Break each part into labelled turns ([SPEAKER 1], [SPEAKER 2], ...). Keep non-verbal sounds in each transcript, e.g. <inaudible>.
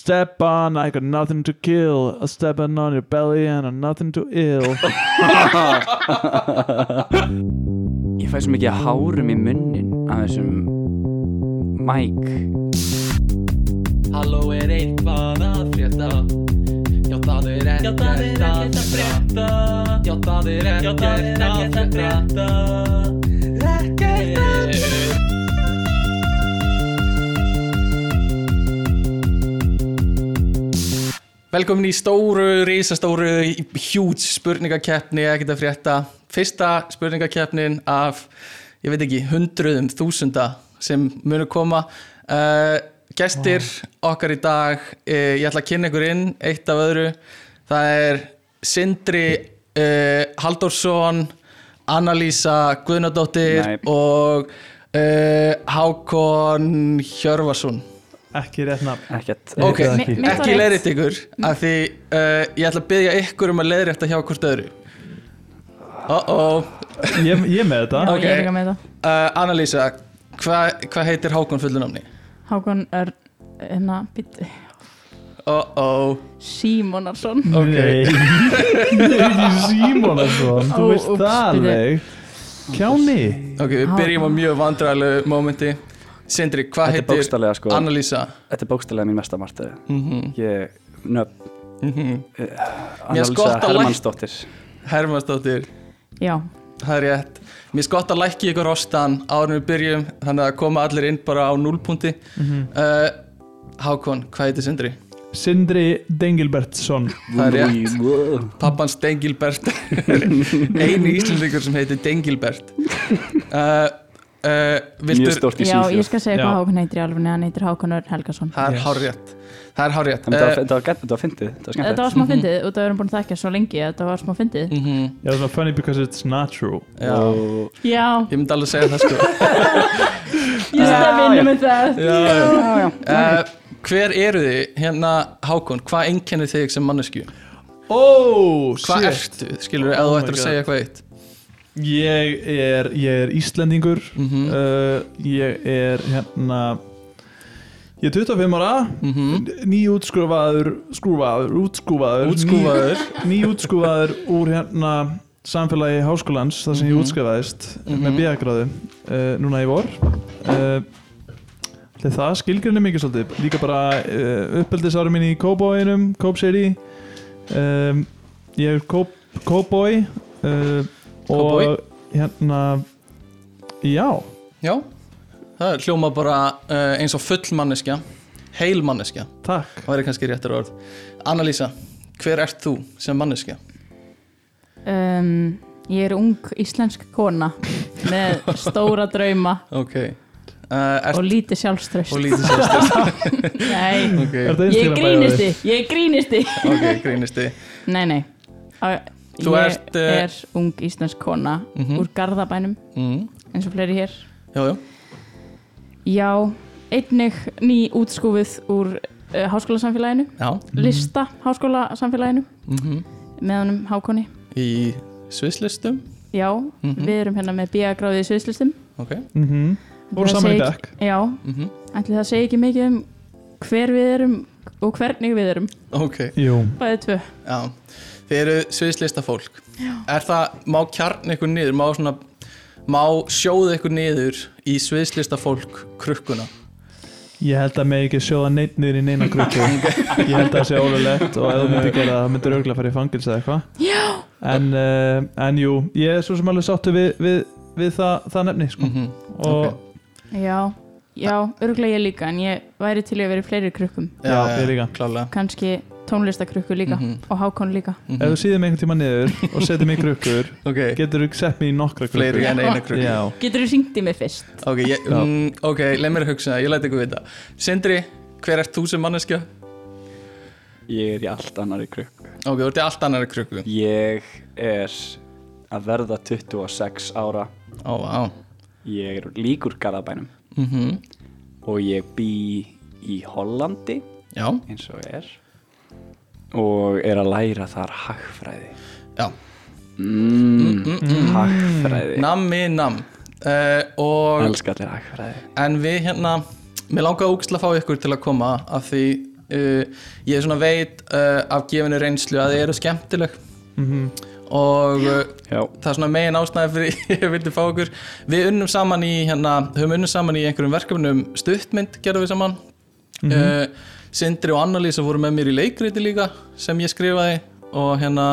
[SPEAKER 1] step on, I got nothing to kill. A step on on your belly and a nothing to ill.
[SPEAKER 2] Ég fæ svo mikið af hárum í munnin af þessum mæk
[SPEAKER 3] Halló er eitthvað að frétta Já það er ekkert að frétta Já það er ekkert að frétta Ekkert að frétta Velkomin í stóru, risastóru, huge spurningakeppni, ekkert að frétta. Fyrsta spurningakeppnin af, ég veit ekki, hundruðum, þúsunda sem munu koma. Uh, gestir okkar í dag, uh, ég ætla að kynna ykkur inn, eitt af öðru. Það er Sindri uh, Halldórsson, Annalísa Guðnadóttir
[SPEAKER 2] Nei.
[SPEAKER 3] og uh, Hákon Hjörvarsson.
[SPEAKER 1] <laughs> Ekki rétt nafn.
[SPEAKER 2] ekkert
[SPEAKER 3] Ok,
[SPEAKER 1] Eða
[SPEAKER 4] ekki.
[SPEAKER 3] ekki,
[SPEAKER 4] Mitt var Mm.
[SPEAKER 3] ekki
[SPEAKER 4] rétt.
[SPEAKER 3] leiðrétt ykkur af því uh, ég ætla að byggja ykkur um að leiðrétta hjá hvort öðru Oh oh
[SPEAKER 1] Ég, ég með
[SPEAKER 4] Já,
[SPEAKER 1] þetta.
[SPEAKER 3] Ok.
[SPEAKER 4] ég er líka með það
[SPEAKER 3] uh, Annalísa, hvað hva heitir Hákon fullunamni?
[SPEAKER 4] Hákon er hérna, býttu,
[SPEAKER 3] Oh oh
[SPEAKER 4] Símonarsson
[SPEAKER 3] ok.
[SPEAKER 1] Nei, ekki Símonarsson. Þú
[SPEAKER 4] Ó,
[SPEAKER 1] veist
[SPEAKER 4] úps,
[SPEAKER 1] það
[SPEAKER 4] byrju.
[SPEAKER 1] alveg. Kjáni.
[SPEAKER 3] Ok, við byrjum á mjög vandræðalegu mómenti Sindri, hvað
[SPEAKER 2] Þetta er
[SPEAKER 3] heitir
[SPEAKER 2] bókstaflega sko
[SPEAKER 3] Annalísa?
[SPEAKER 2] Þetta er bókstaflega mín mesta martu
[SPEAKER 3] Mhm,
[SPEAKER 2] Ég, nöfn
[SPEAKER 3] mhm. finnst
[SPEAKER 2] Annalisa
[SPEAKER 3] gott að læ-
[SPEAKER 2] Hermannsdóttir
[SPEAKER 3] Hermannsdóttir,
[SPEAKER 4] Já,
[SPEAKER 3] það er rétt Mér er gott að lækki ykkur rostan árum við byrjum þannig að koma allir inn bara á núlpunti
[SPEAKER 4] Mhm.
[SPEAKER 3] uh, Hákon, hvað heitir Sindri?
[SPEAKER 1] Sindri Dengilbertsson.
[SPEAKER 3] Það er rétt.
[SPEAKER 2] rétt
[SPEAKER 3] pappans Dengilbert <laughs> einu íslendingur sem heitir Dengilbert uh, uh,
[SPEAKER 2] Mjög
[SPEAKER 3] viltu,
[SPEAKER 2] stórt í sko.
[SPEAKER 4] já ég
[SPEAKER 2] síðan
[SPEAKER 4] skal segja
[SPEAKER 1] Já.
[SPEAKER 4] hvað Hákon heitir í alveg hann heitir Hákon Örn Helgason
[SPEAKER 3] það er
[SPEAKER 1] Yes.
[SPEAKER 3] hárrétt það er hárrétt
[SPEAKER 2] Þetta var-
[SPEAKER 3] uh,
[SPEAKER 2] þetta var gett, þetta var fyndið, þetta var skemmt
[SPEAKER 4] Þetta var smá fyndið, út af að við erum búin að þekkja svo lengi Þetta var smá fyndið
[SPEAKER 3] mm
[SPEAKER 1] Já, það er funny because it's not true.
[SPEAKER 3] já,
[SPEAKER 2] Og
[SPEAKER 4] Já,
[SPEAKER 3] ég myndi alveg segja það sko
[SPEAKER 4] ég stef inn með það
[SPEAKER 3] uh, hver eru þið hérna Hákon, hvað einkennir þig sem mannesku
[SPEAKER 1] Ó,
[SPEAKER 3] hvað ertu, skilur við, eða þú
[SPEAKER 1] Oh my
[SPEAKER 3] ættir að
[SPEAKER 1] God.
[SPEAKER 3] segja hvað eitt
[SPEAKER 1] Ég er, ég er Íslendingur.
[SPEAKER 3] mm -hmm.
[SPEAKER 1] uh, ég er hérna ég er 25 ára
[SPEAKER 3] Mhm.
[SPEAKER 1] nýjútskúfaður skrúfaður, útskúfaður
[SPEAKER 3] Útskúfaður.
[SPEAKER 1] <laughs> ný- nýútskúfaður úr hérna samfélagi háskólans þar sem ég
[SPEAKER 3] Mhm.
[SPEAKER 1] útskrifaðist
[SPEAKER 3] Mhm.
[SPEAKER 1] með bíagráðu uh, núna í vor uh, til það skilgrinni mikið svolítið líka bara uh, uppeldisárum minni í Cowboyinum, Cope City um, ég er Cope- Cowboy uh,
[SPEAKER 3] Cowboy.
[SPEAKER 1] og hérna já
[SPEAKER 3] já, það er hljóma bara uh, eins og full manneskja heil manneskja,
[SPEAKER 1] Takk.
[SPEAKER 3] það væri kannski réttar orð Annalísa, hver ert þú sem manneskja?
[SPEAKER 4] um, Ég er ung íslensk kona Með stóra drauma
[SPEAKER 3] Ok uh, ert,
[SPEAKER 4] Og lítið sjálfströst
[SPEAKER 3] Og lítið
[SPEAKER 1] <laughs>
[SPEAKER 3] sjálfstyrst <laughs>
[SPEAKER 4] Nei,
[SPEAKER 3] Ok,
[SPEAKER 1] Er þetta
[SPEAKER 4] ég
[SPEAKER 1] Instagram
[SPEAKER 4] grínisti
[SPEAKER 1] bæjaði?
[SPEAKER 4] Ég grínisti
[SPEAKER 3] ok, grínisti
[SPEAKER 4] Nei, nei Á-
[SPEAKER 3] Þú
[SPEAKER 4] Ég
[SPEAKER 3] ert, eh,
[SPEAKER 4] er ung íslensk kona
[SPEAKER 3] Mhm.
[SPEAKER 4] Úr Garðabænum
[SPEAKER 3] mm.
[SPEAKER 1] Mhm.
[SPEAKER 4] eins og fleiri hér
[SPEAKER 3] Já, já,
[SPEAKER 4] Já, einnig ný útskúfið úr uh, háskólasamfélaginu
[SPEAKER 3] já
[SPEAKER 4] Lista háskólasamfélaginu
[SPEAKER 3] mm
[SPEAKER 1] Mhm.
[SPEAKER 4] með honum Hákoni
[SPEAKER 3] Í svislistum
[SPEAKER 4] Já,
[SPEAKER 3] Mhm.
[SPEAKER 4] við erum hérna með bíagráðið í sviðslistum
[SPEAKER 3] Ok
[SPEAKER 1] Mm -hmm. Voru saman í bekk.
[SPEAKER 4] Já,
[SPEAKER 3] mm
[SPEAKER 1] Mhm.
[SPEAKER 4] ætli það segi ekki mikið um hver við erum og hvernig við erum
[SPEAKER 3] Ok,
[SPEAKER 1] Jú.
[SPEAKER 4] Bæðið tvö
[SPEAKER 3] já Þið eru svislista fólk já. Er það, má kjarn ykkur niður Má svona, má sjóða ykkur niður Í svislista fólk krukkuna
[SPEAKER 1] Ég held að mig ekki sjóða neitt niður í neina
[SPEAKER 3] <laughs>
[SPEAKER 1] grúpu. ég held að það sé ólulegt og ef þú myndir gera það, það myndir auðvitað fara í fangils eða eitthvað.
[SPEAKER 4] Já.
[SPEAKER 1] En, uh, en jú, ég er svo sem alveg sáttu við, við, við það, það nefni, sko.
[SPEAKER 3] mm -hmm.
[SPEAKER 1] Og
[SPEAKER 3] ok.
[SPEAKER 4] Já, já, örglega ég líka en ég væri til í að vera í fleiri krukkum
[SPEAKER 1] Já, ég líka.
[SPEAKER 3] Klálega
[SPEAKER 4] kannski tónlistakrukku líka
[SPEAKER 3] Mhm.
[SPEAKER 4] og Hákon líka
[SPEAKER 3] mm
[SPEAKER 1] ef þú síðir mig einhvern tíma niður og setur mig í
[SPEAKER 3] <laughs>
[SPEAKER 1] grúpur,
[SPEAKER 3] Ok,
[SPEAKER 1] getur þú sett mig í nokkra grúpur.
[SPEAKER 3] fleiri en eina krukku
[SPEAKER 1] Já.
[SPEAKER 4] Getur þú syngt í mig fyrst?
[SPEAKER 3] Ok, ég,
[SPEAKER 1] Já.
[SPEAKER 3] mm, ok, leið mér að hugsa það, ég læti ykkur vita Sindri, hver ert þú sem manneskja?
[SPEAKER 2] ég er í allt annari krukku
[SPEAKER 3] Ok, þú ert í allt annari krukku
[SPEAKER 2] Ég er að verða 26 ára
[SPEAKER 3] Ó, á
[SPEAKER 2] Ég er líkur Garðabænum
[SPEAKER 3] mm
[SPEAKER 1] Mhm.
[SPEAKER 2] og ég bý í Hollandi
[SPEAKER 3] Já,
[SPEAKER 2] eins og er og er að læra þar hagfræði
[SPEAKER 3] já
[SPEAKER 2] mm, hagfræði
[SPEAKER 3] Nammi nam uh, og,
[SPEAKER 2] elska allir hagfræði
[SPEAKER 3] En við hérna Mér langaði ógst að fá ykkur til að koma Af því uh, ég svona veit uh, af gefinni reynslu að þið eru skemmtileg
[SPEAKER 1] Mhm.
[SPEAKER 3] og uh,
[SPEAKER 2] Já,
[SPEAKER 3] það er svona megin ástæði fyrir <laughs> ég vildi fá okkur við unnum saman í hérna höfum unnum saman í einhverjum verkefnum um stuttmynd gerðum við saman mm Sindri og Annalísa voru með mér í leikriti líka sem ég skrifaði og hérna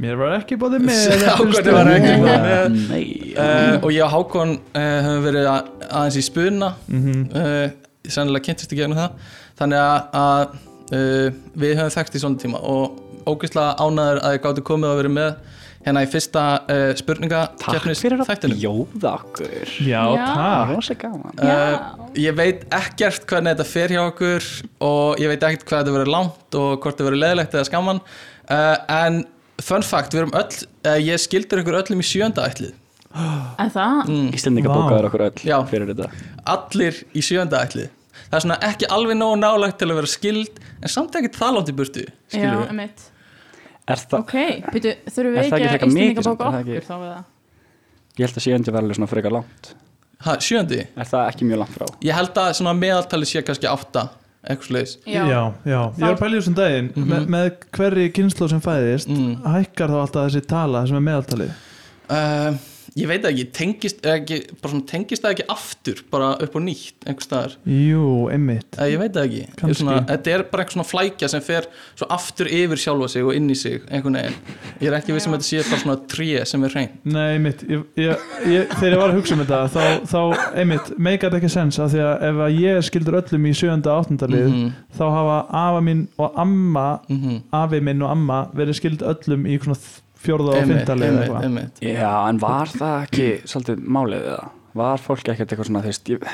[SPEAKER 1] Mér var ekki bóðið með
[SPEAKER 3] Sá
[SPEAKER 1] þetta
[SPEAKER 3] hvað
[SPEAKER 1] fyrst
[SPEAKER 3] þið var
[SPEAKER 1] og-
[SPEAKER 3] ekki bóðið.
[SPEAKER 2] nei
[SPEAKER 3] uh, og ég og Hákon uh, höfum verið a- aðeins í spuna
[SPEAKER 1] Mhm.
[SPEAKER 3] uh, sennilega kynntist í gegnum það þannig að, að uh, við höfum þekkt í svona tíma og ógeðslega ánæður að ég gáttu komið að vera með hérna í fyrsta uh, spurninga
[SPEAKER 2] Takk fyrir að
[SPEAKER 3] þættinum
[SPEAKER 2] bjóða okkur
[SPEAKER 1] Já,
[SPEAKER 4] Já.
[SPEAKER 1] takk
[SPEAKER 2] Rósa gaman
[SPEAKER 4] Já.
[SPEAKER 3] Uh, ég veit ekkert hvernig þetta fer hjá okkur og ég veit ekkert hvað þetta verður langt og hvort þetta verður leðilegt eða skamman uh, en fun fact, við erum öll uh, ég skildur ykkur öllum í sjönda ætlið
[SPEAKER 4] En það,
[SPEAKER 3] mm,
[SPEAKER 2] Íslendinga
[SPEAKER 1] Vá.
[SPEAKER 2] bókaður okkur öll
[SPEAKER 3] Já.
[SPEAKER 2] fyrir þetta
[SPEAKER 3] allir í sjönda ætlið það er svona ekki alveg nógu nálagt til að vera skild en samt ekkert það langt í burtu
[SPEAKER 4] já,
[SPEAKER 3] skilur við
[SPEAKER 4] emitt
[SPEAKER 2] Er það,
[SPEAKER 4] Ok, býtu,
[SPEAKER 2] Er
[SPEAKER 4] þurfum við
[SPEAKER 2] það
[SPEAKER 4] ekki
[SPEAKER 2] ekki
[SPEAKER 4] að
[SPEAKER 2] frekar mikið
[SPEAKER 4] Íslandinga
[SPEAKER 2] samt?
[SPEAKER 4] bóka
[SPEAKER 2] Er það ekki-
[SPEAKER 4] okkur þá við það?
[SPEAKER 2] ég held að sjöndi verður svona frekar langt
[SPEAKER 3] ha, sjöndi,
[SPEAKER 2] Er það ekki mjög langt frá?
[SPEAKER 3] ég held að svona meðaltalið sé kannski átta eitthvað sliðis
[SPEAKER 1] Já, já, ég var að pæla í þessum daginn með,
[SPEAKER 3] Mhm.
[SPEAKER 1] með hverri kynslu sem fæðist
[SPEAKER 3] mm.
[SPEAKER 1] hækkar þá alltaf þessi tala sem er meðaltali
[SPEAKER 3] uh, ég veit það ekki, tengist, eða ekki bara svona, tengist það ekki aftur bara upp á nýtt einhvers staðar
[SPEAKER 1] Jú, einmitt
[SPEAKER 3] Eða, ég veit það ekki Ég er
[SPEAKER 1] Kannski.
[SPEAKER 3] svona, þetta er bara einhver svona flækja sem fer svo aftur yfir sjálfa sig og inn í sig einhvern veginn, ég er ekki viss um að þetta sé bara svona tré sem er hrein
[SPEAKER 1] Nei, einmitt, ég, ég, ég, þegar ég var að hugsa um þetta þá, þá einmitt, make it ekki sense af því að ef að ég skildur öllum í 7. og 8. lið
[SPEAKER 3] Mhm,
[SPEAKER 1] þá hafa afa minn og amma
[SPEAKER 3] mhm.
[SPEAKER 1] afi minn og amma verið skild öllum í svona 4. og 5. lið eða
[SPEAKER 3] einmitt,
[SPEAKER 1] eitthvað.
[SPEAKER 3] einmitt
[SPEAKER 2] Já, en var það ekki svolítið málið við það? Var fólk ekkert eitthvað svona, þú veist Ég,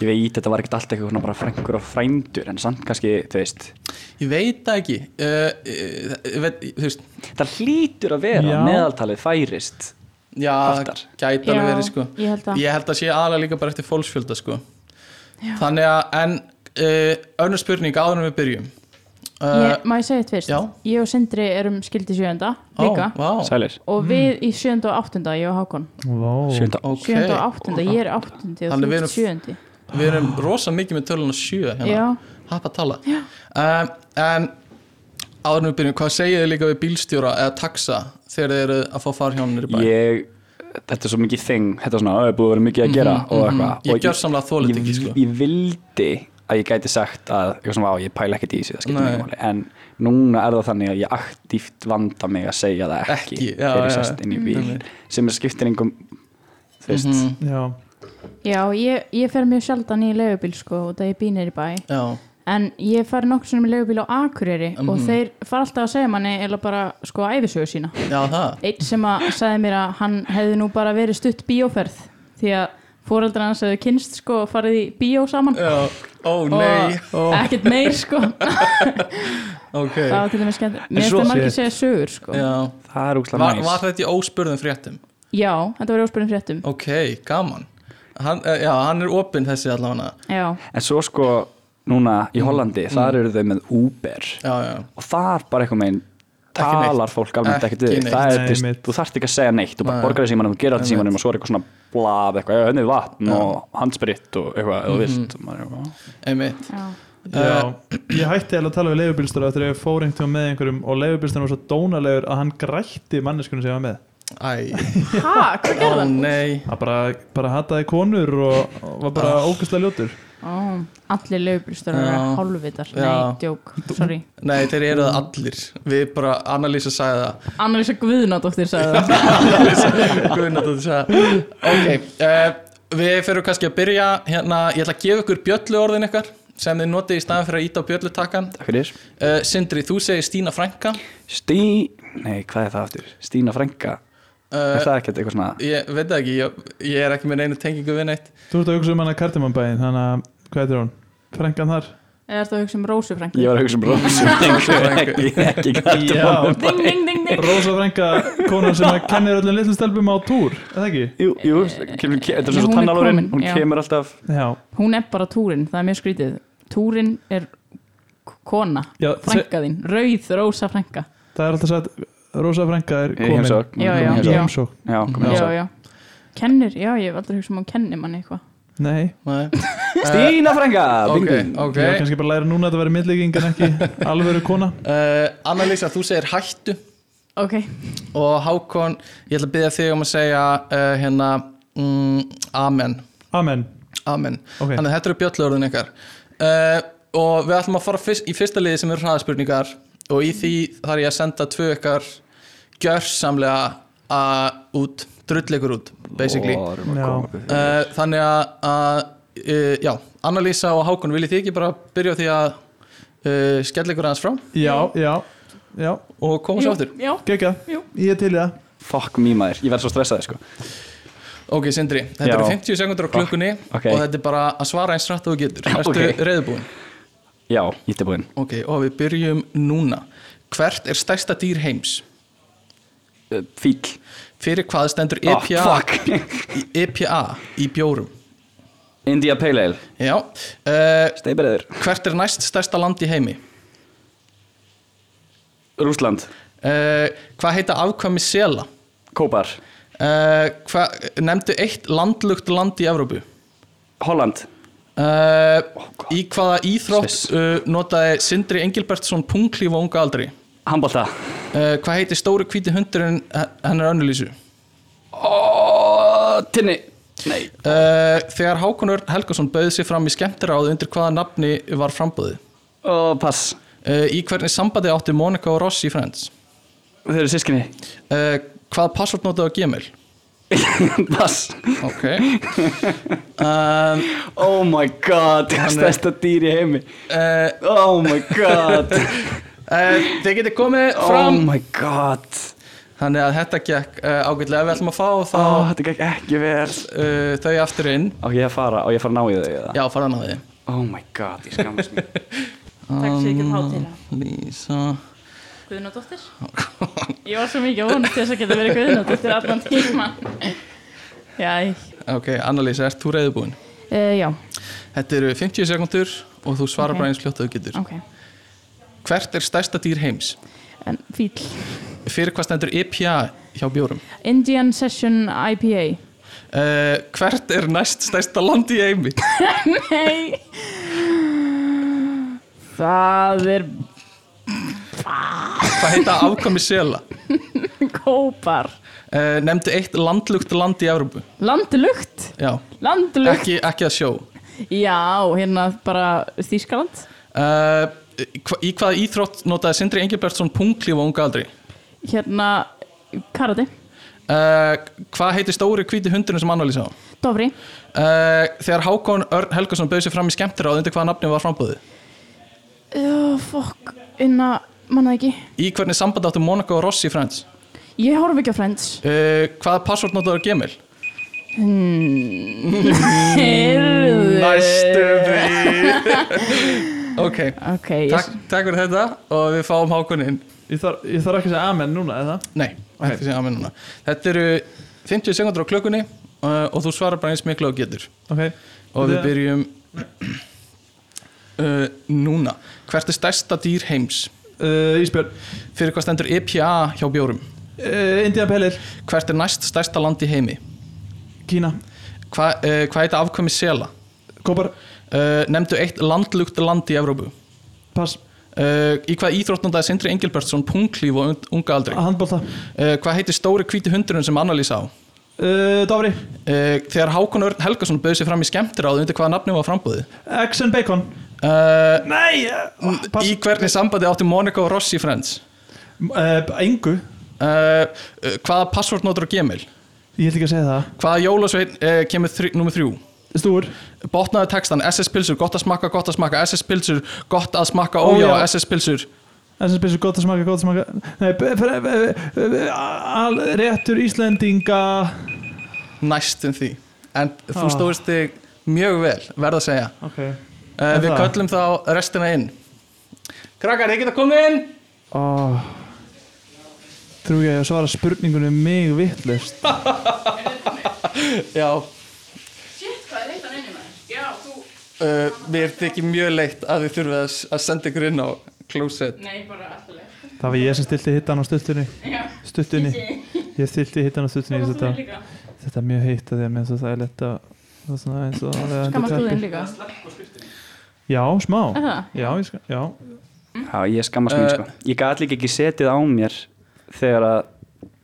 [SPEAKER 2] ég veit, þetta var ekkert allt eitthvað svona bara frængur og frændur En samt kannski, þú veist
[SPEAKER 3] ég veit það ekki uh, uh, ég veit, þú veist
[SPEAKER 2] Það hlýtur að vera
[SPEAKER 1] Já.
[SPEAKER 2] að meðaltalið færist
[SPEAKER 3] já,
[SPEAKER 2] Aftar.
[SPEAKER 3] gæti alveg verið sko
[SPEAKER 4] ég held að
[SPEAKER 3] ég held að sé aðalega líka bara eftir fólksfjölda sko. þannig að en uh, önnur spurning áður en við byrjum uh,
[SPEAKER 4] ég, Má ég segja þetta fyrst?
[SPEAKER 3] já.
[SPEAKER 4] Ég og Sindri erum skildi sjönda
[SPEAKER 3] ó,
[SPEAKER 4] líka
[SPEAKER 3] vá, Mm.
[SPEAKER 2] Sælir,
[SPEAKER 4] og við í sjönda og áttunda, ég og Hákon
[SPEAKER 1] Vá.
[SPEAKER 2] sjönda
[SPEAKER 3] ok
[SPEAKER 4] sjönda og áttunda, ég er áttundi og
[SPEAKER 3] Þannig
[SPEAKER 4] þú
[SPEAKER 3] við
[SPEAKER 4] er
[SPEAKER 3] erum-
[SPEAKER 4] sjöndi
[SPEAKER 3] við erum rosa mikið með töluna sjö hérna.
[SPEAKER 4] Já,
[SPEAKER 3] Happa tala um, En áður en við byrjum, hvað segið þið líka við bílstjóra eða taxa þegar þið eru að fá farhjónir í bæ?
[SPEAKER 2] ég, þetta er svo mikið þing þetta er svona, "Ó, er búið að vera mikið að gera og eitthvað
[SPEAKER 3] Mhm, Ég
[SPEAKER 2] og
[SPEAKER 3] gjör samlega þólið ekki sko
[SPEAKER 2] ég, ég vildi að ég gæti sagt að ég, svona, á, ég pæla ekkert í þessu, það skiptir
[SPEAKER 3] Nei.
[SPEAKER 2] mjög máli en núna er það þannig að ég aktíft vanda mig að segja það ekki,
[SPEAKER 3] Ekki, já,
[SPEAKER 2] þegar ég
[SPEAKER 3] já,
[SPEAKER 2] sest
[SPEAKER 3] já.
[SPEAKER 2] inn í bíl
[SPEAKER 3] Einmitt. Mhm.
[SPEAKER 2] sem er skiptir engum þú veist,
[SPEAKER 3] Hmm.
[SPEAKER 1] Já.
[SPEAKER 4] já ég, ég fer mjög sjaldan í leigubíl sko og það ég býnir í bæ
[SPEAKER 3] Já,
[SPEAKER 4] en ég fari nokkur sem í leigubíl á Akureyri og
[SPEAKER 3] Mhm.
[SPEAKER 4] þeir fara alltaf að segja manni eða bara sko æfisögu sína
[SPEAKER 3] já það
[SPEAKER 4] einn sem að sagði mér að hann hefði nú bara verið stutt bíóferð því að fóreldrar hans hefði kynst sko og farið í bíó saman
[SPEAKER 3] Já, ó nei
[SPEAKER 4] og ekkert meir sko það
[SPEAKER 3] Ok
[SPEAKER 4] var til dæmis skemmt mér
[SPEAKER 2] svo-
[SPEAKER 4] finnst það margir segja sögur sko já,
[SPEAKER 3] Já,
[SPEAKER 2] það er úkslega
[SPEAKER 3] var,
[SPEAKER 2] næs
[SPEAKER 3] var þetta í óspurðum fréttum?
[SPEAKER 4] þetta var óspurðum fréttum
[SPEAKER 3] Ok, gaman hann, eh, Já, hann er opinn þessi allavega
[SPEAKER 4] já,
[SPEAKER 2] en svo sko, núna
[SPEAKER 3] Mhm.
[SPEAKER 2] í Hollandi þar eru þau með Uber
[SPEAKER 3] Já, já,
[SPEAKER 2] og þar bara eitthvað meginn
[SPEAKER 3] Ekki neitt.
[SPEAKER 2] talar fólk almennt ekkert
[SPEAKER 3] Ekki
[SPEAKER 2] við þig. það
[SPEAKER 1] neitt.
[SPEAKER 2] er, þú veist,
[SPEAKER 1] Einmitt.
[SPEAKER 2] þú þarft ekki að segja neitt þú bara
[SPEAKER 3] Nei.
[SPEAKER 2] borgar í símanum, þú gerir allt í
[SPEAKER 3] Einmitt.
[SPEAKER 2] símanum og svo er eitthvað svona blab eitthvað, "Já, hérna er vatn og handsprit og eitthvað, þú vilt
[SPEAKER 3] Mm-hmm.
[SPEAKER 2] og maður er eitthvað,
[SPEAKER 3] einmitt
[SPEAKER 4] já,
[SPEAKER 1] Já, ég hætti alveg að tala við leifubílstara eftir að ég fór einhvern tíma með einhverjum og leifubílstara var svo dónalegur að hann grætti manneskunum sem ég var með
[SPEAKER 3] Æ,
[SPEAKER 4] ha, hvað
[SPEAKER 3] ó <laughs>
[SPEAKER 4] gerði hann?
[SPEAKER 3] nei
[SPEAKER 1] hann bara, bara hataði konur og og var bara ah. ógæslega ljótur
[SPEAKER 4] Ó, allir leigubílstörar
[SPEAKER 3] Já.
[SPEAKER 4] eru hálfvitar
[SPEAKER 3] Já.
[SPEAKER 4] nei, djók, sorry
[SPEAKER 3] Nei, þeir eru það allir Við bara, Annalísa sagði það
[SPEAKER 4] <laughs> Annalisa Guðnadóttir sagði það
[SPEAKER 3] Guðnardóttir sagði Ok, uh, við fyrir kannski að byrja hérna, ég ætla að gefa ykkur bjöllu orðin ykkar sem þið notið í staðan fyrir að íta á bjöllutakkan
[SPEAKER 2] takk fyrir
[SPEAKER 3] uh, Sindri, þú segir Stína Frænka
[SPEAKER 2] Stí, nei, hvað er það aftur? Stína Frænka, er
[SPEAKER 3] uh,
[SPEAKER 2] það ekkert eitthvað svona
[SPEAKER 3] Ég veit það ekki, ég, ég er ekki með neina tengingu við neitt
[SPEAKER 1] Þú ert að hugsa um hann að kartimannbæin þannig að, hvað heitir hún? Frengan þar?
[SPEAKER 4] eða ertu að hugsa um Rósu frænku
[SPEAKER 2] ég var að hugsa um Rósu um ekki, ekki gæti
[SPEAKER 1] Já.
[SPEAKER 4] ding, ding, ding, ding
[SPEAKER 1] Rósa Frenga, konan sem að kennir öllum litlum stelpum á túr, eða ekki?
[SPEAKER 2] Jú, jú, kemur, ke- þetta er svo
[SPEAKER 4] Hún er
[SPEAKER 2] tannalórin,
[SPEAKER 4] komin,
[SPEAKER 2] hún
[SPEAKER 4] já.
[SPEAKER 2] kemur alltaf
[SPEAKER 1] Já,
[SPEAKER 4] hún er bara túrin, það er mjög skrítið túrin er k- kona
[SPEAKER 1] Já se,
[SPEAKER 4] frænka þín, rauð rósa frænka
[SPEAKER 1] það er alltaf sagt Rósa Frenga er
[SPEAKER 2] í
[SPEAKER 1] komin
[SPEAKER 2] heimsókn, hún
[SPEAKER 4] Já,
[SPEAKER 2] er komin í
[SPEAKER 4] já.
[SPEAKER 1] í
[SPEAKER 2] heimsókn.
[SPEAKER 1] heimsókn
[SPEAKER 2] Já, komin í
[SPEAKER 4] já,
[SPEAKER 2] heimsókn.
[SPEAKER 4] já. kennir, já ég hef aldrei hugsað um að hún kennir manni eitthvað
[SPEAKER 1] Nei,
[SPEAKER 3] Nei. Eh,
[SPEAKER 2] Stína frænga bing,
[SPEAKER 3] Ok,
[SPEAKER 2] bing.
[SPEAKER 1] ég var
[SPEAKER 3] ok
[SPEAKER 1] kannski bara að læra núna að þetta verið millíking en
[SPEAKER 2] <laughs>
[SPEAKER 1] ekki alvöru kona
[SPEAKER 3] Uh, Annalisa, þú segir hættu
[SPEAKER 4] Ok,
[SPEAKER 3] og Hákon, ég ætla að byggja þig um að segja uh, hérna mm, Amen,
[SPEAKER 1] Amen
[SPEAKER 3] amen
[SPEAKER 1] Ok.
[SPEAKER 3] Þannig að þetta eru bjöllurðin ykkar uh, og við ætlum að fara fyrst, í fyrsta liði sem eru hraðspurningar og í því þarf ég að senda tvö ykkar gjörsamlega að út, drullegur út basically
[SPEAKER 2] Ó, erum að
[SPEAKER 1] Já.
[SPEAKER 2] koma upp í-
[SPEAKER 3] uh, Þannig að, að uh, já, Annalisa og Hákon viljið þið ekki bara byrja á því að uh, skella ykkur aðeins frá
[SPEAKER 1] Já, já, já,
[SPEAKER 3] og koma svo áttur
[SPEAKER 4] já,
[SPEAKER 1] gegja
[SPEAKER 4] Jú.
[SPEAKER 1] Ég er til í það
[SPEAKER 2] Fuck me maður, ég verð svo stressaði sko
[SPEAKER 3] Ok, Sindri, þetta
[SPEAKER 2] Já.
[SPEAKER 3] eru 50 sekundur á klukkunni
[SPEAKER 2] Ok.
[SPEAKER 3] og þetta er bara að svara eins rætt og þú getur. Ertu
[SPEAKER 2] ok.
[SPEAKER 3] reiðubúinn?
[SPEAKER 2] Já, ég er búinn
[SPEAKER 3] Ok, og við byrjum núna. Hvert er stærsta dýr heims?
[SPEAKER 2] Uh, Fíl
[SPEAKER 3] Fyrir hvað stendur
[SPEAKER 2] Ah,
[SPEAKER 3] EPA,
[SPEAKER 2] Fuck
[SPEAKER 3] í, EPA í bjórum?
[SPEAKER 2] <laughs> India Pale Ale
[SPEAKER 3] Já. Uh,
[SPEAKER 2] Steibriður
[SPEAKER 3] hvert er næst stærsta land í heimi?
[SPEAKER 2] Rúsland
[SPEAKER 3] Uh, hvað heita afkvæmi sela?
[SPEAKER 2] Kópar
[SPEAKER 3] Uh, hva, nefndu eitt landlugt land í Evrópu.
[SPEAKER 2] Holland
[SPEAKER 3] Uh,
[SPEAKER 2] Oh, God.
[SPEAKER 3] í hvaða íþrótt
[SPEAKER 2] Sviss.
[SPEAKER 3] uh, notaði Sindri Engilbertsson punglíf á unga aldri?
[SPEAKER 2] Hambolta
[SPEAKER 3] Uh, hvað heitir stóri hvíti hundurinn hennar önnulísu?
[SPEAKER 2] oh, Tinni Nei
[SPEAKER 3] Uh, þegar Hákonur Helgason bauði sig fram í skemmtiráð undir hvaða nafni var frambúðið?
[SPEAKER 2] oh, Pass
[SPEAKER 3] Uh, í hvernig sambandi átti Monika og Ross í Friends?
[SPEAKER 2] Þau eru sískinni
[SPEAKER 3] Uh, hvað passvort notaði á Gmail?
[SPEAKER 2] <laughs> Pass
[SPEAKER 3] Ok um,
[SPEAKER 2] Oh my god Stærsta dýr í heimi
[SPEAKER 3] uh,
[SPEAKER 2] Oh my <laughs> god
[SPEAKER 3] uh, Þið getur komið
[SPEAKER 2] Oh
[SPEAKER 3] fram
[SPEAKER 2] my god
[SPEAKER 3] Þannig að þetta gekk uh, ágætlega við ætlum að fá þá
[SPEAKER 2] oh, Þetta gekk ekki vel
[SPEAKER 3] uh, þau aftur inn
[SPEAKER 2] Á ég að fara, á ég að fara að ná í þau eða?
[SPEAKER 3] Já, farðan á því
[SPEAKER 2] Oh my god, ég skammast mér
[SPEAKER 4] takk sér ekki hátil
[SPEAKER 3] Um, Lísa <laughs>
[SPEAKER 4] Guðnadóttir Ég var svo mikið að vonast til þess að geta verið Guðnadóttir allan tíma Já,
[SPEAKER 3] Ok, Annalisa, ert þú reyðubúin?
[SPEAKER 4] uh, já,
[SPEAKER 3] Þetta eru 50 sekundur og þú svarar
[SPEAKER 4] Ok.
[SPEAKER 3] bara eins fljótt að þú getur
[SPEAKER 4] ok
[SPEAKER 3] Hvert er stærsta dýr heims?
[SPEAKER 4] En fíl
[SPEAKER 3] Fyrir hvað stendur IPA hjá bjórum?
[SPEAKER 4] Indian Session IPA
[SPEAKER 3] Uh, hvert er næst stærsta land í heimi?
[SPEAKER 4] Nei Það er
[SPEAKER 3] Hvað heita afkvæmi sela?
[SPEAKER 4] kópar
[SPEAKER 3] Uh, nefndu eitt landlugt land í Evrópu.
[SPEAKER 4] Landlukt
[SPEAKER 3] Já,
[SPEAKER 4] Landlukt
[SPEAKER 3] ekki, ekki að sjó.
[SPEAKER 4] Já, hérna bara Þískaland
[SPEAKER 3] Uh, hva, í hvaða íþrótt notaði Sindri Engilbertsson punglíf á unga aldri?
[SPEAKER 4] Hérna Karate
[SPEAKER 3] Uh, hvað heitir stóri hvíti hundurinn sem annalýsa á?
[SPEAKER 4] Dofri
[SPEAKER 3] Uh, þegar Hákon Örn Helgason bauð sér fram í skemmtiráð undir hvaða nafni var frambúðið?
[SPEAKER 4] oh, Fokk, inna, manna ekki
[SPEAKER 3] Í hvernig samband áttu Monaco og Rossi Friends?
[SPEAKER 4] Ég horf ekki á Friends
[SPEAKER 3] Uh, hvaða passvort notaði á Gmail?
[SPEAKER 4] Heyrðu
[SPEAKER 3] Næstu því
[SPEAKER 4] <laughs>
[SPEAKER 3] Ok,
[SPEAKER 4] Ok, ég,
[SPEAKER 3] takk, takk fyrir þetta og við fáum hákuninn
[SPEAKER 1] Ég þarf, ég þarf ekki að segja amen núna, eða?
[SPEAKER 3] Nei, okay. þetta sé amen núna Þetta eru 50 sekundur á klökunni uh, og þú svarar bara eins miklu og getur
[SPEAKER 1] Ok,
[SPEAKER 3] og við
[SPEAKER 1] Þetta-
[SPEAKER 3] byrjum uh, núna Hvert er stærsta dýr heims? Eh,
[SPEAKER 1] uh, Ísbjörn
[SPEAKER 3] Fyrir hvað stendur EPA hjá bjórum?
[SPEAKER 1] uh, Indian Pelir,
[SPEAKER 3] Hvert er næst stærsta land í heimi?
[SPEAKER 1] Kína,
[SPEAKER 3] Hva, uh, hvað heita afkvæmi sela?
[SPEAKER 1] Kópar,
[SPEAKER 3] Uh, nefndu eitt landlugt land í Evrópu
[SPEAKER 1] Pass,
[SPEAKER 3] Uh, í hvað íþróttnandaði Sindri Engilbertsson punglíf og und- unga aldri?
[SPEAKER 1] Handbólta
[SPEAKER 3] Uh, hvað heitir stóri hvíti hundurinn sem Annalisa á?
[SPEAKER 1] uh, Dofri,
[SPEAKER 3] Uh, þegar Hákon Örn Helgason bauð sér fram í skemmtiráð undir hvaða nafni var frambúðið?
[SPEAKER 1] Eggs and Bacon
[SPEAKER 3] Uh,
[SPEAKER 1] Nei, uh, pass
[SPEAKER 3] í hvernig sambandi átti Monika og Rossi Friends?
[SPEAKER 1] uh, Engu,
[SPEAKER 3] Uh, uh, hvaða passvort notur á Gmail?
[SPEAKER 1] ég held ekki að segja það
[SPEAKER 3] Hvaða jólasveinn uh, kemur þri, nummer þrjú?
[SPEAKER 1] Stúr,
[SPEAKER 3] Botnaðu textan, SS pilsur, gott að smakka, gott að smakka, SS pilsur, gott að smakka,
[SPEAKER 1] Ó,
[SPEAKER 3] ójá,
[SPEAKER 1] já.
[SPEAKER 3] SS pilsur.
[SPEAKER 1] þess að spysu gott að smaka, gott að smaka Nei, b- b- b- b- al, réttur Íslendinga
[SPEAKER 3] Næstum um því. En þú
[SPEAKER 1] Ah.
[SPEAKER 3] stóðist þig mjög vel, verð að segja.
[SPEAKER 1] Ok
[SPEAKER 3] Uh, við
[SPEAKER 1] það?
[SPEAKER 3] köllum þá restina inn Krakkar, þið geta komið inn
[SPEAKER 1] oh. Trú ekki að ég svara spurningunum mig vittlust
[SPEAKER 3] Já,
[SPEAKER 4] Shit, hvað er leitt að nynni maður? Já, þú
[SPEAKER 3] uh, mér þykir mjög leitt að þið þurfið að, s- að senda ykkur inn á klósett
[SPEAKER 4] Nei, bara alltaf leitt
[SPEAKER 1] Það var ég sem stilti hittan á stuttunni
[SPEAKER 4] Já,
[SPEAKER 1] Stuttunni, ég stilti hittan á stuttunni Þetta, þetta er mjög heitt að því að mér finnst það er lett að Það er svona eins og að vera
[SPEAKER 4] Skammast þú
[SPEAKER 1] undir
[SPEAKER 4] þinn
[SPEAKER 1] teppi.
[SPEAKER 4] líka?
[SPEAKER 1] Já, smá
[SPEAKER 4] Er það?
[SPEAKER 1] Já, ég skal, já
[SPEAKER 2] Já, ég skammast mín
[SPEAKER 3] Eh.
[SPEAKER 2] sko Ég gat líka ekki setið á mér þegar að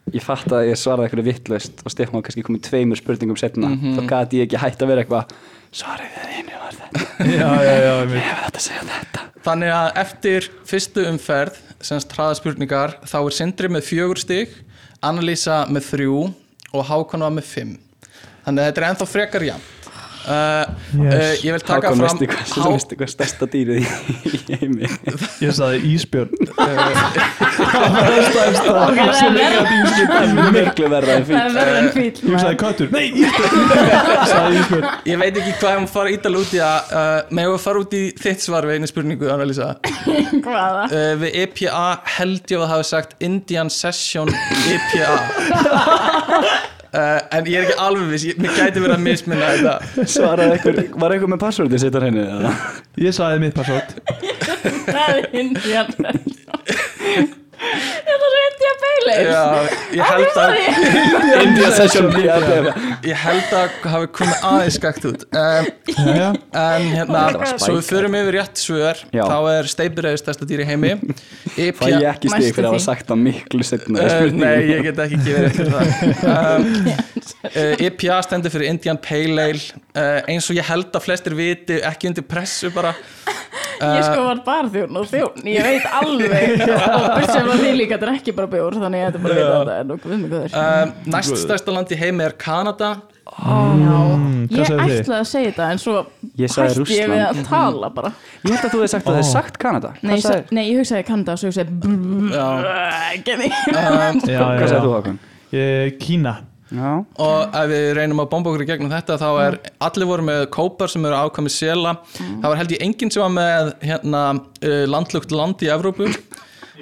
[SPEAKER 2] ég fatt að ég svaraði eitthvað vittlaust og Stefán var kannski komið tveimur spurningum setna
[SPEAKER 3] Mhm.
[SPEAKER 2] þá gat ég ekki hætt að vera eitthvað svarið við einu var þetta,
[SPEAKER 1] <laughs> Já, já, já, ég veit
[SPEAKER 2] ég var þetta að segja þetta
[SPEAKER 3] Þannig að eftir fyrstu umferð semst hraðaspurningar þá er Sindri með fjögur stig Annalísa með þrjú og Hákon var með fimm Þannig að þetta er ennþá frekar jafnt uh,
[SPEAKER 1] Yes.
[SPEAKER 3] uh, Ég vil taka
[SPEAKER 2] Hákon,
[SPEAKER 3] fram
[SPEAKER 2] veistu hvað, Há... veistu hvað stærsta dýrið í í
[SPEAKER 3] <laughs>
[SPEAKER 2] heimi
[SPEAKER 1] Ég sagði Ísbjörn <laughs>
[SPEAKER 4] Ok, það er verra-
[SPEAKER 2] <laughs> Það er miklu verða en
[SPEAKER 4] það er
[SPEAKER 2] fyrir
[SPEAKER 4] verður
[SPEAKER 3] Eh,
[SPEAKER 4] en fíl
[SPEAKER 1] Ég
[SPEAKER 3] <laughs>
[SPEAKER 1] sagði köttur Nei, Ísbjörn Ég sagði Ísbjörn
[SPEAKER 3] Ég veit ekki hvað ég maður fara ítal út í að uh, Megum við fara út í þitt svar við einu spurningu Annalísa
[SPEAKER 4] Hvaða?
[SPEAKER 3] uh, Við EPA held ég að hafa sagt Indian Session E EPA uh, En ég er ekki alveg viss ég- Mér gæti verið að misminna þetta
[SPEAKER 2] svaraði eitthvað, var eitthvað með passvörðið setja henni eða?
[SPEAKER 3] <laughs>
[SPEAKER 1] Ég sagði mitt passort
[SPEAKER 4] Það er Indian Session Ég þarf reyndi að beila eins
[SPEAKER 3] Já, Ég held að
[SPEAKER 2] India session bíða
[SPEAKER 3] Ég held að hafi komið aðeins skakt út um,
[SPEAKER 1] Jæja
[SPEAKER 3] En hérna,
[SPEAKER 4] var spæk.
[SPEAKER 3] svo við förum yfir rétt svör
[SPEAKER 2] Já.
[SPEAKER 3] Þá er steipiræður stærsta dýr í
[SPEAKER 2] <laughs>
[SPEAKER 3] heimi E
[SPEAKER 2] Fæ ég
[SPEAKER 3] IPA
[SPEAKER 2] ekki stig
[SPEAKER 4] Næstu
[SPEAKER 2] fyrir að
[SPEAKER 4] því.
[SPEAKER 2] hafa sagt það miklu setna
[SPEAKER 3] Uh, nei, ég get ekki gefið rétt fyrir það um, uh, IPA stendur fyrir Indian Pale Ale uh, eins og ég held að flestir viti ekki undir pressu bara
[SPEAKER 2] Eh,
[SPEAKER 4] Ég sko var barþjón og þjón Ég veit
[SPEAKER 2] <laughs>
[SPEAKER 4] alveg Og bursum að því líka drekki bara bjór Þannig ég ætti bara að vita þetta En okkur við mig
[SPEAKER 2] Eh,
[SPEAKER 4] góður
[SPEAKER 3] Um, næst stærsta land í heimi er Kanada
[SPEAKER 1] Mm, hvað
[SPEAKER 4] Ég
[SPEAKER 1] sagði þið?
[SPEAKER 4] ætlaði að segja þetta En svo
[SPEAKER 2] Ég sagði
[SPEAKER 4] hætti ég við að
[SPEAKER 2] Rússland.
[SPEAKER 4] tala bara
[SPEAKER 2] Ég held að þú hefði sagt að það er sagt Kanada
[SPEAKER 4] Nei,
[SPEAKER 2] Hvað
[SPEAKER 4] ég sa-
[SPEAKER 2] sagði-
[SPEAKER 4] nei, ég hugsaði Kanada og svo hugsaði Genni
[SPEAKER 2] Eh,
[SPEAKER 1] Já, já,
[SPEAKER 2] hvað
[SPEAKER 1] já
[SPEAKER 2] sagði þú Hákon?
[SPEAKER 1] Ég- Kína
[SPEAKER 2] Já,
[SPEAKER 3] og ef við reynum að bomba okkur í gegnum þetta þá er allir voru með kópar sem eru ákvæmi sela það var held ég enginn sem var með hérna, uh, landlugt land í Evrópu uh,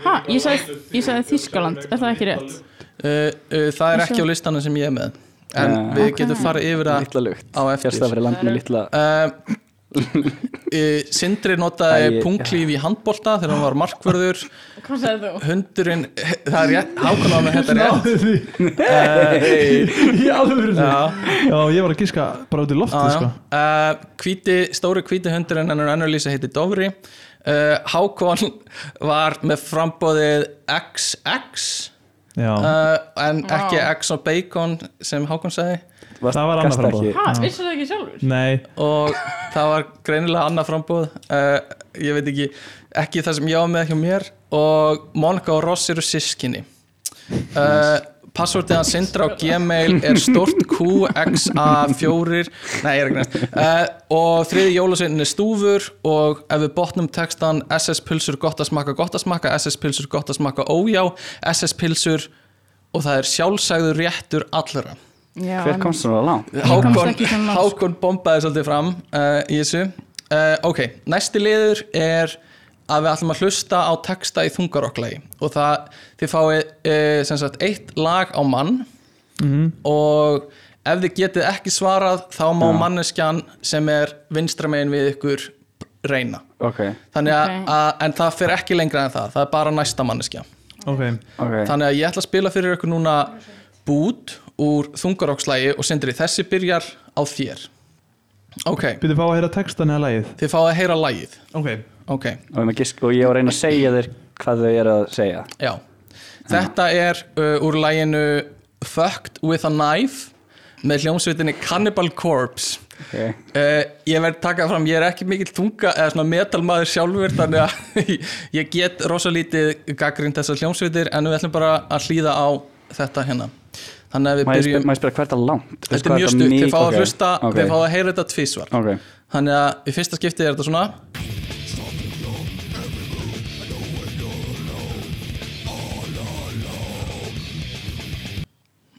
[SPEAKER 4] Ha, ég sagði, ég sagði Þískaland, er það ekki rétt?
[SPEAKER 3] uh, það er ekki á listanum sem ég er með en
[SPEAKER 2] Ja.
[SPEAKER 3] við getum farið yfir það
[SPEAKER 2] litla lukt
[SPEAKER 3] á eftir
[SPEAKER 2] Fjast að vera land með litla
[SPEAKER 3] uh, uh, Sindri notaði
[SPEAKER 2] Æ, ég-
[SPEAKER 3] punglíf í handbolta þegar hann var markvörður
[SPEAKER 4] Hvað sagði þú?
[SPEAKER 3] hundurinn, það er rétt hákvæm á með þetta rétt Ehm,
[SPEAKER 1] Náðu því <laughs> Í alvöru Já,
[SPEAKER 3] Já.
[SPEAKER 1] ég var að giska bara út í loftið sko
[SPEAKER 3] uh, hvíti, stóri hvíti hundurinn en hann önnurlýsa heiti Dofri uh, Hákon var með frambóðið XX
[SPEAKER 1] Já,
[SPEAKER 3] uh, en ekki X og Bacon sem Hákon sagði
[SPEAKER 2] Varst-
[SPEAKER 1] Það var annað
[SPEAKER 2] gast
[SPEAKER 1] framboð.
[SPEAKER 2] ekki-
[SPEAKER 4] Ha, vissu það ekki sjálfur?
[SPEAKER 1] nei
[SPEAKER 3] og það var greinilega annað frambóð uh, ég veit ekki ekki það sem ég á með hjá mér og Monika og Ross eru sískinni uh, passvortið hans sindra á gmail er stort QXA4 nei, ég er ekki næst uh, og þriði jólasveinin er stúfur og ef við botnum textan SS pilsur gott að smakka, gott að smakka SS pilsur gott að smakka, ójá SS pilsur og það er sjálfsagður réttur allra
[SPEAKER 4] Já,
[SPEAKER 2] Hver komst svona langt?
[SPEAKER 4] komst
[SPEAKER 3] Hákon,
[SPEAKER 4] ekki svona langt, sko.
[SPEAKER 3] Hákon bombaði svolítið fram uh, í þessu uh, Ok, næsti liður er að við ætlum að hlusta á texta í þungarokklagi og það, þið fáið uh, sem sagt eitt lag á mann
[SPEAKER 1] mhm.
[SPEAKER 3] og ef þið getið ekki svarað þá má manneskjan sem er vinstramegin við ykkur reyna
[SPEAKER 2] Ok,
[SPEAKER 3] Þannig að,
[SPEAKER 4] Ok.
[SPEAKER 3] að, en það fer ekki lengra en það, það er bara næsta manneskja
[SPEAKER 1] Ok
[SPEAKER 2] ok
[SPEAKER 3] Þannig að ég ætla að spila fyrir ykkur núna bút úr þungarokkslægi og sindri þessi byrjar á þér. Ok,
[SPEAKER 1] Byrðu fá að heyra textan eða lagið
[SPEAKER 3] þið fáið að heyra lægið.
[SPEAKER 1] Ok
[SPEAKER 3] Ok,
[SPEAKER 2] Og, með gisk, og ég var að reyna að segja þér hvað þau eru að segja
[SPEAKER 3] já. Þetta er uh, úr læginu Fucked with a Knife með hljómsveitinni Cannibal Corpse.
[SPEAKER 2] okay.
[SPEAKER 3] Uh, ég verð taka fram, ég er ekki mikill tunga eða svona metalmaður sjálfur þannig að <laughs> ég get rosalítið gaggrind þessar hljómsveitir en við ætlum bara að hlýða á þetta hérna þannig að við
[SPEAKER 2] Má ég
[SPEAKER 3] byrjum
[SPEAKER 2] spyr- má ég spyrja hvert er langt?
[SPEAKER 3] Þetta er mjög stutt, þið fáið að hlusta, þið fáið að heyra þetta tvísvar
[SPEAKER 2] Ok,
[SPEAKER 3] Þannig að í fyrsta skiptið er þetta svona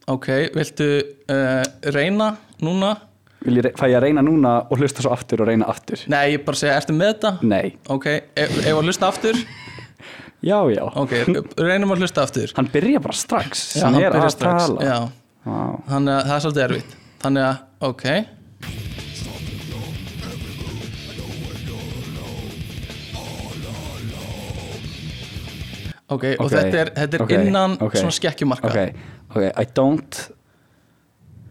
[SPEAKER 3] Ok, viltu uh, reyna núna?
[SPEAKER 2] Vil ég re- fæ ég að reyna núna og hlusta svo aftur og reyna aftur?
[SPEAKER 3] Nei, ég bara segja, ertu með þetta?
[SPEAKER 2] Nei,
[SPEAKER 3] Ok, ef ef að hlusta aftur?
[SPEAKER 2] já, já
[SPEAKER 3] Ok, reynum að hlusta aftur
[SPEAKER 2] Hann byrja bara strax
[SPEAKER 3] Já,
[SPEAKER 2] sem
[SPEAKER 3] hann
[SPEAKER 2] er
[SPEAKER 3] byrjar
[SPEAKER 2] að
[SPEAKER 3] strax.
[SPEAKER 2] tala
[SPEAKER 3] Já,
[SPEAKER 2] Vá.
[SPEAKER 3] þannig að það er svolítið erfitt Þannig að, ok Ok, og
[SPEAKER 2] Ok,
[SPEAKER 3] þetta er, þetta er
[SPEAKER 2] ok,
[SPEAKER 3] innan
[SPEAKER 2] ok.
[SPEAKER 3] svona skekkjumarka
[SPEAKER 2] Ok, ok, I don't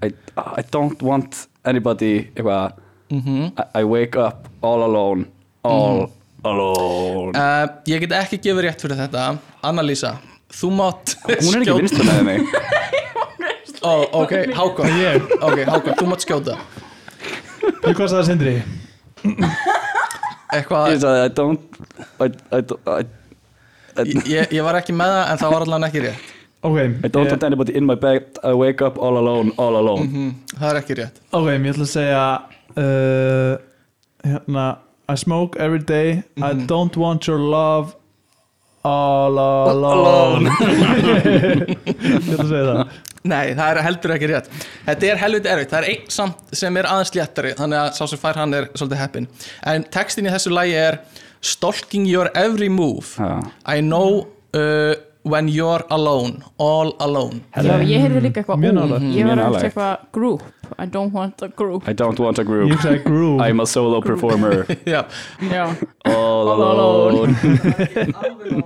[SPEAKER 2] I, I don't want anybody eitthvað
[SPEAKER 3] Mhm.
[SPEAKER 2] I, I wake up all alone all alone
[SPEAKER 3] Uh, ég get ekki gefið rétt fyrir þetta Annalísa, þú mátt
[SPEAKER 2] hún er ekki
[SPEAKER 3] skjóta-
[SPEAKER 2] vinstur með
[SPEAKER 3] <laughs>
[SPEAKER 2] mig
[SPEAKER 3] Ó, ok, Hákon
[SPEAKER 1] Ég?
[SPEAKER 3] Ok, Hákon, þú mátt skjóta
[SPEAKER 1] Ég hvað sagði Sindri?
[SPEAKER 2] ég
[SPEAKER 3] Eitthvað,
[SPEAKER 2] sagði I don't I, I, don't- I, I,
[SPEAKER 3] ég, ég var ekki með það en það var allan ekki rétt
[SPEAKER 1] Ok, Eh,
[SPEAKER 2] I don't want
[SPEAKER 1] ég,
[SPEAKER 2] anybody in my bed I wake up all alone all alone
[SPEAKER 3] mm, Það er ekki rétt
[SPEAKER 1] ok, ég ætla að segja uh, hérna I smoke every day
[SPEAKER 3] Mhm.
[SPEAKER 1] I don't want your love all alone <laughs> Ég ætla að segja það
[SPEAKER 3] Nei, það er heldur ekki rétt Þetta er helviti erfitt, það er einn samt sem er aðeins léttari Þannig að sá sem fær hann er svolítið heppin En textin í þessu lagi er Stalking your every move
[SPEAKER 2] Já.
[SPEAKER 3] I know uh, when you're alone All alone
[SPEAKER 4] Já, ég heyrði líka eitthvað
[SPEAKER 1] Mjög
[SPEAKER 4] ú,
[SPEAKER 1] nálægt.
[SPEAKER 2] Mjög
[SPEAKER 4] Ég var að hugsa
[SPEAKER 2] nálægt.
[SPEAKER 4] eitthvað group I don't want a group
[SPEAKER 2] I don't want a
[SPEAKER 1] Ég
[SPEAKER 2] group
[SPEAKER 1] hugsaði groove
[SPEAKER 2] I'm a solo
[SPEAKER 3] <laughs>
[SPEAKER 2] performer
[SPEAKER 3] Já,
[SPEAKER 4] Já,
[SPEAKER 2] all
[SPEAKER 3] <laughs>
[SPEAKER 2] alone <laughs>
[SPEAKER 4] alone.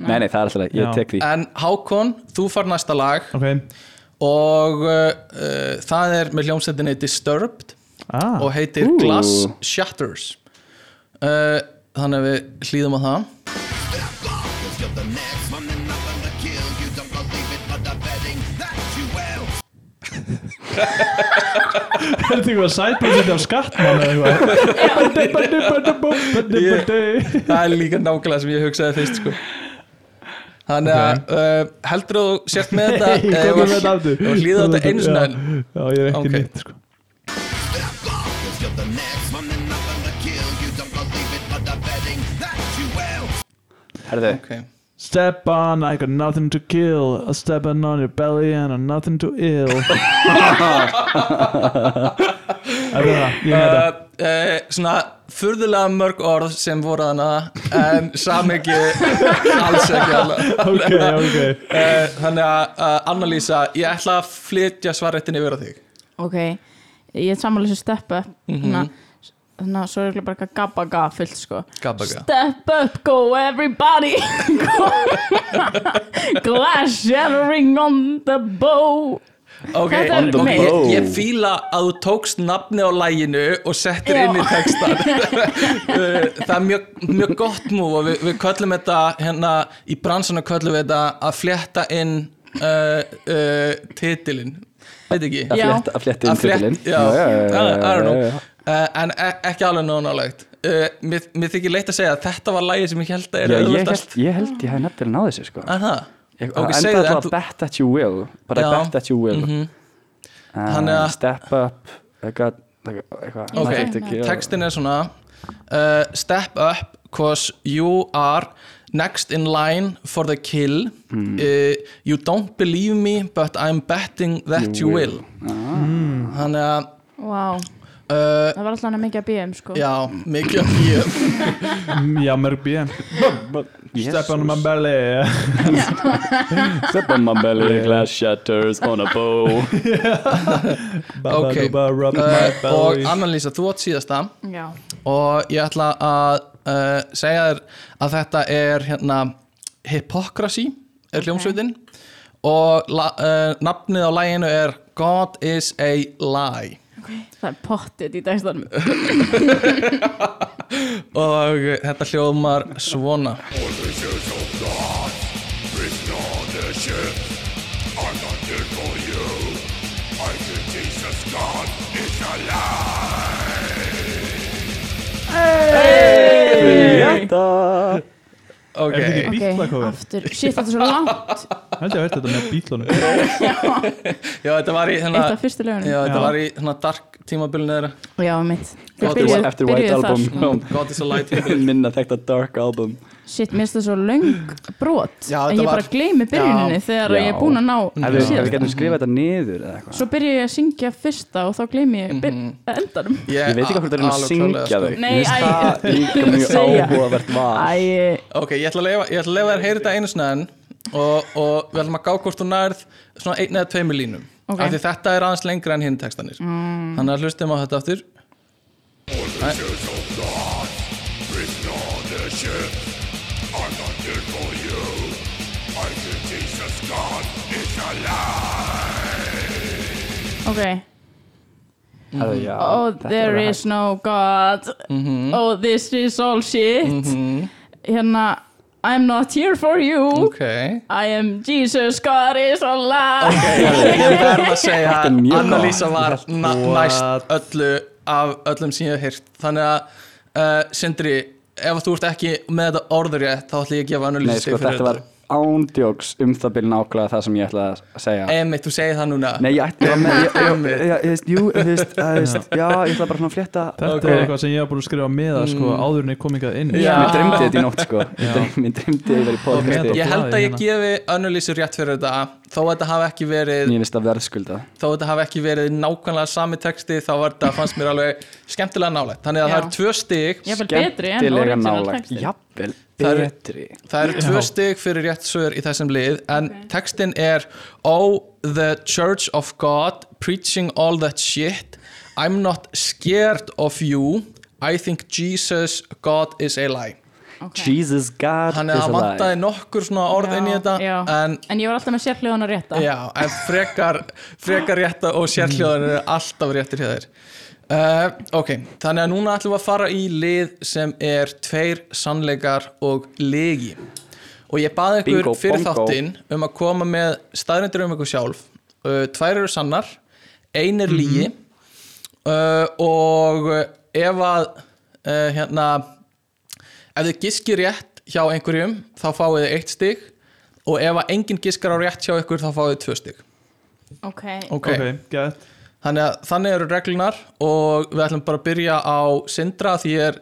[SPEAKER 2] nei nei það er alltaf leið,
[SPEAKER 1] Já.
[SPEAKER 2] ég tek því
[SPEAKER 3] en Hákon, þú far næsta lag
[SPEAKER 1] Ok,
[SPEAKER 3] og uh, uh, það er með hljómsveitinni Disturbed
[SPEAKER 1] ah,
[SPEAKER 3] og heitir
[SPEAKER 2] Ú.
[SPEAKER 3] Glass Shatters uh, þannig að við hlýðum á það
[SPEAKER 5] You're the next one and nothing to kill. You don't believe it, but I'm betting that you will.
[SPEAKER 1] er þetta eitthvað sætbúsið af skattmann eða eitthvað
[SPEAKER 3] það er líka nákvæmlega sem ég hugsaði fyrst sko. þannig að uh, heldur þú sért
[SPEAKER 1] <laughs>
[SPEAKER 3] með þetta
[SPEAKER 1] Nei,
[SPEAKER 3] eða
[SPEAKER 1] komum við
[SPEAKER 3] var-
[SPEAKER 1] þetta aftur
[SPEAKER 3] ef var hlýðað þetta einu
[SPEAKER 1] Já,
[SPEAKER 3] sinni enn?
[SPEAKER 1] Já, ég er ekki
[SPEAKER 3] Ok.
[SPEAKER 1] nýtt sko.
[SPEAKER 5] Cause you're the next one and nothing to kill. You don't believe it, but I'm betting that you will.
[SPEAKER 2] herðu
[SPEAKER 3] okay.
[SPEAKER 1] Step on, I got nothing to kill A step on on your belly and I'm nothing to
[SPEAKER 3] <laughs>
[SPEAKER 1] ill Það er það, ég með það
[SPEAKER 3] uh, uh, svona furðulega mörg orð sem voru þarna en samhengi alls ekki alveg
[SPEAKER 1] <laughs> Ok, ok
[SPEAKER 3] Eh, Þannig að uh, Annalísa, ég ætla að flytja svarréttin yfir á þig
[SPEAKER 4] ok Ég er samanlega sem step up Þannig þannig að Hérna, svo er ekki bara eitthvað gabaga fullt sko
[SPEAKER 3] Gabaga.
[SPEAKER 4] Step up, go everybody <laughs> Glass shattering on the bow
[SPEAKER 3] okay.
[SPEAKER 4] Þetta er
[SPEAKER 3] ok,
[SPEAKER 4] meir.
[SPEAKER 3] Ég, ég fíla að þú tókst nafni á læginu og settir
[SPEAKER 4] Já.
[SPEAKER 3] inn í
[SPEAKER 2] <laughs>
[SPEAKER 3] textan Eh, Það er mjög, mjög gott múf og við, við köllum þetta hérna í bransana köllum við þetta að flétta inn uh, uh, titilin Veit ekki
[SPEAKER 2] að
[SPEAKER 4] Já.
[SPEAKER 2] fletta, að fletta inn
[SPEAKER 3] Að flett-
[SPEAKER 2] titilinn
[SPEAKER 3] já,
[SPEAKER 2] Já, já, já,
[SPEAKER 3] I- I don't know.
[SPEAKER 2] já, já.
[SPEAKER 3] Eh, En e- ekki alveg nónalegt uh, mér, mér þykir leitt að segja að þetta var lægi sem ég held að er
[SPEAKER 2] Já, ég,
[SPEAKER 3] auðveldast.
[SPEAKER 2] held, ég held ég hef nefnilega náð þessu sko
[SPEAKER 3] Er það?
[SPEAKER 2] Ég
[SPEAKER 3] Ok,
[SPEAKER 2] enda
[SPEAKER 3] segðu
[SPEAKER 2] alltaf
[SPEAKER 3] það, en
[SPEAKER 2] að
[SPEAKER 3] þú-
[SPEAKER 2] bet that you will But I
[SPEAKER 3] Já.
[SPEAKER 2] bet that you will
[SPEAKER 3] Mhm.
[SPEAKER 2] mm
[SPEAKER 3] Þannig að-
[SPEAKER 2] Step up I got eitthvað
[SPEAKER 3] Ok,
[SPEAKER 2] maður veit ekki, já.
[SPEAKER 3] textin er svona uh, Step up Cause you are next in line for the kill uh, You don't believe me But I'm betting that you, will, Ah.
[SPEAKER 1] Hmm.
[SPEAKER 3] Þannig að
[SPEAKER 4] Vá,
[SPEAKER 3] uh,
[SPEAKER 4] það var alltaf mikið að BM sko
[SPEAKER 3] Já, mikið af
[SPEAKER 1] <laughs>
[SPEAKER 3] því
[SPEAKER 1] Mm, Já, mörg bíðan
[SPEAKER 2] Jesus.
[SPEAKER 1] Step on my belly
[SPEAKER 2] Step on my belly Glass shatters on a
[SPEAKER 3] <laughs>
[SPEAKER 2] bow
[SPEAKER 1] Baba
[SPEAKER 3] Ok.
[SPEAKER 1] duba rub my
[SPEAKER 3] uh, Og
[SPEAKER 1] belly
[SPEAKER 3] Annalísa, þú átt síðasta
[SPEAKER 4] Já.
[SPEAKER 3] Og ég ætla að uh, segja þér að þetta er hérna Hypocrisy er hljómsveitin og la, uh, nafnið á læginu er God is a Lie
[SPEAKER 4] Það er pottet í dagstanum
[SPEAKER 3] og þetta hljómar svona
[SPEAKER 2] Þetta
[SPEAKER 1] Er þetta
[SPEAKER 3] ok,
[SPEAKER 1] ekki bítlakofur?
[SPEAKER 4] aftur Shit, þetta er svo langt
[SPEAKER 1] Held ég að verða þetta með bítlunum
[SPEAKER 3] já þetta var í hérna,
[SPEAKER 4] Eitt af fyrstu lögunum
[SPEAKER 3] já, þetta
[SPEAKER 1] Já.
[SPEAKER 3] var í hérna dark tímabilinu þeirra
[SPEAKER 4] Já, mitt Þeir
[SPEAKER 2] Eftir,
[SPEAKER 4] byrjuðu-
[SPEAKER 2] eftir
[SPEAKER 4] byrjuðu
[SPEAKER 2] White
[SPEAKER 4] þar,
[SPEAKER 2] Album
[SPEAKER 4] sko.
[SPEAKER 3] God is a Lie tímabil
[SPEAKER 2] <laughs> Minna þetta Dark Album
[SPEAKER 4] <laughs> Shit, mér finnst það svo löng brot
[SPEAKER 3] Já,
[SPEAKER 4] En
[SPEAKER 3] þetta
[SPEAKER 4] ég bara
[SPEAKER 3] var-
[SPEAKER 4] gleymi byrjuninni þegar
[SPEAKER 2] Já.
[SPEAKER 4] ég er búin
[SPEAKER 2] Ef
[SPEAKER 4] að ná
[SPEAKER 2] við- ef við
[SPEAKER 4] síðast
[SPEAKER 2] getum skrifað þetta niður eða eitthvað
[SPEAKER 4] Svo byrja ég að syngja fyrsta og þá gleymi ég byr- endanum
[SPEAKER 2] Ég veit ekki hvað þetta er að
[SPEAKER 3] alveg
[SPEAKER 2] syngja
[SPEAKER 3] klárlega,
[SPEAKER 2] þau
[SPEAKER 3] sko.
[SPEAKER 4] Nei, æ,
[SPEAKER 2] Það er líka
[SPEAKER 4] ég
[SPEAKER 2] mjög
[SPEAKER 4] segja.
[SPEAKER 2] áhugavert var
[SPEAKER 4] Æ,
[SPEAKER 3] ok, ég ætla að leifa, ég ætla að leifa þér að heyra þetta einu snæðin og, og við ætlum að gá hvort þú nærð svona einn eða tveimur línum
[SPEAKER 4] Ok.
[SPEAKER 3] af því þetta er aðeins lengra en hinn textanir mm. þannig að hlustum á þetta aftur
[SPEAKER 4] ok
[SPEAKER 2] Herðu, já,
[SPEAKER 4] Oh,
[SPEAKER 2] þetta er
[SPEAKER 4] there
[SPEAKER 2] alveg
[SPEAKER 4] is no god Oh, this is all shit Hérna I'm not here for you
[SPEAKER 3] Ok
[SPEAKER 4] I am Jesus, God is Allah
[SPEAKER 3] Ég verð að segja
[SPEAKER 2] Þetta er
[SPEAKER 3] að
[SPEAKER 2] mjög gott.
[SPEAKER 3] Annalísa var na-
[SPEAKER 1] What?
[SPEAKER 3] næst öllu af öllum sem ég hef heyrt Þannig að uh, Sindri, ef þú ert ekki með þetta orður rétt þá ætlum ég að gefa
[SPEAKER 2] Nei,
[SPEAKER 3] Annalísa
[SPEAKER 2] sko, þetta var ándjóks um það byrja nákvæmlega það sem ég ætlaði að segja
[SPEAKER 3] Emmitt, þú segir það núna
[SPEAKER 2] Nei, ég ætti að
[SPEAKER 3] <laughs>
[SPEAKER 2] með, ég, ég,
[SPEAKER 3] Einmitt.
[SPEAKER 2] ég, ég, veist, jú, þú veist, það veist, já, ég ætla bara svona að flétta
[SPEAKER 1] Þetta
[SPEAKER 3] Ok.
[SPEAKER 1] er eitthvað sem ég var búin að skrifa með að sko áður en ég kom hingað inn
[SPEAKER 3] Mm. Já.
[SPEAKER 2] Mér dreymdi þetta í nótt, sko Mér dreymdi- Mér dreymdi að ég verið í podcasti
[SPEAKER 1] Ok.
[SPEAKER 3] Ég held að
[SPEAKER 2] hérna.
[SPEAKER 3] ég
[SPEAKER 1] Blaðið
[SPEAKER 3] gefi Annalísu rétt fyrir þetta þó að þetta hafi ekki verið
[SPEAKER 2] Mér finnst það verðskulda
[SPEAKER 3] þó að þetta hafi ekki verið nákvæmlega sami texti þá var þetta, fannst mér alveg skemmtilega nálægt þannig að
[SPEAKER 4] Já.
[SPEAKER 3] það er tvö stig
[SPEAKER 4] Jafnvel betri en
[SPEAKER 2] Skemmtilega
[SPEAKER 4] original
[SPEAKER 2] nálægt.
[SPEAKER 4] textinn.
[SPEAKER 2] Jafnvel
[SPEAKER 3] Það er-
[SPEAKER 2] betri
[SPEAKER 3] það eru tvö stig fyrir rétt sögur í þessum lið en textin er Oh, the church of God preaching all that shit I'm not scared of you I think Jesus, God is a lie
[SPEAKER 4] okay.
[SPEAKER 2] Jesus God
[SPEAKER 3] Þannig að
[SPEAKER 2] is
[SPEAKER 3] það
[SPEAKER 2] alive
[SPEAKER 3] vantaði nokkur svona orð inn í
[SPEAKER 4] Já,
[SPEAKER 3] þetta
[SPEAKER 4] já.
[SPEAKER 3] en
[SPEAKER 4] En ég var alltaf með sérhljóðan að rétta
[SPEAKER 3] Já, en frekar, frekar rétta og sérhljóðan eru alltaf réttir hjá þér. Uh, ok, þannig að núna ætlum við að fara í lið sem er tveir sannleikar og legi. Og ég baði ykkur
[SPEAKER 2] Bingo,
[SPEAKER 3] fyrir
[SPEAKER 2] bongo.
[SPEAKER 3] þáttinn um að koma með staðrindur um ykkur sjálf. Uh, tvær eru sannar, ein
[SPEAKER 2] Mhm.
[SPEAKER 3] er lígi uh, og ef að uh, hérna ef þið giskir rétt hjá einhverjum þá fáið þið eitt stig og ef að enginn giskar á rétt hjá ykkur þá fáið þið tvö stig
[SPEAKER 4] Ok,
[SPEAKER 3] Ok.
[SPEAKER 1] Ok, gett
[SPEAKER 3] þannig að þannig eru reglunar og við ætlum bara að byrja á Sindra því ég er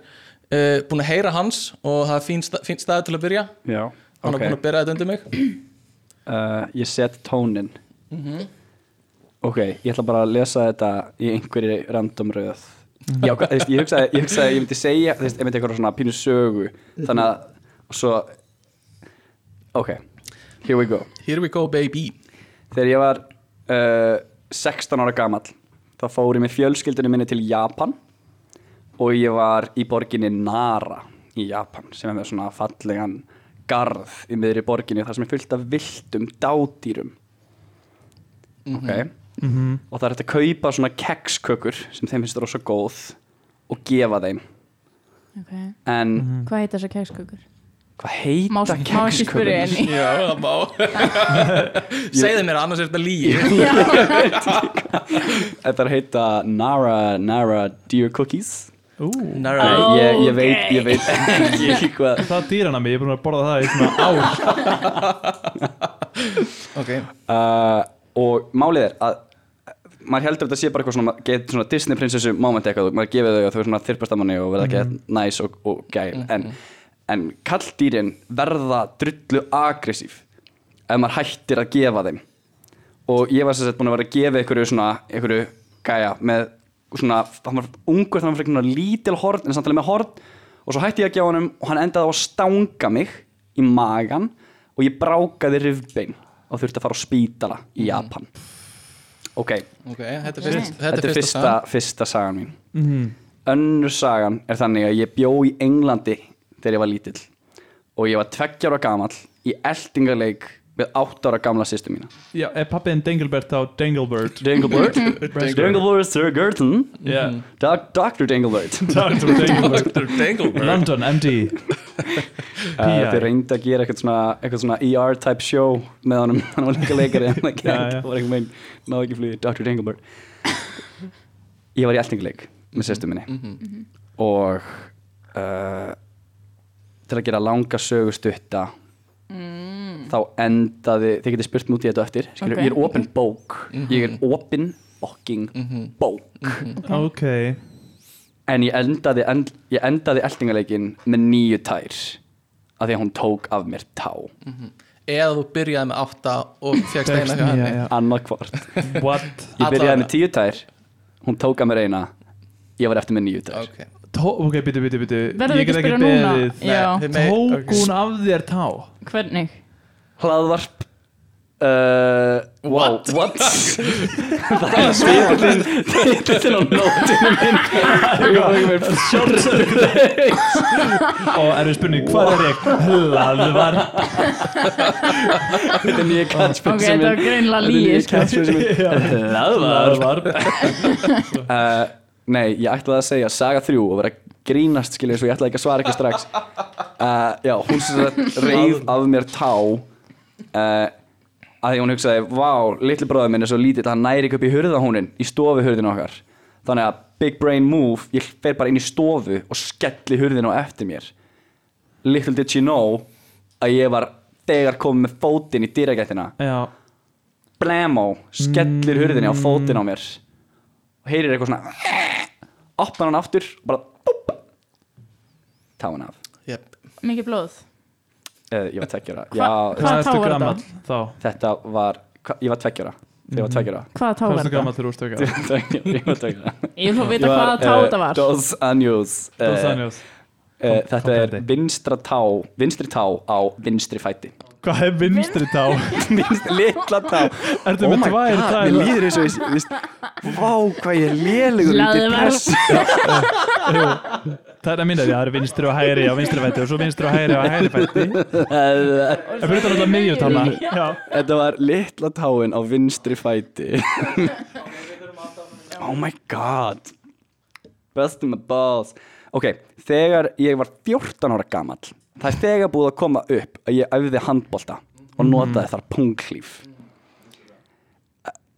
[SPEAKER 3] uh, búin að heyra hans og það er fín, sta fín staði til að byrja
[SPEAKER 2] Já,
[SPEAKER 3] hann er
[SPEAKER 2] ok
[SPEAKER 3] búin að byrja þetta undir mig
[SPEAKER 2] uh, Ég set tónin Ok, ég ætla bara að lesa þetta í einhverju random röð Já, þú veist, ég hugsaði, ég hugsaði, ég myndi segja þú veist, ég myndi eitthvað svona pínu sögu þannig að, og svo ok, here we go
[SPEAKER 3] Here we go baby
[SPEAKER 2] þegar ég var uh, 16 ára gamall þá fór ég með fjölskyldunum minni til Japan og ég var í borginni Nara í Japan sem er með svona fallegan garð í miðri borginni þar sem er fullt af viltum dádýrum
[SPEAKER 4] Mhm.
[SPEAKER 2] ok og það er hægt að kaupa svona kekskökur sem þeim finnst rosa góð og gefa þeim
[SPEAKER 4] ok
[SPEAKER 2] en
[SPEAKER 4] Hvað heit þessar kekskökur?
[SPEAKER 2] hvað heita
[SPEAKER 4] Má, má ekki
[SPEAKER 2] kekskökur?
[SPEAKER 4] spyrja enni
[SPEAKER 3] Já, það
[SPEAKER 2] <laughs>
[SPEAKER 3] má Segðu mér annars er þetta lígi
[SPEAKER 2] Þetta er heita Nara Nara Deer Cookies
[SPEAKER 1] Ú,
[SPEAKER 3] Nara
[SPEAKER 2] Nei, ég, ég
[SPEAKER 4] Ókei.
[SPEAKER 2] veit, ég veit ekki hvað
[SPEAKER 1] Það er dýranami, ég er búin að borða það í svona ár
[SPEAKER 3] Ok,
[SPEAKER 2] uh, Og málið er að maður heldur að þetta sé bara eitthvað svona, maður get, svona Disney prinsessu moment eitthvað, maður gefið þau að þau er svona þyrpastamanni og verða ekki næs og, og gæl en, en kalldýrin verða drullu aggressív ef maður hættir að gefa þeim og ég var sem sagt búin að vera að gefa einhverju svona, einhverju gæja með svona, hann var ungur þannig að hann fyrir svona lítil horn, en samtalið með horn og svo hætti ég að gefa honum og hann endaði á að stanga mig í magan og ég brákaði rifbein og þurfti að fara á spítala í Japan ok,
[SPEAKER 3] ok, þetta er fyrst-
[SPEAKER 2] þetta er fyrsta,
[SPEAKER 3] sagan.
[SPEAKER 2] fyrsta sagan mín önnur sagan er þannig að ég bjó í Englandi þegar ég var lítill og ég var tveggjára gamall í eltingarleik við átt ára gamla sýstu mína
[SPEAKER 1] Já, er pappiðin Dengelbert á Dengelbert
[SPEAKER 2] Danglebird <laughs> Danglebird Sir Gerton
[SPEAKER 1] Já,
[SPEAKER 3] Mhm.
[SPEAKER 2] Doc- Dr. Danglebird
[SPEAKER 1] <laughs> Dr. Dengelbert
[SPEAKER 3] Dr. Danglebird
[SPEAKER 1] London, MD
[SPEAKER 2] Uh,
[SPEAKER 1] P.I.
[SPEAKER 2] Þau reyndu að gera eitthvað svona, eitthvað svona ER type show með honum <laughs> hann var líka leikari en það gekk,
[SPEAKER 1] Já, já.
[SPEAKER 2] það var eitthvað meginn, náðu ekki flugið, Dr. Danglebird Ég var í eltinguleik með sestum minni og uh, til að gera langa sögu stutta þá endaði, þið getið spurt mútið þetta á eftir skilur,
[SPEAKER 4] Ok.
[SPEAKER 2] ég er opin bók ég er opin fucking bók
[SPEAKER 1] Ok,
[SPEAKER 2] en ég endaði, end, ég endaði eltingaleikin með nýju tær af því að hún tók af mér tá
[SPEAKER 3] Eða þú byrjaði með átta og fegst eina hjá henni
[SPEAKER 1] já,
[SPEAKER 2] annað hvort
[SPEAKER 1] já What?
[SPEAKER 2] ég byrjaði
[SPEAKER 3] Allavega.
[SPEAKER 2] með tíu tær hún tók að mér eina ég var eftir með nýju tær
[SPEAKER 3] Ok,
[SPEAKER 1] Tó, ok, byttu, byttu, byttu
[SPEAKER 4] Verðum við ekki að spyrja núna?
[SPEAKER 3] Nei,
[SPEAKER 4] Já,
[SPEAKER 3] þið megi-
[SPEAKER 1] Tók hún af þér tá?
[SPEAKER 4] hvernig?
[SPEAKER 2] hlaðvarp uh, wow, what? <laughs> það er svipin <laughs> til á nótinu minn ég var ekki með sjálfsög
[SPEAKER 1] <laughs> og erum við spurning hvað er ég hlaðvar
[SPEAKER 2] þetta er nýja
[SPEAKER 4] Ok,
[SPEAKER 2] catchphrase
[SPEAKER 4] þetta var
[SPEAKER 2] minn
[SPEAKER 4] greinlega
[SPEAKER 2] þetta er sko.
[SPEAKER 4] líi
[SPEAKER 2] nýja catchphrase minn hlaðvar Uh, nei, ég ætlaði að segja Saga 3 og vera að grínast skilja svo ég ætlaði ekki að svara ekki strax uh, Já, hún sem sagt reyð af mér tá uh, að því hún hugsaði Vá, litli bróður minn er svo lítill að hann næri ekki upp í hurðahúnin í stofuhurðin okkar Þannig að big brain move, ég fer bara inn í stofu og skelli hurðin á eftir mér Little did she know að ég var þegar komið með fótinn í dýragættina
[SPEAKER 1] já,
[SPEAKER 2] blemó, skellir hurðinni á fótinn á mér og heyrir eitthvað svona opnar hann aftur og bara búp, tá hann af
[SPEAKER 3] Yep.
[SPEAKER 4] Mikið blóð
[SPEAKER 2] uh, ég var tveggjara
[SPEAKER 4] Hva-
[SPEAKER 2] Já,
[SPEAKER 4] hva-
[SPEAKER 1] hvað
[SPEAKER 4] tá
[SPEAKER 1] ertu
[SPEAKER 4] var
[SPEAKER 1] gammal þá
[SPEAKER 2] þetta var, hva, ég var tveggjara þegar ég var tveggjara
[SPEAKER 4] Hvaða
[SPEAKER 1] hvað
[SPEAKER 4] tá var
[SPEAKER 1] ertu
[SPEAKER 4] þetta?
[SPEAKER 1] gammal þegar þú ert
[SPEAKER 2] Eh,
[SPEAKER 1] auka
[SPEAKER 2] Mhm. ég var tveggjara
[SPEAKER 4] Ég fór að vita hvaða tá þetta var
[SPEAKER 2] eh, Dos Anjos
[SPEAKER 1] Dos
[SPEAKER 2] Eh,
[SPEAKER 1] Anjos.
[SPEAKER 2] eh,
[SPEAKER 1] Kom-
[SPEAKER 2] þetta er
[SPEAKER 1] kompleti.
[SPEAKER 2] vinstra tá vinstri tá á vinstri fæti
[SPEAKER 1] hvað er vinstri tá
[SPEAKER 2] <laughs> Vinstri- litla tá
[SPEAKER 1] ertu með tvær
[SPEAKER 2] Oh mér
[SPEAKER 1] tær
[SPEAKER 2] líður eins og ég veist, vá hvað ég er lélugur
[SPEAKER 4] Hlaðið var-
[SPEAKER 1] það er að minna því það er vinstri og hægri á vinstri fætti og svo vinstri og hægri á hægri
[SPEAKER 2] <laughs>
[SPEAKER 1] fætti
[SPEAKER 2] var
[SPEAKER 1] en brutar alltaf miðjutána já
[SPEAKER 2] Þetta var litla táin á vinstri fæti Oh my god Best in my balls Ok, þegar ég var 14 ára gamall Það er þegar búið að koma upp að ég æfði handbolta og notaði þar punglíf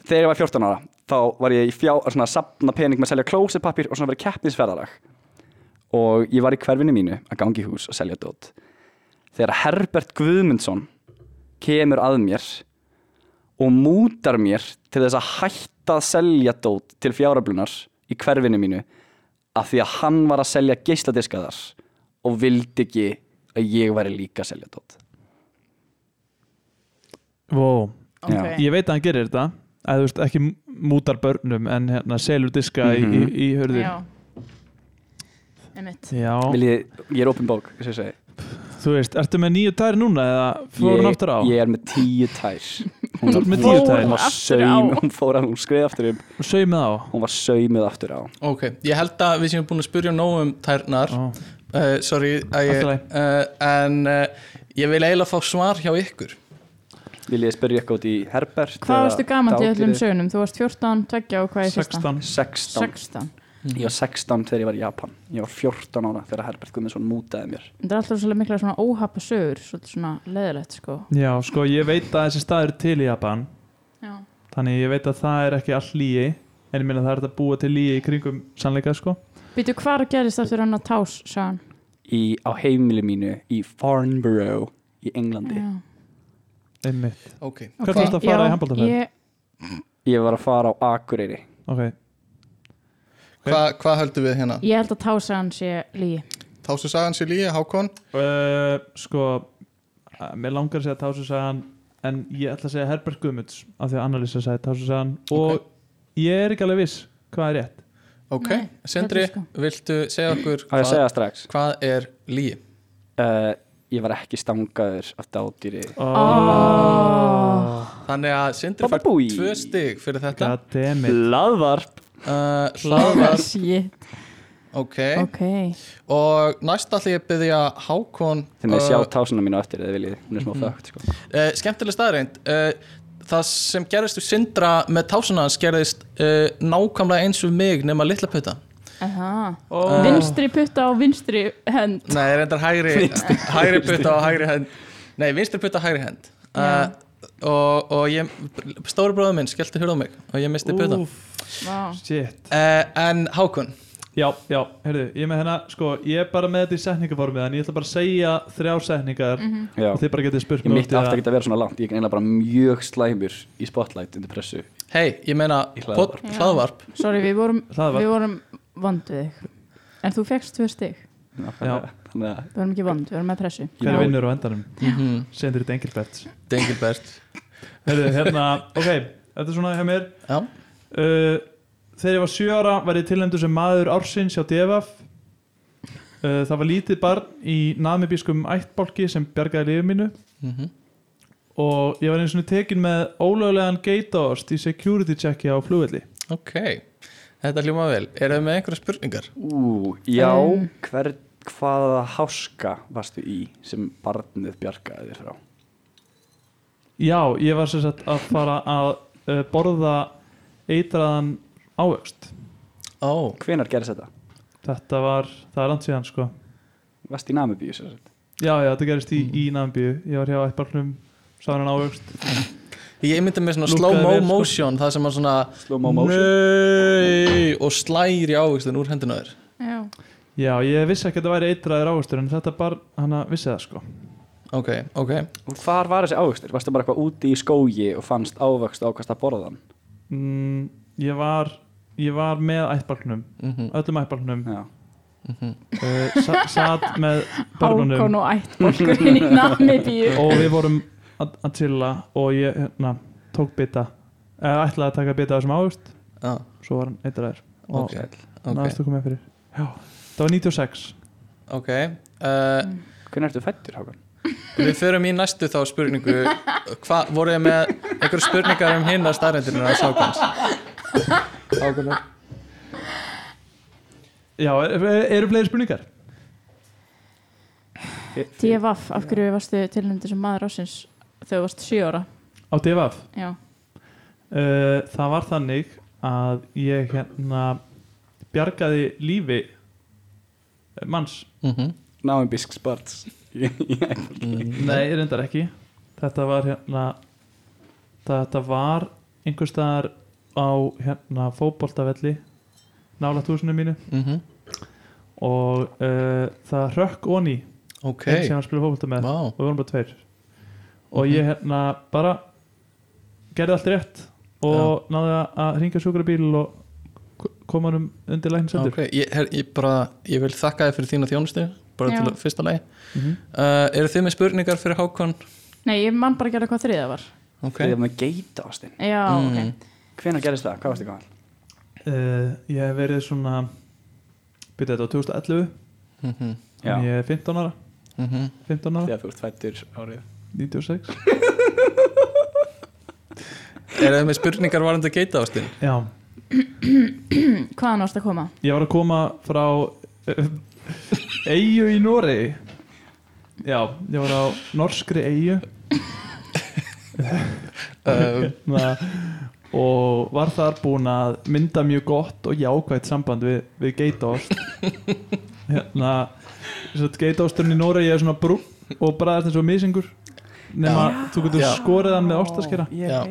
[SPEAKER 2] Þegar ég var 14 ára þá var ég í fjá, svona að sapna pening með að selja klósepapir og svona verið keppnisferðalag og ég var í hverfinu mínu að gangi í hús og selja dót þegar Herbert Guðmundsson kemur að mér og mútar mér til þess að hætta að selja dót til fjárablunar í hverfinu mínu af því að hann var að selja geisladiskaðar og vildi ekki að ég væri líka að selja dót
[SPEAKER 1] wow
[SPEAKER 4] Ok.
[SPEAKER 1] ég veit að hann gerir þetta að þú veist ekki mútar börnum en hérna selur diska
[SPEAKER 2] Mhm.
[SPEAKER 1] í, í, í hörður
[SPEAKER 4] Já
[SPEAKER 1] já,
[SPEAKER 4] Einmitt
[SPEAKER 2] Viljið, ég er open bók sem ég segi.
[SPEAKER 1] þú veist, ertu með nýju tær núna eða fór hún
[SPEAKER 2] ég,
[SPEAKER 1] aftur á
[SPEAKER 2] ég er með tíu tær hún
[SPEAKER 1] Þú ert með tíu tær.
[SPEAKER 2] hún var
[SPEAKER 4] Aftur á.
[SPEAKER 2] saum, hún fór að hún skreið aftur um
[SPEAKER 1] og saumið á
[SPEAKER 2] hún var saumið aftur á
[SPEAKER 3] Ok, ég held að við séum búin að spurja nóg um tærnar
[SPEAKER 1] Ó.
[SPEAKER 3] uh, Sorry að
[SPEAKER 1] Allt í
[SPEAKER 3] ég
[SPEAKER 1] lagi.
[SPEAKER 3] uh, En uh, ég vil eiginlega fá svar hjá ykkur
[SPEAKER 2] viljið spyrja eitthvað út í Herbert
[SPEAKER 4] Hvað
[SPEAKER 2] eða
[SPEAKER 4] varstu gamall í öllum
[SPEAKER 2] dádýrið?
[SPEAKER 4] sögunum? Þú varst 14, 20 og hvað er fyrsta?
[SPEAKER 1] 16
[SPEAKER 2] 16
[SPEAKER 4] 16
[SPEAKER 2] Ég var 16 þegar ég var í Japan Ég var 14 ára þegar Herbert Guðmundsson mútaði mér
[SPEAKER 4] Þetta er alltaf svolítið mikla svona óhappa sögur Svolítið svona leðilegt sko
[SPEAKER 1] já, sko, ég veit að þessi staður er til í Japan
[SPEAKER 4] Já
[SPEAKER 1] þannig ég veit að það er ekki all líi en ég minna það er hægt að búa til líi í kringum sannleika, sko
[SPEAKER 4] Býtu hvar gerist aftur hann að tás, sagðan
[SPEAKER 2] í, Á heimili mínu í Farnborough í Englandi
[SPEAKER 4] Já.
[SPEAKER 1] einmitt
[SPEAKER 3] Ok,
[SPEAKER 1] Hvert
[SPEAKER 4] Ok,
[SPEAKER 1] varstu að fara
[SPEAKER 4] já,
[SPEAKER 1] í handboltaferð?
[SPEAKER 4] ég-
[SPEAKER 2] Ég var að fara á Akureyri
[SPEAKER 1] ok,
[SPEAKER 3] hvað hva höldum við hérna?
[SPEAKER 4] Ég held að tásaðan sé líi
[SPEAKER 3] Þá sem sagan sér líi, Hákon
[SPEAKER 1] uh, sko uh, mér langar að segja Tásu Sagan en ég ætla að segja Herbert Guðmunds af því að Annalisa sagði Tásu Sagan og ég er ekki alveg viss hvað er rétt
[SPEAKER 3] Ok,
[SPEAKER 4] Nei,
[SPEAKER 3] Sindri,
[SPEAKER 4] þetta er sko.
[SPEAKER 3] viltu segja okkur
[SPEAKER 2] Á ég að
[SPEAKER 3] hvað,
[SPEAKER 2] segja strax
[SPEAKER 3] hvað er líi?
[SPEAKER 2] uh, Ég var ekki stangaður af dádýri
[SPEAKER 4] oh.
[SPEAKER 3] Þannig að Sindri
[SPEAKER 2] Baba
[SPEAKER 3] fær
[SPEAKER 2] búi.
[SPEAKER 3] tvö stig fyrir þetta
[SPEAKER 1] God damn it
[SPEAKER 2] Laðvarp
[SPEAKER 3] uh, Hlaðvar,
[SPEAKER 4] <laughs> Shit,
[SPEAKER 3] ok
[SPEAKER 4] ok
[SPEAKER 3] Og næst ætla ég að byggja Hákon
[SPEAKER 2] Þegar maður sjá
[SPEAKER 3] uh,
[SPEAKER 2] tásuna mínu á eftir eða viljið Hún
[SPEAKER 1] Mhm.
[SPEAKER 2] er smá þögt sko.
[SPEAKER 3] Uh, skemmtileg staðreind uh, Það sem gerðist úr Sindra með tásuna hans gerðist uh, nákvæmlega eins og mig nema litla putta
[SPEAKER 4] Aha.
[SPEAKER 1] Oh.
[SPEAKER 4] Vinstri putta á vinstri hend
[SPEAKER 3] Nei, reyndar
[SPEAKER 2] <laughs>
[SPEAKER 3] hægri, hægri putta og hægri hend Nei, vinstri putta og hægri hend uh, og, og ég, stóri bróður minn skellti hurð á mig og ég misti putta uh,
[SPEAKER 4] Vá.
[SPEAKER 1] Shit
[SPEAKER 3] En Hákon
[SPEAKER 1] Já, já, heyrðu, ég er með hérna sko, ég er bara með þetta í setningaformið en ég ætla bara að segja þrjár setningar
[SPEAKER 2] Já.
[SPEAKER 1] og þið bara getið spurt
[SPEAKER 2] Ég
[SPEAKER 1] mig
[SPEAKER 2] mitt
[SPEAKER 1] út í
[SPEAKER 2] aftur að geta verið svona langt Ég er eiginlega bara mjög slæmur í spotlight undir pressu
[SPEAKER 3] Hei, ég meina
[SPEAKER 2] Í
[SPEAKER 3] pod-
[SPEAKER 2] hlaðvarp.
[SPEAKER 3] hlaðvarp
[SPEAKER 4] Sorry, við vorum,
[SPEAKER 1] Hlaðvarp.
[SPEAKER 4] við vorum vond við þig En þú fegst tvö stig
[SPEAKER 1] Já.
[SPEAKER 2] Þannig að
[SPEAKER 4] Við vorum ekki vond, við vorum með pressu
[SPEAKER 1] hver vinnur á endanum
[SPEAKER 3] mm -hmm.
[SPEAKER 1] sendir þetta engilbert
[SPEAKER 3] Dengilbert
[SPEAKER 1] Heyrðu, hérna, ok, þetta er svona hjá mér
[SPEAKER 3] Já,
[SPEAKER 1] Uh, Þegar ég var sjö ára var ég tilnæmdur sem maður ársins hjá DFF uh, Það var lítið barn í namibískum ættbálki sem bjargaði lífið mínu
[SPEAKER 3] mm -hmm.
[SPEAKER 1] og ég var eins og tekin með ólöglegan geitaost í security checki á flugvelli
[SPEAKER 3] Ok, þetta hljóma vel Eru þið með einhverja spurningar?
[SPEAKER 2] Ú, já, hver, hvaða háska varstu í sem barnið bjargaði þér frá?
[SPEAKER 1] Já, ég var sem sagt að fara að uh, borða eitraðan ávöxt
[SPEAKER 3] Ó,
[SPEAKER 2] Hvenar gerðis þetta?
[SPEAKER 1] Þetta var, það er langt síðan sko
[SPEAKER 2] Vast í Namibíu, sér sagt.
[SPEAKER 1] Já, já, þetta gerist í, í Nambíu Ég var hjá ættbarnum, sá hann ávöxt
[SPEAKER 3] ég myndi með svona
[SPEAKER 1] Lúkkaði
[SPEAKER 3] slow-mo
[SPEAKER 1] vel, sko.
[SPEAKER 3] motion Það sem að svona
[SPEAKER 2] Slow-mo motion.
[SPEAKER 3] Nei Og slæri ávíkstin úr hendina á þér
[SPEAKER 4] Já.
[SPEAKER 1] Já, ég vissi ekki að þetta væri eitraðir ávöxtur en þetta bara, hann að vissi það sko
[SPEAKER 3] Ok, ok
[SPEAKER 2] Og hvar var þessi ávöxtur? Varstu bara eitthvað úti í skógi og fannst ávöxt og ákvæmst að borða þann?
[SPEAKER 1] mm, Ég var, ég var með ættbarnum,
[SPEAKER 3] Mhm.
[SPEAKER 1] öllum ættbarnum
[SPEAKER 2] Já.
[SPEAKER 1] uh, sa Satt með börnunum
[SPEAKER 4] Hákon og ættbólkurinn í Namibíu
[SPEAKER 1] <laughs> og við vorum að að chilla og ég hérna, tók bita eða ætlaði að taka bita af þessum águst
[SPEAKER 3] ah,
[SPEAKER 1] svo var hann eitthvað þær og
[SPEAKER 3] Ok, ok,
[SPEAKER 1] næstu komið fyrir já, það var 96
[SPEAKER 3] ok uh,
[SPEAKER 2] Hvernig ertu fættur, Hákan?
[SPEAKER 3] Við förum í næstu þá spurningu Hva, Voruð þið með einhverja spurningar um hinna starrendurinn að sákans? Ákvæmlega
[SPEAKER 1] já, er, er- eru fleiri spurningar?
[SPEAKER 4] DFF, af hverju varstu tilnæmdi sem maður ásins þegar þú varst 7 ára
[SPEAKER 1] á DVF
[SPEAKER 4] Já,
[SPEAKER 1] uh, það var þannig að ég hérna bjargaði lífi manns
[SPEAKER 2] Namibísk <laughs> sparts. Þetta
[SPEAKER 1] Nei, reyndar ekki Þetta var hérna Þetta var einhver staðar á hérna fótboltavelli nálægt húsinu mínu
[SPEAKER 3] Mhm.
[SPEAKER 1] og uh, það hrökk onni
[SPEAKER 3] Ok,
[SPEAKER 1] hey. sem hann spila fótbolta með
[SPEAKER 3] vá
[SPEAKER 1] og við vorum bara tveir og ég hérna bara gerði allt rétt og náði að- að ringja sjúkrabíl og ko- koma hann undir læknisendur
[SPEAKER 3] Ok, ég, her, ég, bara, ég vil þakka þér fyrir þína þjónustu bara
[SPEAKER 4] Já.
[SPEAKER 3] til að- fyrsta lagi
[SPEAKER 1] Mhm.
[SPEAKER 3] uh, eru þið með spurningar fyrir Hákon?
[SPEAKER 4] nei, ég man bara að gera hvað þriða var
[SPEAKER 3] ok,
[SPEAKER 2] okay. með geita ástin.
[SPEAKER 4] Já,
[SPEAKER 3] Mm.
[SPEAKER 2] Hvenar gerðist það? Hvað varstu gaman?
[SPEAKER 1] uh, Ég hef verið svona byrja þetta á 2011
[SPEAKER 3] Mhm,
[SPEAKER 2] Já.
[SPEAKER 1] en ég er 15 ára
[SPEAKER 3] mhm.
[SPEAKER 1] 15 ára,
[SPEAKER 2] Þegar þú ert fættur árið.
[SPEAKER 1] 96
[SPEAKER 3] eru þið með spurningar varandi að geita ástinn?
[SPEAKER 1] Já,
[SPEAKER 4] ok Hvaðan varst að koma?
[SPEAKER 1] ég var að koma frá uh, Eyju í Noregi Já, ég var á norskri Eyju
[SPEAKER 3] Uh,
[SPEAKER 1] na, og var þar búinn að mynda mjög gott og jákvætt samband við, við geitaost hérna sem sagt, geitaosturinn í Noregi er svona brú og bræðast eins og misingur nema þú getur
[SPEAKER 3] Já.
[SPEAKER 1] skorið hann með ostaskera
[SPEAKER 3] Já.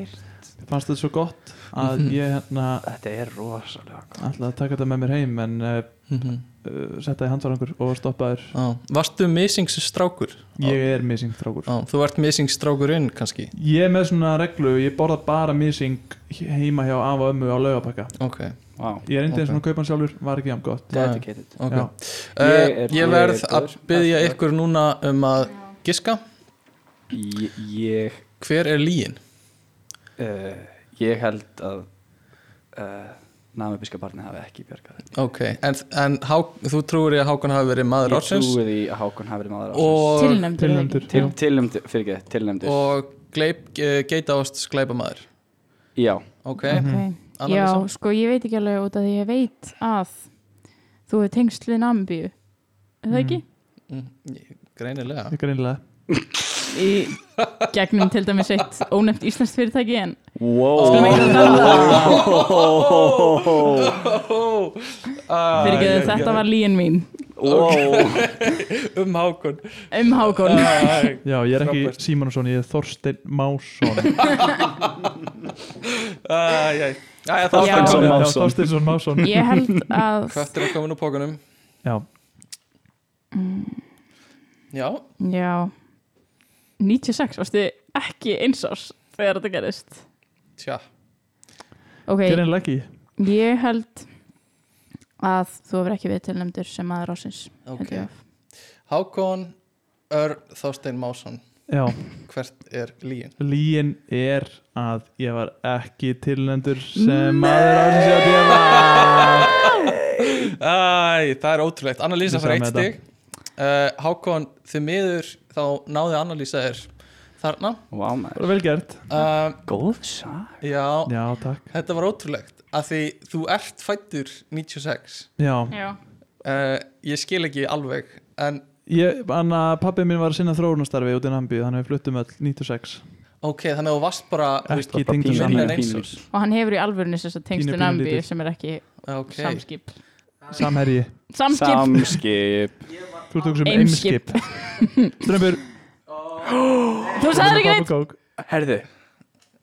[SPEAKER 1] fannst þetta svo gott að
[SPEAKER 3] Mhm.
[SPEAKER 1] ég hérna
[SPEAKER 2] Þetta er rosalega gott.
[SPEAKER 1] ætlaði að taka þetta með mér heim en uh,
[SPEAKER 3] mhm.
[SPEAKER 1] uh, setta í handvarangur og stoppaður
[SPEAKER 3] Á, varstu misingsstrákur?
[SPEAKER 1] ég er missing strákur
[SPEAKER 3] Á, þú ert misingsstrákurinn kannski
[SPEAKER 1] ég er með svona reglu, ég borða bara missing heima hjá af og ömmu á laugabakka
[SPEAKER 3] ok,
[SPEAKER 2] Vá.
[SPEAKER 1] ég reyndi
[SPEAKER 3] Ok.
[SPEAKER 1] eins og að kaupa hann sjálfur, var ekki jám gott
[SPEAKER 2] Dedicated.
[SPEAKER 3] ok
[SPEAKER 1] Já.
[SPEAKER 3] uh,
[SPEAKER 2] Ég er-
[SPEAKER 3] ég verð
[SPEAKER 2] ég er
[SPEAKER 3] að
[SPEAKER 2] góður.
[SPEAKER 3] byggja ykkur núna um að giska
[SPEAKER 2] Ég, ég,
[SPEAKER 3] hver er líin?
[SPEAKER 2] uh, ég held að uh, namibíska barnið hafi ekki bjargað. þér.
[SPEAKER 3] ok, en, en há, þú trúir í að Hákon hafi verið maður
[SPEAKER 2] Ég
[SPEAKER 3] ársins
[SPEAKER 2] trúi því að Hákon hafi verið maður ársins.
[SPEAKER 3] og
[SPEAKER 4] Tilnæmdur eða ekki?
[SPEAKER 1] tilnæmdur
[SPEAKER 2] Til,
[SPEAKER 1] já.
[SPEAKER 2] tilnæmdur, fyrir ekki, tilnæmdur.
[SPEAKER 3] og gleip, uh, geita ást skleipa maður
[SPEAKER 2] Já,
[SPEAKER 3] ok,
[SPEAKER 4] Mhm. Ok,
[SPEAKER 3] Anna
[SPEAKER 4] Já,
[SPEAKER 3] Lísa?
[SPEAKER 4] sko ég veit ekki alveg út af því ég veit að þú hefur tengst við Namibíu Er það ekki?
[SPEAKER 3] mm. greinilega
[SPEAKER 1] Ég greinilega
[SPEAKER 4] Í gegnum til dæmis eitt ónefnt íslenskt fyrirtæki en
[SPEAKER 2] wow.
[SPEAKER 4] <laughs> fyrir ekki þetta var líin mín
[SPEAKER 2] wow.
[SPEAKER 3] <laughs> um hákun
[SPEAKER 4] um Hákon
[SPEAKER 1] Já, ég er ekki
[SPEAKER 3] Frábært.
[SPEAKER 1] Símanusson, ég er Þorstein Másson
[SPEAKER 3] Æja, það var
[SPEAKER 4] Já.
[SPEAKER 2] Þorsteinsson
[SPEAKER 3] það
[SPEAKER 1] Já,
[SPEAKER 2] Másson.
[SPEAKER 1] Þorsteinsson Másson
[SPEAKER 4] Ég held að
[SPEAKER 3] Köttur er komin úr pókunum
[SPEAKER 1] Já,
[SPEAKER 3] Já,
[SPEAKER 4] Já 96, varstu ekki eins árs þegar þetta gerist
[SPEAKER 3] tja
[SPEAKER 4] Ok,
[SPEAKER 1] greinilega ekki
[SPEAKER 4] ég held að þú hefur ekki við tilnæmdur sem maður ásins
[SPEAKER 3] Ok. Hákon Örn Þorstein Másson
[SPEAKER 1] Já,
[SPEAKER 3] Hvert er líin?
[SPEAKER 1] líin er að ég var ekki tilnendur sem maður ásins hjá DFA
[SPEAKER 3] Æ, það er ótrúlegt Annalísa
[SPEAKER 1] Við
[SPEAKER 3] fær
[SPEAKER 1] sjáum
[SPEAKER 3] eitt
[SPEAKER 1] þetta.
[SPEAKER 3] stig uh, Hákon, þið miður þá náði Annalísa þér þarna
[SPEAKER 2] Vá maður
[SPEAKER 1] Bara vel gert
[SPEAKER 3] uh,
[SPEAKER 2] Góð sag
[SPEAKER 3] já,
[SPEAKER 1] Já, takk
[SPEAKER 3] þetta var ótrúlegt að því þú ert fættur 96
[SPEAKER 1] Já,
[SPEAKER 4] Já,
[SPEAKER 3] uh, ég skil ekki alveg en
[SPEAKER 1] ég, anna, pappið minn var að sinna þróunastarfi út í Nambi Þannig að við fluttum um öll 96
[SPEAKER 3] ok, þannig að þú varst bara þú veist,
[SPEAKER 1] Ekki tengdum
[SPEAKER 3] minna en
[SPEAKER 1] saman
[SPEAKER 3] eins
[SPEAKER 2] Pínus.
[SPEAKER 3] og
[SPEAKER 4] og hann hefur í alvörinu þess að tengstu
[SPEAKER 1] Pínu, pínu
[SPEAKER 4] nambi
[SPEAKER 1] lítill.
[SPEAKER 4] sem er ekki
[SPEAKER 3] ok,
[SPEAKER 4] samskip
[SPEAKER 1] Samherji
[SPEAKER 4] Samskip,
[SPEAKER 2] Samskip
[SPEAKER 1] Þú ert okkur sem
[SPEAKER 4] Eimskip.
[SPEAKER 1] eimskip
[SPEAKER 4] <laughs>
[SPEAKER 1] Strömbur
[SPEAKER 4] þú sagðir ekki neitt
[SPEAKER 1] Kók
[SPEAKER 2] Herðu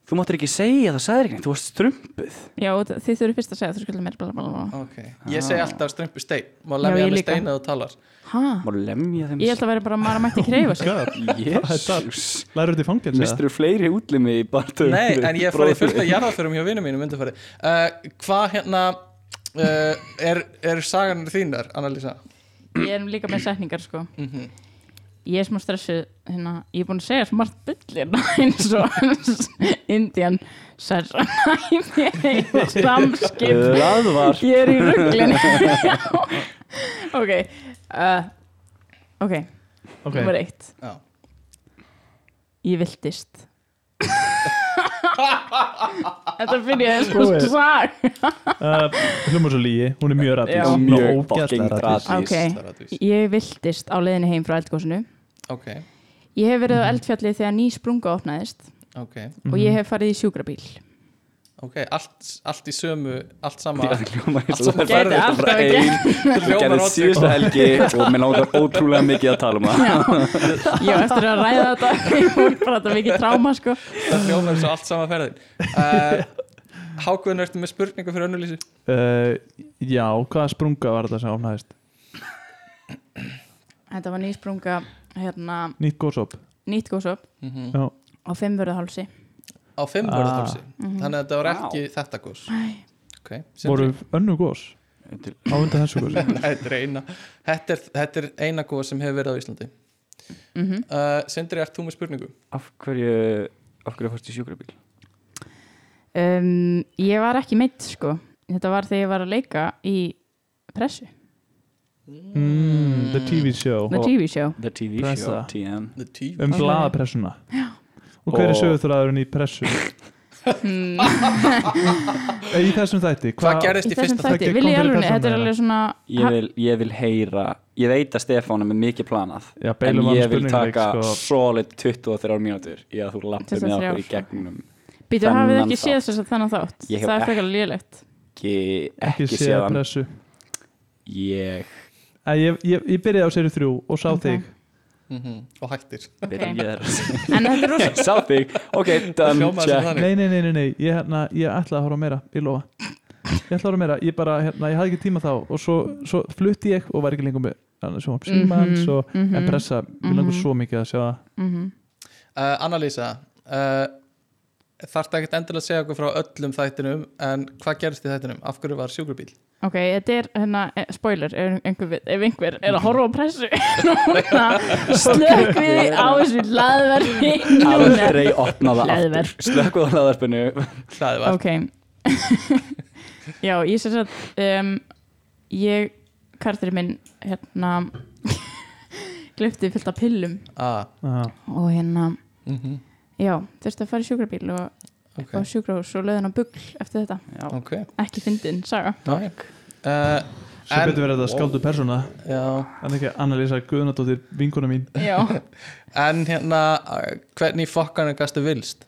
[SPEAKER 2] Þú máttir ekki segja það sagði ekki neitt, Þú varst strumpuð
[SPEAKER 4] Já, þið þurfum fyrst að segja, þú skulum meira bla bla bla
[SPEAKER 3] ok ég segi alltaf strömpu stein má
[SPEAKER 4] Já,
[SPEAKER 3] lemja
[SPEAKER 4] ég
[SPEAKER 3] með
[SPEAKER 4] líka.
[SPEAKER 3] stein að þú talar
[SPEAKER 4] Hæ?
[SPEAKER 2] Má lemja þeim
[SPEAKER 4] Ég held að vera bara maður mætti kreyfa sig
[SPEAKER 2] <laughs> Jésús
[SPEAKER 1] Læru þetta í fangins
[SPEAKER 2] Mistur fleiri útlimi í barndu
[SPEAKER 3] nei, en ég farið fullt að jarðaförum hjá vinnum mínum undanfari uh, hvað hérna uh, er, er sagan þínar, Annalisa
[SPEAKER 4] Ég er líka með setningar sko Ég er smá stressuð hérna, Ég er búin að segja svo margt bull hérna <laughs> eins og <laughs> Indian Sær <laughs> Samskip
[SPEAKER 2] Það var
[SPEAKER 4] Ég er í rugglin <laughs> Ok uh, Ok,
[SPEAKER 1] Ok,
[SPEAKER 4] nummer eitt
[SPEAKER 3] Já.
[SPEAKER 4] Ég viltist <laughs> Þetta finn ég eins og
[SPEAKER 1] Góðir.
[SPEAKER 4] sag
[SPEAKER 1] uh, hlumur svo lígi, hún er mjög
[SPEAKER 4] Já.
[SPEAKER 1] rættis
[SPEAKER 2] Mjög fucking
[SPEAKER 1] rættis
[SPEAKER 2] radís
[SPEAKER 4] Ok,
[SPEAKER 3] er radís.
[SPEAKER 4] ég viltist á leiðinni heim frá eldgósinu
[SPEAKER 3] ok,
[SPEAKER 4] Ég hef verið á
[SPEAKER 2] Mhm.
[SPEAKER 4] eldfjalli þegar ný sprunga opnaðist
[SPEAKER 3] ok,
[SPEAKER 4] og ég hef farið í
[SPEAKER 2] <laughs>
[SPEAKER 4] sjúkrabíl
[SPEAKER 3] ok allt, allt í sömu, allt sama
[SPEAKER 2] Það hljóma eins og
[SPEAKER 3] Allt
[SPEAKER 2] það
[SPEAKER 3] saman
[SPEAKER 2] færði
[SPEAKER 4] gæti
[SPEAKER 2] þetta bara einn
[SPEAKER 4] alltaf að
[SPEAKER 2] Þú
[SPEAKER 3] Hljómar
[SPEAKER 2] gerði
[SPEAKER 3] oddvigt.
[SPEAKER 2] síðustu helgi og mér langar ótrúlega mikið að tala um það
[SPEAKER 4] Ég var eftir að ræða þetta <laughs> ég var bara þetta er mikið tráma sko
[SPEAKER 3] það hljómar eins og allt sama ferðin uh, Hákvöðun, ertu með spurningu fyrir önnulísu?
[SPEAKER 1] uh, Já, hvaða sprunga var þetta sem ofnaðist?
[SPEAKER 4] Þetta var ný sprunga hérna,
[SPEAKER 1] Nýtt góðsop
[SPEAKER 4] nýtt góðsop
[SPEAKER 2] Mhm.
[SPEAKER 1] Já,
[SPEAKER 4] á fimmvörðuhálsi
[SPEAKER 3] Á fimm
[SPEAKER 1] Ah.
[SPEAKER 3] vörðutálsi Þannig að þetta var ekki
[SPEAKER 2] Vá.
[SPEAKER 3] þetta gos okay.
[SPEAKER 1] voru
[SPEAKER 3] Voru...
[SPEAKER 1] önnu góðs á undan þessu góðs
[SPEAKER 2] <laughs>
[SPEAKER 3] þetta, er eina, þetta, er, þetta er eina gos sem hefur verið á Íslandi
[SPEAKER 4] mm -hmm.
[SPEAKER 3] uh, Sindri, ert þú með spurningu?
[SPEAKER 2] Af hverju, af hverju fórstu í sjúkrabíl?
[SPEAKER 4] um, Ég var ekki meitt sko Þetta var þegar ég var að leika í pressu
[SPEAKER 1] mm, The TV show
[SPEAKER 4] með
[SPEAKER 2] Og-
[SPEAKER 4] TV show
[SPEAKER 2] The TV
[SPEAKER 1] Pressa.
[SPEAKER 2] show, TM
[SPEAKER 3] The TV
[SPEAKER 1] um
[SPEAKER 4] Ok.
[SPEAKER 1] blaðapressuna Og hver er
[SPEAKER 2] Og-
[SPEAKER 1] sögurþræðurinn í pressu?
[SPEAKER 4] mm,
[SPEAKER 1] Eh, Í þessum þætti
[SPEAKER 3] Hvað
[SPEAKER 4] Í
[SPEAKER 3] gerðist í
[SPEAKER 4] þessum
[SPEAKER 3] fyrsta þætti?
[SPEAKER 1] þætti kom
[SPEAKER 4] þætti, vil ég
[SPEAKER 1] fyrir
[SPEAKER 4] alveg
[SPEAKER 1] persónu,
[SPEAKER 4] Þetta er
[SPEAKER 1] já.
[SPEAKER 4] alveg svona
[SPEAKER 2] ég vil, ég vil heyra Ég veit að Stefán er með mikið planað
[SPEAKER 1] Já,
[SPEAKER 2] En
[SPEAKER 1] beilum hann
[SPEAKER 2] ég vil
[SPEAKER 1] spurningaleik
[SPEAKER 2] taka
[SPEAKER 1] sko.
[SPEAKER 2] solid 23 mínútur í að þú lappir með
[SPEAKER 4] 23
[SPEAKER 2] okkur í
[SPEAKER 4] sko.
[SPEAKER 2] gegnum
[SPEAKER 4] Býtu, hafið
[SPEAKER 2] Þennan
[SPEAKER 4] þið ekki séð
[SPEAKER 2] þátt.
[SPEAKER 4] þess að þannig þátt
[SPEAKER 2] Ég hef
[SPEAKER 4] Það er
[SPEAKER 2] ekki-
[SPEAKER 4] frekar lélegt
[SPEAKER 2] ekki,
[SPEAKER 1] Ekki
[SPEAKER 2] ekki
[SPEAKER 1] séð
[SPEAKER 2] séðan
[SPEAKER 1] pressu
[SPEAKER 2] Ég
[SPEAKER 1] Eh, Ég, ég, ég byrjaði á serið þrjú og sá
[SPEAKER 4] Ok.
[SPEAKER 1] þig
[SPEAKER 3] Mm Og hættir
[SPEAKER 2] veit ekki hvað það er að segja.
[SPEAKER 4] En þetta er rosa
[SPEAKER 2] <laughs> Sá þig, ok, done,
[SPEAKER 3] Hljómaði sem
[SPEAKER 2] check
[SPEAKER 3] þannig.
[SPEAKER 1] Nei, nei, nei, nei, nei. Ég, hérna, ég ætlaði að horfa á meira, ég lofa Ég ætlaði að horfa á meira, ég bara, hérna, ég hafði ekki tíma þá og svo, svo flutti ég og var ekki lengur með hérna, sjónvarp símans og
[SPEAKER 4] mhm,
[SPEAKER 1] en pressa, mér langur svo mikið að sjá það
[SPEAKER 4] Mhm.
[SPEAKER 3] uh, Annalísa uh, Þarftu ekkert endilega að segja okkur frá öllum þættinum En hvað gerðist í þættinum? Af hverju var sjúkrabíl?
[SPEAKER 4] Ok, þetta er hérna, eh, spoiler ef einhver, veit- ef einhver er að horfa á pressu <laughs> núna, slökk við á þessu laðverfi núna
[SPEAKER 2] Aldrei opna það aftur
[SPEAKER 4] Leðverk.
[SPEAKER 2] Slökkuð á laðarpinu
[SPEAKER 3] Hlaði var
[SPEAKER 4] Ok <laughs> Já, ég sér að um, ég, karturinn minn hérna <laughs> glöfti fullt af pillum
[SPEAKER 3] ah,
[SPEAKER 1] Aha.
[SPEAKER 4] og hérna,
[SPEAKER 3] mm -hmm.
[SPEAKER 4] já, þurfti að fara í sjúkrabíl og,
[SPEAKER 3] Ok,
[SPEAKER 4] og sjúkrahús og löðin á bugl eftir þetta,
[SPEAKER 3] okay.
[SPEAKER 4] ekki fyndin, <laughs> saga
[SPEAKER 3] Nei. Uh,
[SPEAKER 1] Svo
[SPEAKER 3] En-
[SPEAKER 1] betur verið að þetta skáldu persóna
[SPEAKER 3] já
[SPEAKER 1] en ekki Annalisa Guðnadóttir, vinkona mín
[SPEAKER 4] Já,
[SPEAKER 3] En hérna, uh, hvernig fokkanum gastu vilst?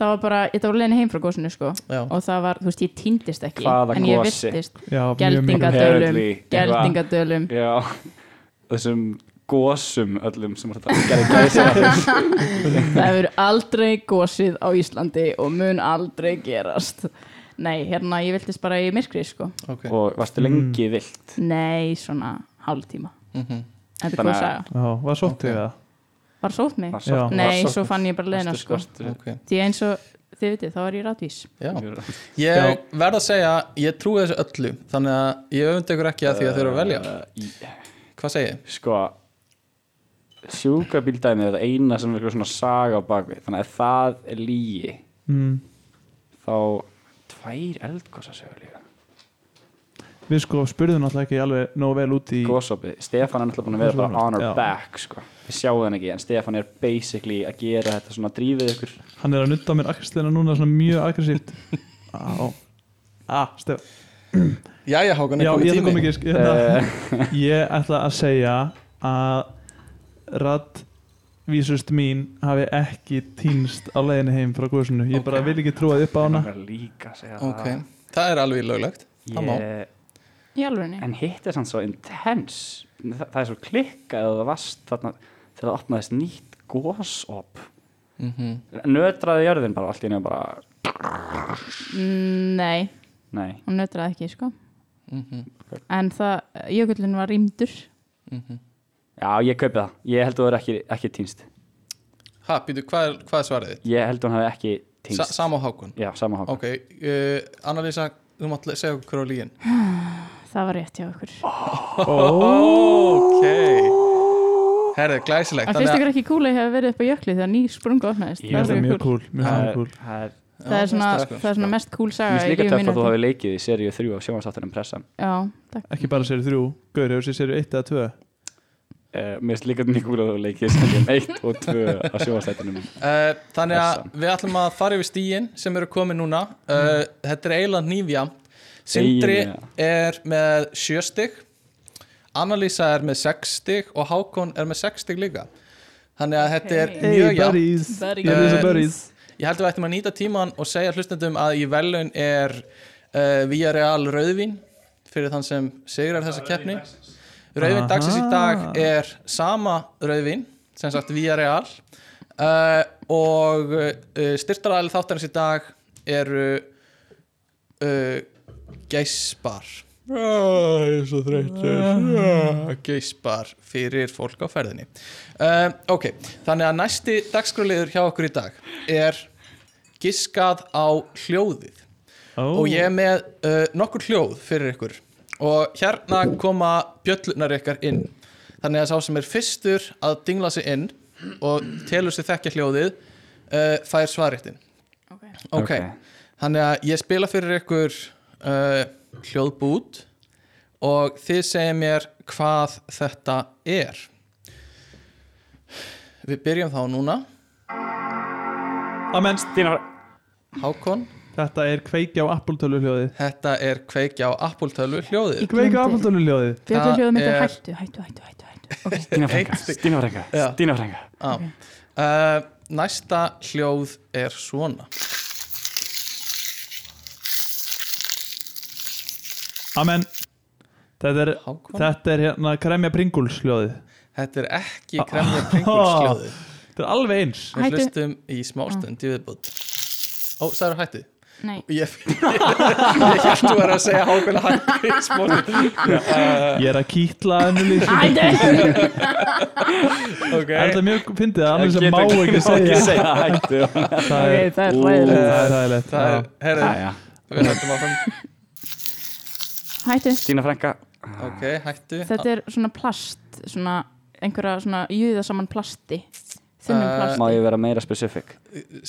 [SPEAKER 4] það var bara, þetta var leiðin heim frá gósinu sko
[SPEAKER 3] Já,
[SPEAKER 4] og það var, þú veist, ég týndist ekki
[SPEAKER 2] Hvaða
[SPEAKER 4] en ég
[SPEAKER 2] gosi?
[SPEAKER 4] vistist
[SPEAKER 1] Já, mjög mikið.
[SPEAKER 4] geldingadölum
[SPEAKER 2] Apparently, <laughs>
[SPEAKER 4] geldingadölum
[SPEAKER 2] Já Þessum gósum öllum sem var þetta gerði gæsa
[SPEAKER 4] það hefur aldrei gósið á Íslandi og mun aldrei gerast nei, hérna, ég viltist bara í myrkri sko,
[SPEAKER 3] ok
[SPEAKER 2] Og
[SPEAKER 1] Mm.
[SPEAKER 2] varstu lengi vilt
[SPEAKER 4] nei, svona hálftíma,
[SPEAKER 3] mm
[SPEAKER 4] þetta er
[SPEAKER 2] Þannig
[SPEAKER 4] góð
[SPEAKER 2] að-
[SPEAKER 4] saga
[SPEAKER 1] Já, var sótt þig það
[SPEAKER 4] var sótt mig,
[SPEAKER 1] Já.
[SPEAKER 4] nei, svo fann ég bara leiðina sko,
[SPEAKER 3] Ok,
[SPEAKER 4] því eins og þið vitið, þá er ég rátvís
[SPEAKER 3] já
[SPEAKER 2] Ég
[SPEAKER 3] Ég verð að segja, ég trúi þessu öllu Þannig að ég öfndi ykkur ekki að því að þau eru að velja
[SPEAKER 2] Eh.
[SPEAKER 3] Hvað segi ég?
[SPEAKER 2] Sko Sjúkrabíldæmi er þetta eina sem er eitthvað svona saga á bakvið Þannig að ef það er lígi
[SPEAKER 1] mm.
[SPEAKER 2] Þá tvær eldgósa sögur líka
[SPEAKER 1] við sko spurðum náttúrulega ekki alveg nóg vel út í
[SPEAKER 2] góðsopi, Stefán er náttúrulega búin að vera bara on our
[SPEAKER 1] Já.
[SPEAKER 2] back sko. við sjáum hann ekki, en Stefán er basically að gera þetta svona drífið ykkur
[SPEAKER 1] hann er að nutta mér axlina núna svona mjög <laughs> aggressíft á Ah, Stef-
[SPEAKER 3] Jæja, Hákon,
[SPEAKER 1] Já,
[SPEAKER 3] er
[SPEAKER 1] ég ætla
[SPEAKER 3] komið
[SPEAKER 1] að koma
[SPEAKER 3] tími
[SPEAKER 1] ekki
[SPEAKER 2] Eh,
[SPEAKER 1] hérna, Ég ætla að segja að raddvísust mín hafi ekki týnst á leiðinni heim frá góðsunu Ég bara vil ekki trúa upp á hana
[SPEAKER 2] hann er líka að segja
[SPEAKER 3] Ok, það er alveg löglegt Það má
[SPEAKER 2] það ég,
[SPEAKER 4] í alvegni
[SPEAKER 2] en hitt er sann svo intense það, það er svo klikkað og það vast þarna þegar það opnaðist nýtt góðsop
[SPEAKER 3] mm
[SPEAKER 2] nötraði jörðin bara allt í nefn bara
[SPEAKER 4] Mm, Nei,
[SPEAKER 2] nei,
[SPEAKER 4] hún nötraði ekki sko
[SPEAKER 3] Mhm.
[SPEAKER 4] En það, jökullin var rýmdur
[SPEAKER 2] já ég kaupi það ég held að það er ekki, ekki týnst
[SPEAKER 3] Ha, býtu, hvað, er- hvað er svarið þitt?
[SPEAKER 2] ég held að hann hafi ekki
[SPEAKER 3] Sa,
[SPEAKER 2] týnst
[SPEAKER 3] sama og Hákon
[SPEAKER 2] já, sama hák
[SPEAKER 3] Ok, uh, Annalisa, þú mátt le- segja okkur hver á lígin
[SPEAKER 4] Það var rétt hjá okkur
[SPEAKER 3] Ok Herði, glæsilegt
[SPEAKER 4] En finnst
[SPEAKER 3] að-
[SPEAKER 4] ykkur ekki kúli hefur verið upp á jökli þegar ný sprunga opnaðist
[SPEAKER 2] Jú,
[SPEAKER 1] Það
[SPEAKER 4] það,
[SPEAKER 1] er
[SPEAKER 4] er
[SPEAKER 1] mjög
[SPEAKER 4] cool.
[SPEAKER 1] cool, mjög cool
[SPEAKER 2] það er
[SPEAKER 4] það, er
[SPEAKER 3] Já, finnst
[SPEAKER 4] svona,
[SPEAKER 3] það, sko.
[SPEAKER 4] það er svona mest cool
[SPEAKER 2] Mér
[SPEAKER 4] saga
[SPEAKER 2] finnst
[SPEAKER 4] í
[SPEAKER 2] líka
[SPEAKER 4] lífi
[SPEAKER 2] töff
[SPEAKER 4] mínu
[SPEAKER 2] að þú hafi leikið í seríu 3 á sjónvarsáttunum pressan
[SPEAKER 4] Já, takk
[SPEAKER 1] Ekki bara sér þrjú, Gaur, hefur sér sér eitt eða tvö
[SPEAKER 2] uh, Mér finnst líka mjög gúl að þú hafi leikið í seríum 1 og 2 á sjónvarsáttunum
[SPEAKER 3] Uh, þannig að
[SPEAKER 2] Pressan.
[SPEAKER 3] við ætlum að fara yfir stíin sem eru komið núna uh, þetta er eiginlega nýfja Sindri
[SPEAKER 2] Eiginlega.
[SPEAKER 3] er með sjö stig Annalísa er með sex stig og Hákon er með sex stig líka þannig að þetta er
[SPEAKER 4] Hey,
[SPEAKER 1] Hey
[SPEAKER 3] mjög jafn
[SPEAKER 1] buddies,
[SPEAKER 4] Buddies.
[SPEAKER 1] ég er þessi buddies
[SPEAKER 3] ég held að við ættum að nýta tíman og segja hlustendum að í velun er uh, Via Real Rauðvín fyrir þann sem sigrar þessa keppni Rauðvín
[SPEAKER 1] Aha.
[SPEAKER 3] dagsins í dag er sama Rauðvín sem sagt Via Real uh, og uh, styrtaræli þáttarins í dag eru uh, Geispar ah, ég er svo þreytur ah, Geispar fyrir fólk á ferðinni uh, ok, þannig að næsti dagskrúliður hjá okkur í dag er giskað á hljóðið
[SPEAKER 1] Ó,
[SPEAKER 3] og ég er með uh, nokkur hljóð fyrir ykkur og hérna koma bjöllunar ykkar inn þannig að sá sem er fyrstur að dingla sig inn og telur sig þekkja hljóðið uh, fær svarréttin
[SPEAKER 4] okay.
[SPEAKER 3] ok, þannig að ég spila fyrir ykkur uh, hljóðbút og þið segja mér hvað þetta er við byrjum þá núna
[SPEAKER 1] Amen,
[SPEAKER 2] Þínar
[SPEAKER 3] Hákon,
[SPEAKER 1] þetta er kveikja á appultölu hljóðið
[SPEAKER 3] þetta er kveikja á Apple-tölu hljóðið
[SPEAKER 1] Kveikja á appultölu hljóðið
[SPEAKER 4] Björn hljóðum mitt er
[SPEAKER 3] er-
[SPEAKER 4] hættu, hættu, hættu, hættu, hættu.
[SPEAKER 3] <laughs>
[SPEAKER 2] frænga, Stína
[SPEAKER 3] Já.
[SPEAKER 2] frænga Stína frænga
[SPEAKER 3] ah. uh, Næsta hljóð er svona
[SPEAKER 1] Amen, þetta er,
[SPEAKER 3] Hákon?
[SPEAKER 1] þetta er hérna kremja pringuls hljóðið
[SPEAKER 3] Þetta er ekki kremja pringulskljóðið
[SPEAKER 1] Þetta er alveg eins
[SPEAKER 3] Við
[SPEAKER 4] Hættu.
[SPEAKER 3] hlustum í smástund í viðbútt Ó, sagður hættu
[SPEAKER 4] Nei,
[SPEAKER 3] Ég, <laughs> ég held þú er að segja hákvæmlega hættu í smástund Eh.
[SPEAKER 1] Ég er að kýtla henni <laughs> líka
[SPEAKER 4] hættu
[SPEAKER 1] Það
[SPEAKER 3] okay.
[SPEAKER 1] er mjög fyndið að annars sem má
[SPEAKER 2] <laughs>
[SPEAKER 3] <laughs>
[SPEAKER 1] ekki segja
[SPEAKER 2] segja hættu
[SPEAKER 1] <laughs> Það
[SPEAKER 4] <laughs>
[SPEAKER 1] er
[SPEAKER 4] Ok, það er
[SPEAKER 2] Ú.
[SPEAKER 4] hlæðilegt
[SPEAKER 1] það er ræðilegt
[SPEAKER 3] Það er, herri,
[SPEAKER 2] Jæja.
[SPEAKER 3] við hættum áfram
[SPEAKER 4] Hættu,
[SPEAKER 2] Stína frænga
[SPEAKER 3] Ok, hættu
[SPEAKER 4] þetta er svona plast svona, einhverja svona júða saman plasti þunnum
[SPEAKER 3] Eh,
[SPEAKER 2] Má
[SPEAKER 4] plasti
[SPEAKER 2] ég vera meira specific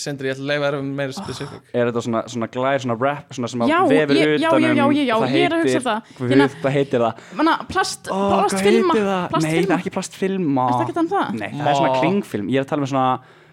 [SPEAKER 3] Sindri, ég ætla að leifa erum meira spesifik
[SPEAKER 2] Er þetta svona, svona glær, svona rap Svona sem að
[SPEAKER 4] Já,
[SPEAKER 2] vefur
[SPEAKER 4] ég- já,
[SPEAKER 2] utanum
[SPEAKER 4] já, já, já, já,
[SPEAKER 2] og
[SPEAKER 4] ég er að hugsa það.
[SPEAKER 2] Guð,
[SPEAKER 4] Hérna-
[SPEAKER 2] Hvað heitir það?
[SPEAKER 4] Manna, plast,
[SPEAKER 2] Ó, hvað
[SPEAKER 4] plastfilma
[SPEAKER 2] heitir það? Nei, það
[SPEAKER 4] Plastfilma,
[SPEAKER 2] er ekki plastfilma
[SPEAKER 4] Ertu ekki að tala um það?
[SPEAKER 2] Nei, það er svona
[SPEAKER 3] Má.
[SPEAKER 2] kringfilm Ég er að tala um svona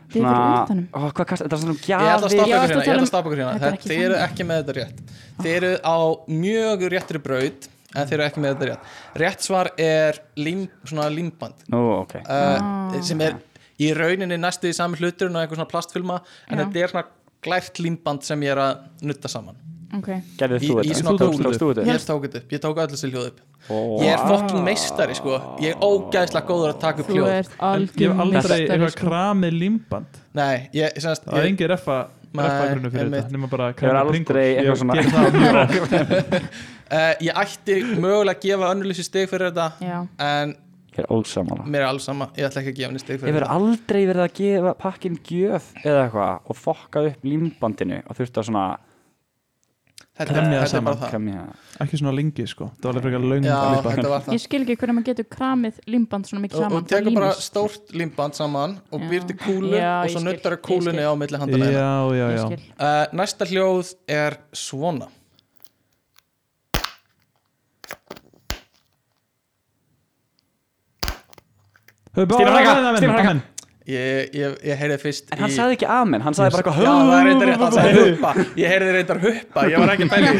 [SPEAKER 4] Vefur
[SPEAKER 2] Svona
[SPEAKER 4] utanum.
[SPEAKER 2] Ó, Hvað kast, þetta er svona um
[SPEAKER 3] Ég ætla að
[SPEAKER 2] gjafir
[SPEAKER 3] stoppa ykkur hérna, ég ætla að stoppa ykkur
[SPEAKER 4] Ah, Já, ertu að tala um-
[SPEAKER 3] hérna
[SPEAKER 4] Þetta
[SPEAKER 3] Þetta-
[SPEAKER 4] er ekki
[SPEAKER 3] Þið eru
[SPEAKER 4] þannig.
[SPEAKER 3] ekki með þetta rétt Þið eru á mjög réttri braut En þið eru ekki með þetta rétt Rétt svar er lím, svona límband
[SPEAKER 2] Nú, ok
[SPEAKER 4] Ah.
[SPEAKER 3] uh, sem er í rauninni næstu í sami hlutur og einhver svona plastfilma en
[SPEAKER 4] Já.
[SPEAKER 3] þetta er svona glæft límband sem ég er að nutta saman
[SPEAKER 4] Ok,
[SPEAKER 2] Gerðið
[SPEAKER 3] í,
[SPEAKER 2] þú
[SPEAKER 3] í
[SPEAKER 2] þetta?
[SPEAKER 3] svona
[SPEAKER 1] Þú tókst
[SPEAKER 3] kúlu
[SPEAKER 2] Tókst þú þetta?
[SPEAKER 4] Hérna.
[SPEAKER 3] ég tók þetta upp, ég tók allir þessi hljóð upp
[SPEAKER 2] Ó.
[SPEAKER 3] ég er fokkin meistari sko ég er ógæðslega góður að taka upp
[SPEAKER 4] þú
[SPEAKER 3] hljóð
[SPEAKER 4] ert
[SPEAKER 1] En Ég hef
[SPEAKER 4] algjör
[SPEAKER 1] aldrei
[SPEAKER 4] meistari,
[SPEAKER 1] eitthvað
[SPEAKER 4] sko.
[SPEAKER 1] kramið límband
[SPEAKER 3] nei, ég, semast,
[SPEAKER 1] Það er
[SPEAKER 3] ég,
[SPEAKER 1] engi reffa
[SPEAKER 3] Nei,
[SPEAKER 1] reffagrunnu fyrir
[SPEAKER 3] einmitt.
[SPEAKER 1] þetta nema bara
[SPEAKER 2] Ég er
[SPEAKER 1] kremja pringuls
[SPEAKER 2] aldrei eitthvað svona
[SPEAKER 1] Ég það mjög
[SPEAKER 3] <laughs>
[SPEAKER 1] oft.
[SPEAKER 3] uh, ég ætti mögulega að gefa önnulísi stig fyrir þetta
[SPEAKER 4] Já,
[SPEAKER 3] en
[SPEAKER 2] Ég er ósamála
[SPEAKER 3] mér er alls sama, ég ætla ekki að gefa henni stig
[SPEAKER 2] Ég
[SPEAKER 3] fyrir
[SPEAKER 2] verði
[SPEAKER 3] þetta
[SPEAKER 2] aldrei verið að gefa pakkin gjöf eða eitthvað og fokkað upp límbandinu og þurfti að svona
[SPEAKER 3] þetta,
[SPEAKER 1] Kremja
[SPEAKER 3] þetta er
[SPEAKER 1] saman.
[SPEAKER 3] bara það
[SPEAKER 2] kemja
[SPEAKER 1] Ekki svona lengi sko Það var alveg frekar löng
[SPEAKER 3] já,
[SPEAKER 1] límband
[SPEAKER 3] þetta var það
[SPEAKER 4] ég skil ekki hvernig maður getur kramið límband svona mikið
[SPEAKER 3] og,
[SPEAKER 4] saman
[SPEAKER 3] og tekur
[SPEAKER 4] það
[SPEAKER 3] bara
[SPEAKER 4] límist.
[SPEAKER 3] stórt límband saman og
[SPEAKER 4] Já.
[SPEAKER 3] býr til kúlu
[SPEAKER 4] Já,
[SPEAKER 3] og
[SPEAKER 4] ég
[SPEAKER 3] svo
[SPEAKER 4] skil,
[SPEAKER 3] nuttar
[SPEAKER 4] ég
[SPEAKER 3] kúlunni
[SPEAKER 4] skil.
[SPEAKER 3] á milli hérna. Eh, handana
[SPEAKER 1] Já, já,
[SPEAKER 4] Ég
[SPEAKER 1] já
[SPEAKER 4] skil.
[SPEAKER 3] Uh, næsta hljóð er svona
[SPEAKER 1] Stýra
[SPEAKER 2] Stefán Ragga, Stefán Ragga.
[SPEAKER 3] Ég, ég, ég heyrði fyrst
[SPEAKER 2] En hann sagði ekki amen, hann sagði bara eitthvað
[SPEAKER 3] Já, það er reyndar rétt, hann sagði huppa Ég heyrði reyndar huppa, ég var ekki
[SPEAKER 4] <laughs>
[SPEAKER 3] að pæli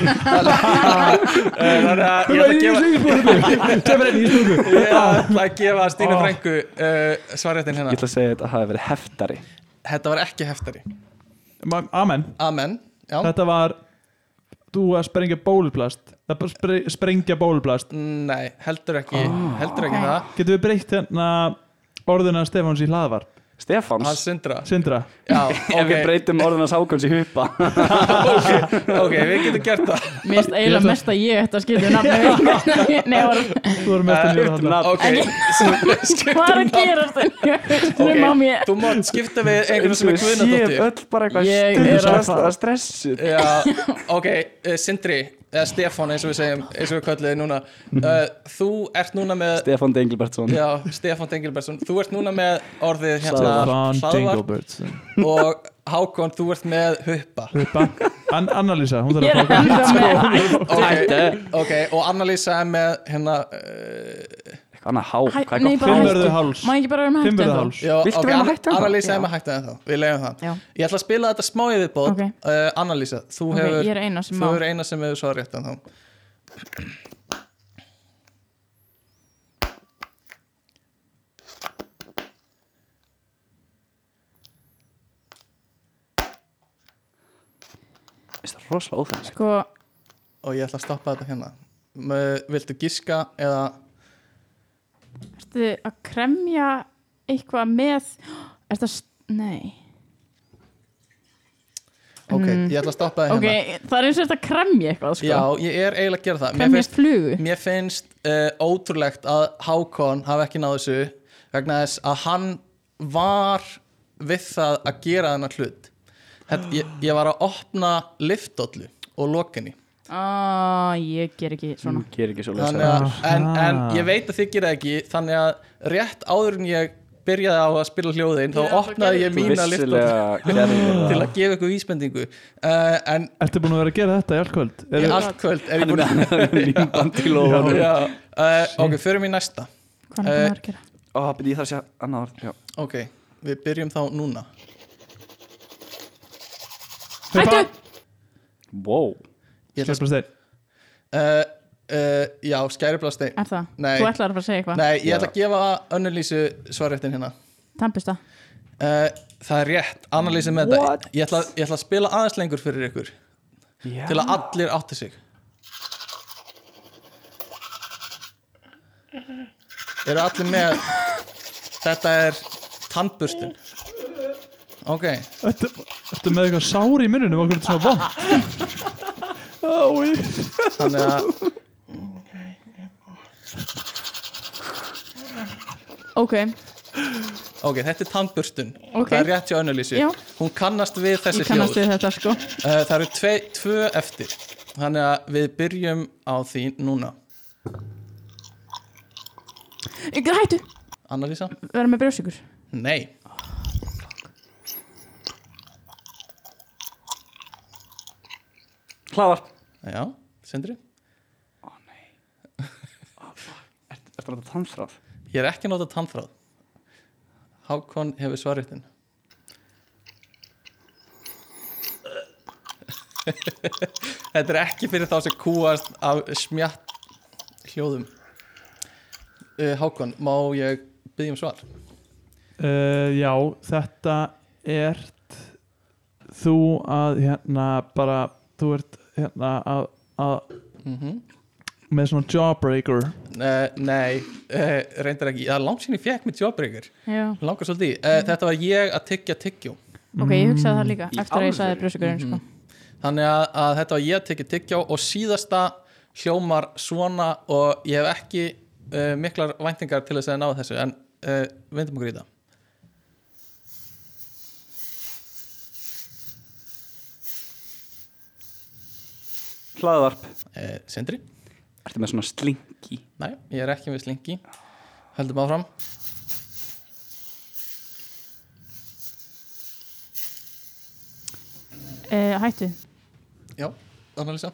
[SPEAKER 3] Þannig að ég ætla að gefa
[SPEAKER 1] Stefán
[SPEAKER 3] Ég ætla að gefa Stínu Frænku uh, svarréttin
[SPEAKER 2] Ég
[SPEAKER 3] hérna
[SPEAKER 2] ætla að segja að þetta hafi verið heftari
[SPEAKER 3] Þetta var ekki heftari
[SPEAKER 1] Ragga Amen
[SPEAKER 3] Amen, já
[SPEAKER 1] Þetta var Þú að sprengja bóluplast Það bara spre, sprengja bóluplast
[SPEAKER 3] Nei, heldur ekki, heldur ekki
[SPEAKER 4] Ok.
[SPEAKER 3] það
[SPEAKER 1] Getum við breytt hérna orðuna Stefáns í hlaðvar
[SPEAKER 3] Hann
[SPEAKER 2] Stefáns,
[SPEAKER 3] sindra
[SPEAKER 1] Sindra
[SPEAKER 3] Já,
[SPEAKER 2] ef við
[SPEAKER 3] ok,
[SPEAKER 2] breytum orðunars ákvæmst í huppa
[SPEAKER 3] ok, við getum gert það
[SPEAKER 4] Mér
[SPEAKER 1] Ég
[SPEAKER 4] finnst
[SPEAKER 1] ætla-
[SPEAKER 4] eiginlega mest að ég ætti að skilja nafni Nei, var,
[SPEAKER 1] Þú voru mest að nýra þetta
[SPEAKER 3] Ok,
[SPEAKER 4] En ég- <laughs> hvað er að gera þetta? Nú má mér
[SPEAKER 3] Þú mátt skipta við einhvern sem er
[SPEAKER 2] Sér
[SPEAKER 3] Guðnadóttir
[SPEAKER 2] öll bara eitthvað
[SPEAKER 4] Ég
[SPEAKER 2] stundum
[SPEAKER 4] er að
[SPEAKER 2] stress-
[SPEAKER 4] fara.
[SPEAKER 2] að stressu
[SPEAKER 3] Já, ok, uh, Sindri eða Stefán eins og við segjum, eins og við kölluðum núna uh, Þú ert núna með
[SPEAKER 2] Stefán Dengilbertsson
[SPEAKER 3] Já, Stefán Dengilbertsson Þú ert núna með orðið hérna
[SPEAKER 1] Stefán
[SPEAKER 3] hlaðvarp
[SPEAKER 1] Dingleberts
[SPEAKER 3] og Hákon, þú ert með huppa
[SPEAKER 1] Huppa An Annalisa, hún
[SPEAKER 4] Ég
[SPEAKER 1] þarf að
[SPEAKER 4] er enda með
[SPEAKER 3] okay, ok, og Annalisa er með hérna uh,
[SPEAKER 2] Eitthvað annað há,
[SPEAKER 4] Hæ-
[SPEAKER 2] Sko, hvað er
[SPEAKER 4] nei,
[SPEAKER 2] gott
[SPEAKER 4] bara
[SPEAKER 2] fyrir-
[SPEAKER 1] Fimmvörðu háls
[SPEAKER 4] Má ég ekki bara um vera með hættu
[SPEAKER 1] Fimmvörðu
[SPEAKER 4] ennþá?
[SPEAKER 1] háls
[SPEAKER 3] já,
[SPEAKER 2] Viltu
[SPEAKER 3] ok,
[SPEAKER 2] vera með
[SPEAKER 3] Anna-
[SPEAKER 2] hættu ennþá?
[SPEAKER 3] Annalisa
[SPEAKER 4] Já.
[SPEAKER 3] er með hægt ennþá, við leiðum það
[SPEAKER 4] Já.
[SPEAKER 3] Ég ætla að spila þetta smá yfirbót
[SPEAKER 4] Ok.
[SPEAKER 3] uh, Annalisa, þú
[SPEAKER 4] Ok,
[SPEAKER 3] hefur
[SPEAKER 4] ég er eina sem
[SPEAKER 3] Þú
[SPEAKER 4] má
[SPEAKER 3] hefur eina sem hefur svarað rétt ennþá
[SPEAKER 2] Veist það, Rosalega óþægilegt
[SPEAKER 4] Sko,
[SPEAKER 3] og ég ætla að stoppa þetta hérna Mö- Viltu giska eða
[SPEAKER 4] ertu að kremja eitthvað með Ertu að, s- nei
[SPEAKER 3] Ok, ég ætla að stoppa þetta
[SPEAKER 4] Mm. Ok,
[SPEAKER 3] hérna
[SPEAKER 4] það er eins og þetta að kremja eitthvað sko.
[SPEAKER 3] Já, ég er eiginlega að gera það Mér
[SPEAKER 4] Kremja
[SPEAKER 3] finnst,
[SPEAKER 4] flugu
[SPEAKER 3] mér finnst uh, ótrúlegt að Hákon hafi ekki náð þessu vegna þess að hann var við það að gera þennan hlut Þetta, ég, ég var að opna liftdollu og lokinni
[SPEAKER 4] Á, ég ger ekki svona
[SPEAKER 2] Hún gerir ekki svo
[SPEAKER 3] Þannig að, en, en
[SPEAKER 1] Aha.
[SPEAKER 3] ég veit að þið gera það ekki þannig að rétt áður en ég byrjaði á að spila hljóðin þá
[SPEAKER 4] Ég ætla að
[SPEAKER 3] opnaði
[SPEAKER 4] gera
[SPEAKER 3] ég
[SPEAKER 4] þetta.
[SPEAKER 3] mína liftdollu
[SPEAKER 2] Vissilega gerði
[SPEAKER 3] til
[SPEAKER 2] það
[SPEAKER 3] að gefa ykkur vísbendingu uh, en
[SPEAKER 1] Ertu búin að vera að gera þetta í allkvöld?
[SPEAKER 3] í
[SPEAKER 1] Er,
[SPEAKER 3] allt kvöld er ég
[SPEAKER 2] Hann
[SPEAKER 3] búin
[SPEAKER 2] er með límband í lóðan
[SPEAKER 3] Já, uh, ok, förum í næsta
[SPEAKER 4] Hvað er
[SPEAKER 3] Eh,
[SPEAKER 4] það að gera?
[SPEAKER 2] Ó, byrja, ég þarf að segja annað orð Já.
[SPEAKER 3] ok, við byrjum þá núna
[SPEAKER 4] Hættu!
[SPEAKER 2] Wow
[SPEAKER 3] ég ætla að
[SPEAKER 1] Sleppa stein
[SPEAKER 3] uh, uh, já, skæriblastein
[SPEAKER 4] Er það?
[SPEAKER 3] Nei.
[SPEAKER 4] Þú ætlar að fara að segja eitthvað?
[SPEAKER 3] nei, ég
[SPEAKER 2] Já.
[SPEAKER 3] ætla að gefa önnulísu svarréttin hérna
[SPEAKER 4] Tampista
[SPEAKER 3] uh, það er rétt, analýsið með þetta ég ætla, ég ætla að spila aðeins lengur fyrir ykkur
[SPEAKER 2] Já.
[SPEAKER 3] til að allir átti sig eru allir með þetta er tannburstun ok,
[SPEAKER 1] Ertu, ertu með eitthvað sár í mununum Okkur er þetta svona vond Ái
[SPEAKER 3] þannig að
[SPEAKER 4] Ok,
[SPEAKER 3] Ok, þetta er tannburstun
[SPEAKER 4] Ok.
[SPEAKER 3] Það er rétt hjá önnulísu
[SPEAKER 4] Já.
[SPEAKER 3] Hún kannast við þessi
[SPEAKER 4] ég kannast
[SPEAKER 3] hljóð
[SPEAKER 4] við þetta sko
[SPEAKER 3] uh, Það eru tve, tvö eftir Þannig að við byrjum á því núna
[SPEAKER 4] Ykkur hættu,
[SPEAKER 3] Annalísa?
[SPEAKER 4] vera með brjósikur
[SPEAKER 3] Nei
[SPEAKER 2] Hlaðvarp
[SPEAKER 3] Já, Sindri?
[SPEAKER 2] Ertu að nota tannþráð?
[SPEAKER 3] Ég er ekki að nota tannþráð Hákon hefur svarréttin <laughs> Þetta er ekki fyrir þá sem kúast af smjatt hljóðum uh, Hákon, má ég byggja um svar?
[SPEAKER 1] Uh, já, þetta ert þú að hérna bara, þú ert hérna að, að
[SPEAKER 3] Mhm
[SPEAKER 1] með svona jawbreaker
[SPEAKER 3] Uh, nei, uh, reyndar ekki Það er langt síðan ég fekk mitt jobbreykar
[SPEAKER 4] Já
[SPEAKER 3] Langar svolítið í uh, Þetta var ég að tyggja tyggjó
[SPEAKER 4] Ok, ég hugsaði það líka
[SPEAKER 2] Í
[SPEAKER 4] eftir að ég
[SPEAKER 2] alvöru?
[SPEAKER 4] sagði brjósikurinn
[SPEAKER 3] Mhm.
[SPEAKER 4] sko.
[SPEAKER 3] Þannig að, að þetta var ég að tyggja tyggjó Og síðasta hljómar svona Og ég hef ekki uh, miklar væntingar til þess að ná þessu En uh, vindum okkur í það
[SPEAKER 2] Hlaðvarp
[SPEAKER 3] uh, Sindri?
[SPEAKER 2] Ertu með svona slingi
[SPEAKER 3] Nei, ég er ekki með slingi Höldum áfram
[SPEAKER 4] uh, Hættu,
[SPEAKER 3] Já, Annalisa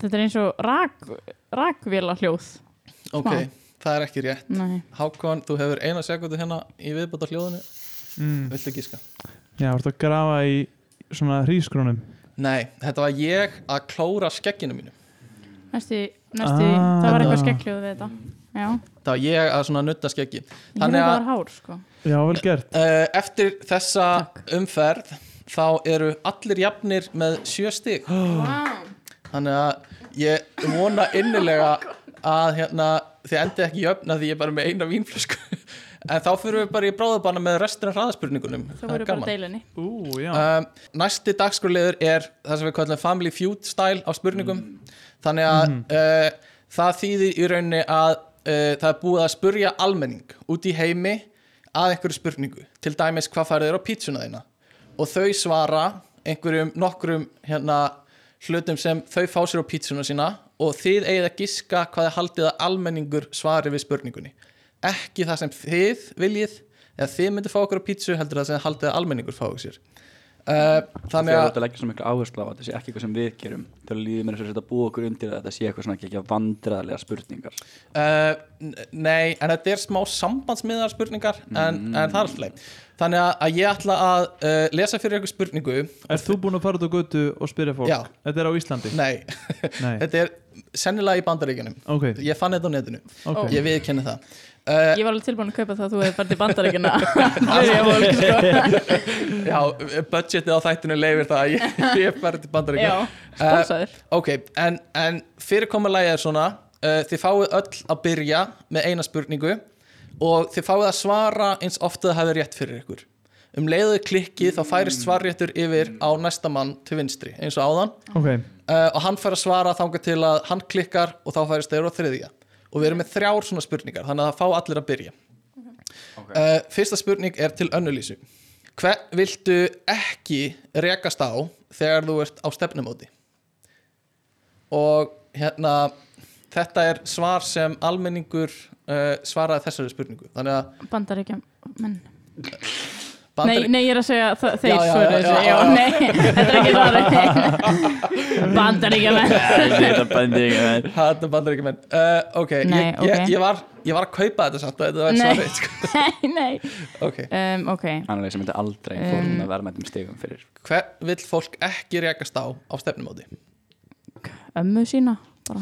[SPEAKER 4] þetta er eins og rak, rakvéla hljóð
[SPEAKER 3] Ok, það er ekki rétt
[SPEAKER 4] Nei.
[SPEAKER 3] Hákon, þú hefur eina sekundu hérna í viðbúta hljóðinu
[SPEAKER 1] mm.
[SPEAKER 3] Viltu gíska?
[SPEAKER 1] Já, þú ert að grafa í svona hrískrónum
[SPEAKER 3] Nei, þetta var ég að klóra skegginu mínu
[SPEAKER 4] Næstu, næstu,
[SPEAKER 1] Ah.
[SPEAKER 4] það var eitthvað skekkljóð við þetta Já,
[SPEAKER 3] Það var ég að svona nutta skeggi
[SPEAKER 4] ég hefði
[SPEAKER 3] Þannig
[SPEAKER 4] það
[SPEAKER 3] að
[SPEAKER 4] var hár sko
[SPEAKER 1] Já, vel gert
[SPEAKER 3] uh, eftir þessa umferð þá eru allir jafnir með sjö stig
[SPEAKER 4] Vá,
[SPEAKER 3] Þannig að ég
[SPEAKER 4] <laughs>
[SPEAKER 3] vona
[SPEAKER 4] Oh
[SPEAKER 3] innilega að hérna, þið endi ekki jöfna því ég er bara með eina vínflösku <laughs> en þá fyrir við bara í bráðabanna með restina hraðaspurningunum
[SPEAKER 4] þá voru bara deilinni
[SPEAKER 1] Ú, já
[SPEAKER 3] Um, næsti dagskurliður er það sem við kallum family feud style á spurningum þannig að uh, það þýðir í rauninni að uh, það er búið að spurja almenning út í heimi að einhverju spurningu til dæmis hvað færið er á pítsuna þína og þau svara einhverjum nokkrum hérna, hlutum sem þau fá sér á pítsuna sína og þið eigið að giska hvað er haldið að almenningur svari við spurningunni ekki það sem þið viljið eða þið myndu fá okkur á pítsu heldur það sem haldið að almenningur fá okkur sér Uh,
[SPEAKER 2] Þannig
[SPEAKER 3] þannig
[SPEAKER 2] að
[SPEAKER 3] að
[SPEAKER 2] þetta leggja svona mikla áherslu á að þetta sé ekki eitthvað sem við gerum Þegar líður mér eins og þetta búa okkur undir að þetta sé eitthvað svona ekki ekki að vandræðarlega
[SPEAKER 3] <laughs>
[SPEAKER 2] spurningar
[SPEAKER 3] uh, n- nei, en þetta er smá sambandsmiðar spurningar en, en það er alltaf þannig að, að ég ætla að uh, lesa fyrir ykkur spurningu
[SPEAKER 1] Er þú búin að fara út á götu og spyrja fólk?
[SPEAKER 3] Já.
[SPEAKER 1] Þetta er á Íslandi?
[SPEAKER 3] nei,
[SPEAKER 1] Nei.
[SPEAKER 3] þetta er sennilega í bandaríkjunum
[SPEAKER 1] Ok,
[SPEAKER 3] ég fann þetta á netinu,
[SPEAKER 1] ok
[SPEAKER 3] ég viðkenni það uh,
[SPEAKER 4] Ég var alveg tilbúin að kaupa það að þú hefði farið til
[SPEAKER 3] <laughs>
[SPEAKER 4] bandaríkina Byrja fólk sko
[SPEAKER 3] já, budgetið á þættinu leifir það að ég, <laughs> ég færi til
[SPEAKER 4] Já,
[SPEAKER 3] bandaríkjunum Eh,
[SPEAKER 4] sponsaður
[SPEAKER 3] Ok, en, en fyrirkomulega er svona uh, Þið fáið öll að byrja með eina spurningu og þið fáið að svara eins ofta það hafi rétt fyrir ykkur Um leiðu klikkið þá færist svarréttur yfir á næsta mann til vinstri eins og áðan
[SPEAKER 1] Ok,
[SPEAKER 3] uh, og hann fær að svara þangað til að hann klikkar og þá færist þeir á þriðja og við erum með þrjár svona spurningar þannig að það fá allir að byrja uh, Fyrsta spurning er til önnulísu Hvern viltu ekki rekast á þegar þú ert á stefnumóti? Og hérna þetta er svar sem almenningur uh, svaraði þessari spurningu þannig að
[SPEAKER 4] Bandaríkjum, menn
[SPEAKER 3] Bandar-
[SPEAKER 4] Nei, nei, ég er að segja þa- þeir
[SPEAKER 3] Já, já,
[SPEAKER 4] svöruðu
[SPEAKER 3] já,
[SPEAKER 4] þessu,
[SPEAKER 3] já,
[SPEAKER 4] já,
[SPEAKER 3] já.
[SPEAKER 4] nei, <laughs> þetta er ekki svarið
[SPEAKER 3] <laughs>
[SPEAKER 4] Bandaríkjamenn
[SPEAKER 2] Þetta er banding
[SPEAKER 3] Þetta er bandaríkjumenn uh, Ok,
[SPEAKER 4] Nei,
[SPEAKER 3] ég, ég,
[SPEAKER 4] ok.
[SPEAKER 3] ég, var, ég var að kaupa þetta samt að þetta var
[SPEAKER 4] Nei.
[SPEAKER 3] svarið sko.
[SPEAKER 4] Nei, nei
[SPEAKER 3] Ok
[SPEAKER 4] um, Ok,
[SPEAKER 2] Annarlega sem myndi aldrei
[SPEAKER 4] Um.
[SPEAKER 2] fórna verðmættum stigum fyrir
[SPEAKER 3] hvern vill fólk ekki rekast á á stefnumóti?
[SPEAKER 4] ömmu sína bara.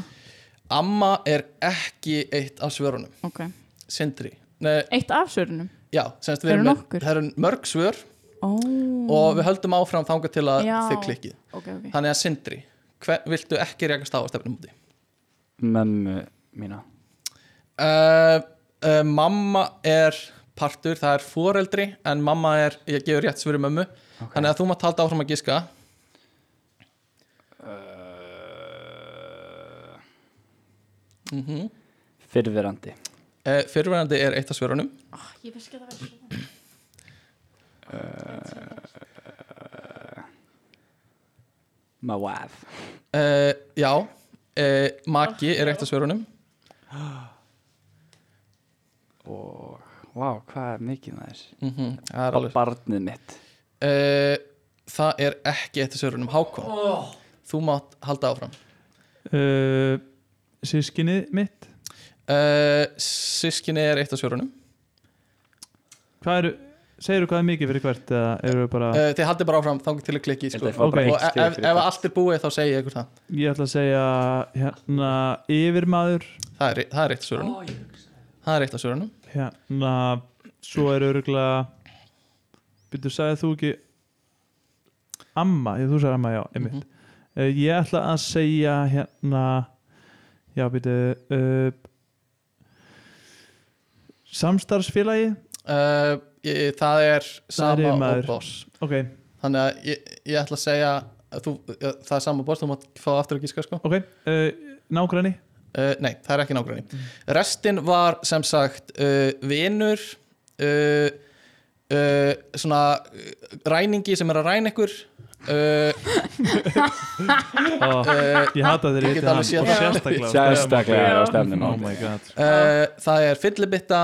[SPEAKER 3] Amma er ekki eitt af svörunum
[SPEAKER 4] Ok,
[SPEAKER 3] Sindri Nei,
[SPEAKER 4] eitt af svörunum
[SPEAKER 3] já, semst við
[SPEAKER 4] Eru
[SPEAKER 3] erum með-
[SPEAKER 4] nokkur?
[SPEAKER 3] Það eru mörg svör
[SPEAKER 4] Ó,
[SPEAKER 3] og við höldum áfram þangað til að
[SPEAKER 4] Já.
[SPEAKER 3] þið klikkið
[SPEAKER 4] ok, ok
[SPEAKER 3] Þannig að Sindri, hvern viltu ekki rekast á á stefnumóti?
[SPEAKER 2] mömmu mína
[SPEAKER 4] Eh,
[SPEAKER 3] Uh, uh, mamma er partur, það er foreldri en mamma er, ég gefur rétt svöru mömmu Þannig að þú mátt halda áfram að giska Uh, mhm.
[SPEAKER 2] Fyrverandi
[SPEAKER 3] uh, Fyrirverandi er eitt af svörunum
[SPEAKER 4] Ég veist ekki að það verður
[SPEAKER 2] My wife
[SPEAKER 3] Uh, já, uh, maki er eitt af svörunum
[SPEAKER 2] Og, vá, hvað er mikið með þess
[SPEAKER 3] mm Það er alveg
[SPEAKER 2] Barnið mitt
[SPEAKER 3] uh, Það er ekki eitt af svörunum Hákon Þú mátt halda áfram
[SPEAKER 1] uh, Sískinni mitt
[SPEAKER 3] uh, Sískinni er eitt af svörunum
[SPEAKER 1] Hvað eru, segirðu hvað er mikið fyrir hvert eða eru við bara
[SPEAKER 3] uh, Þið haldið bara áfram þangar til að klikki
[SPEAKER 2] Þetta
[SPEAKER 3] sko.
[SPEAKER 2] er bara
[SPEAKER 1] Ok.
[SPEAKER 2] bara
[SPEAKER 3] Og
[SPEAKER 2] eitt
[SPEAKER 3] ef,
[SPEAKER 2] stig
[SPEAKER 3] ef
[SPEAKER 2] fyrir
[SPEAKER 3] ef
[SPEAKER 2] hvern.
[SPEAKER 3] allt er búið þá segi ég ykkur það
[SPEAKER 1] Ég ætla að segja hérna yfirmaður
[SPEAKER 3] Það er, það er eitt af svörunum Það er eitt af svörunum
[SPEAKER 1] hérna svo er öruglega byrju, sagði þú ekki amma, ég, þú sagði amma, já, einmitt
[SPEAKER 3] Mhm.
[SPEAKER 1] mm ég ætla að segja hérna já, byrju uh, samstarfsfélagi
[SPEAKER 3] uh, ég, Það er sama
[SPEAKER 1] maður.
[SPEAKER 3] og boss
[SPEAKER 1] ok,
[SPEAKER 3] Þannig að ég, ég ætla að segja að þú, eh, Það er sama og boss, þú mátt fá aftur að gíska sko.
[SPEAKER 1] ok uh, nágræni,
[SPEAKER 3] Uh, nei, það er ekki nágræni. Restin var sem sagt uh, vinur, uh, uh, svona uh, ræningi sem er að ræna ykkur. Uh,
[SPEAKER 1] oh,
[SPEAKER 3] uh,
[SPEAKER 1] ég hata þeir
[SPEAKER 3] Ég get alveg séð
[SPEAKER 1] og
[SPEAKER 3] það.
[SPEAKER 1] sérstaklega á
[SPEAKER 2] Sérstaklega á
[SPEAKER 1] stefnum.
[SPEAKER 2] stefnum
[SPEAKER 1] oh my god
[SPEAKER 3] uh, það er fyllibitta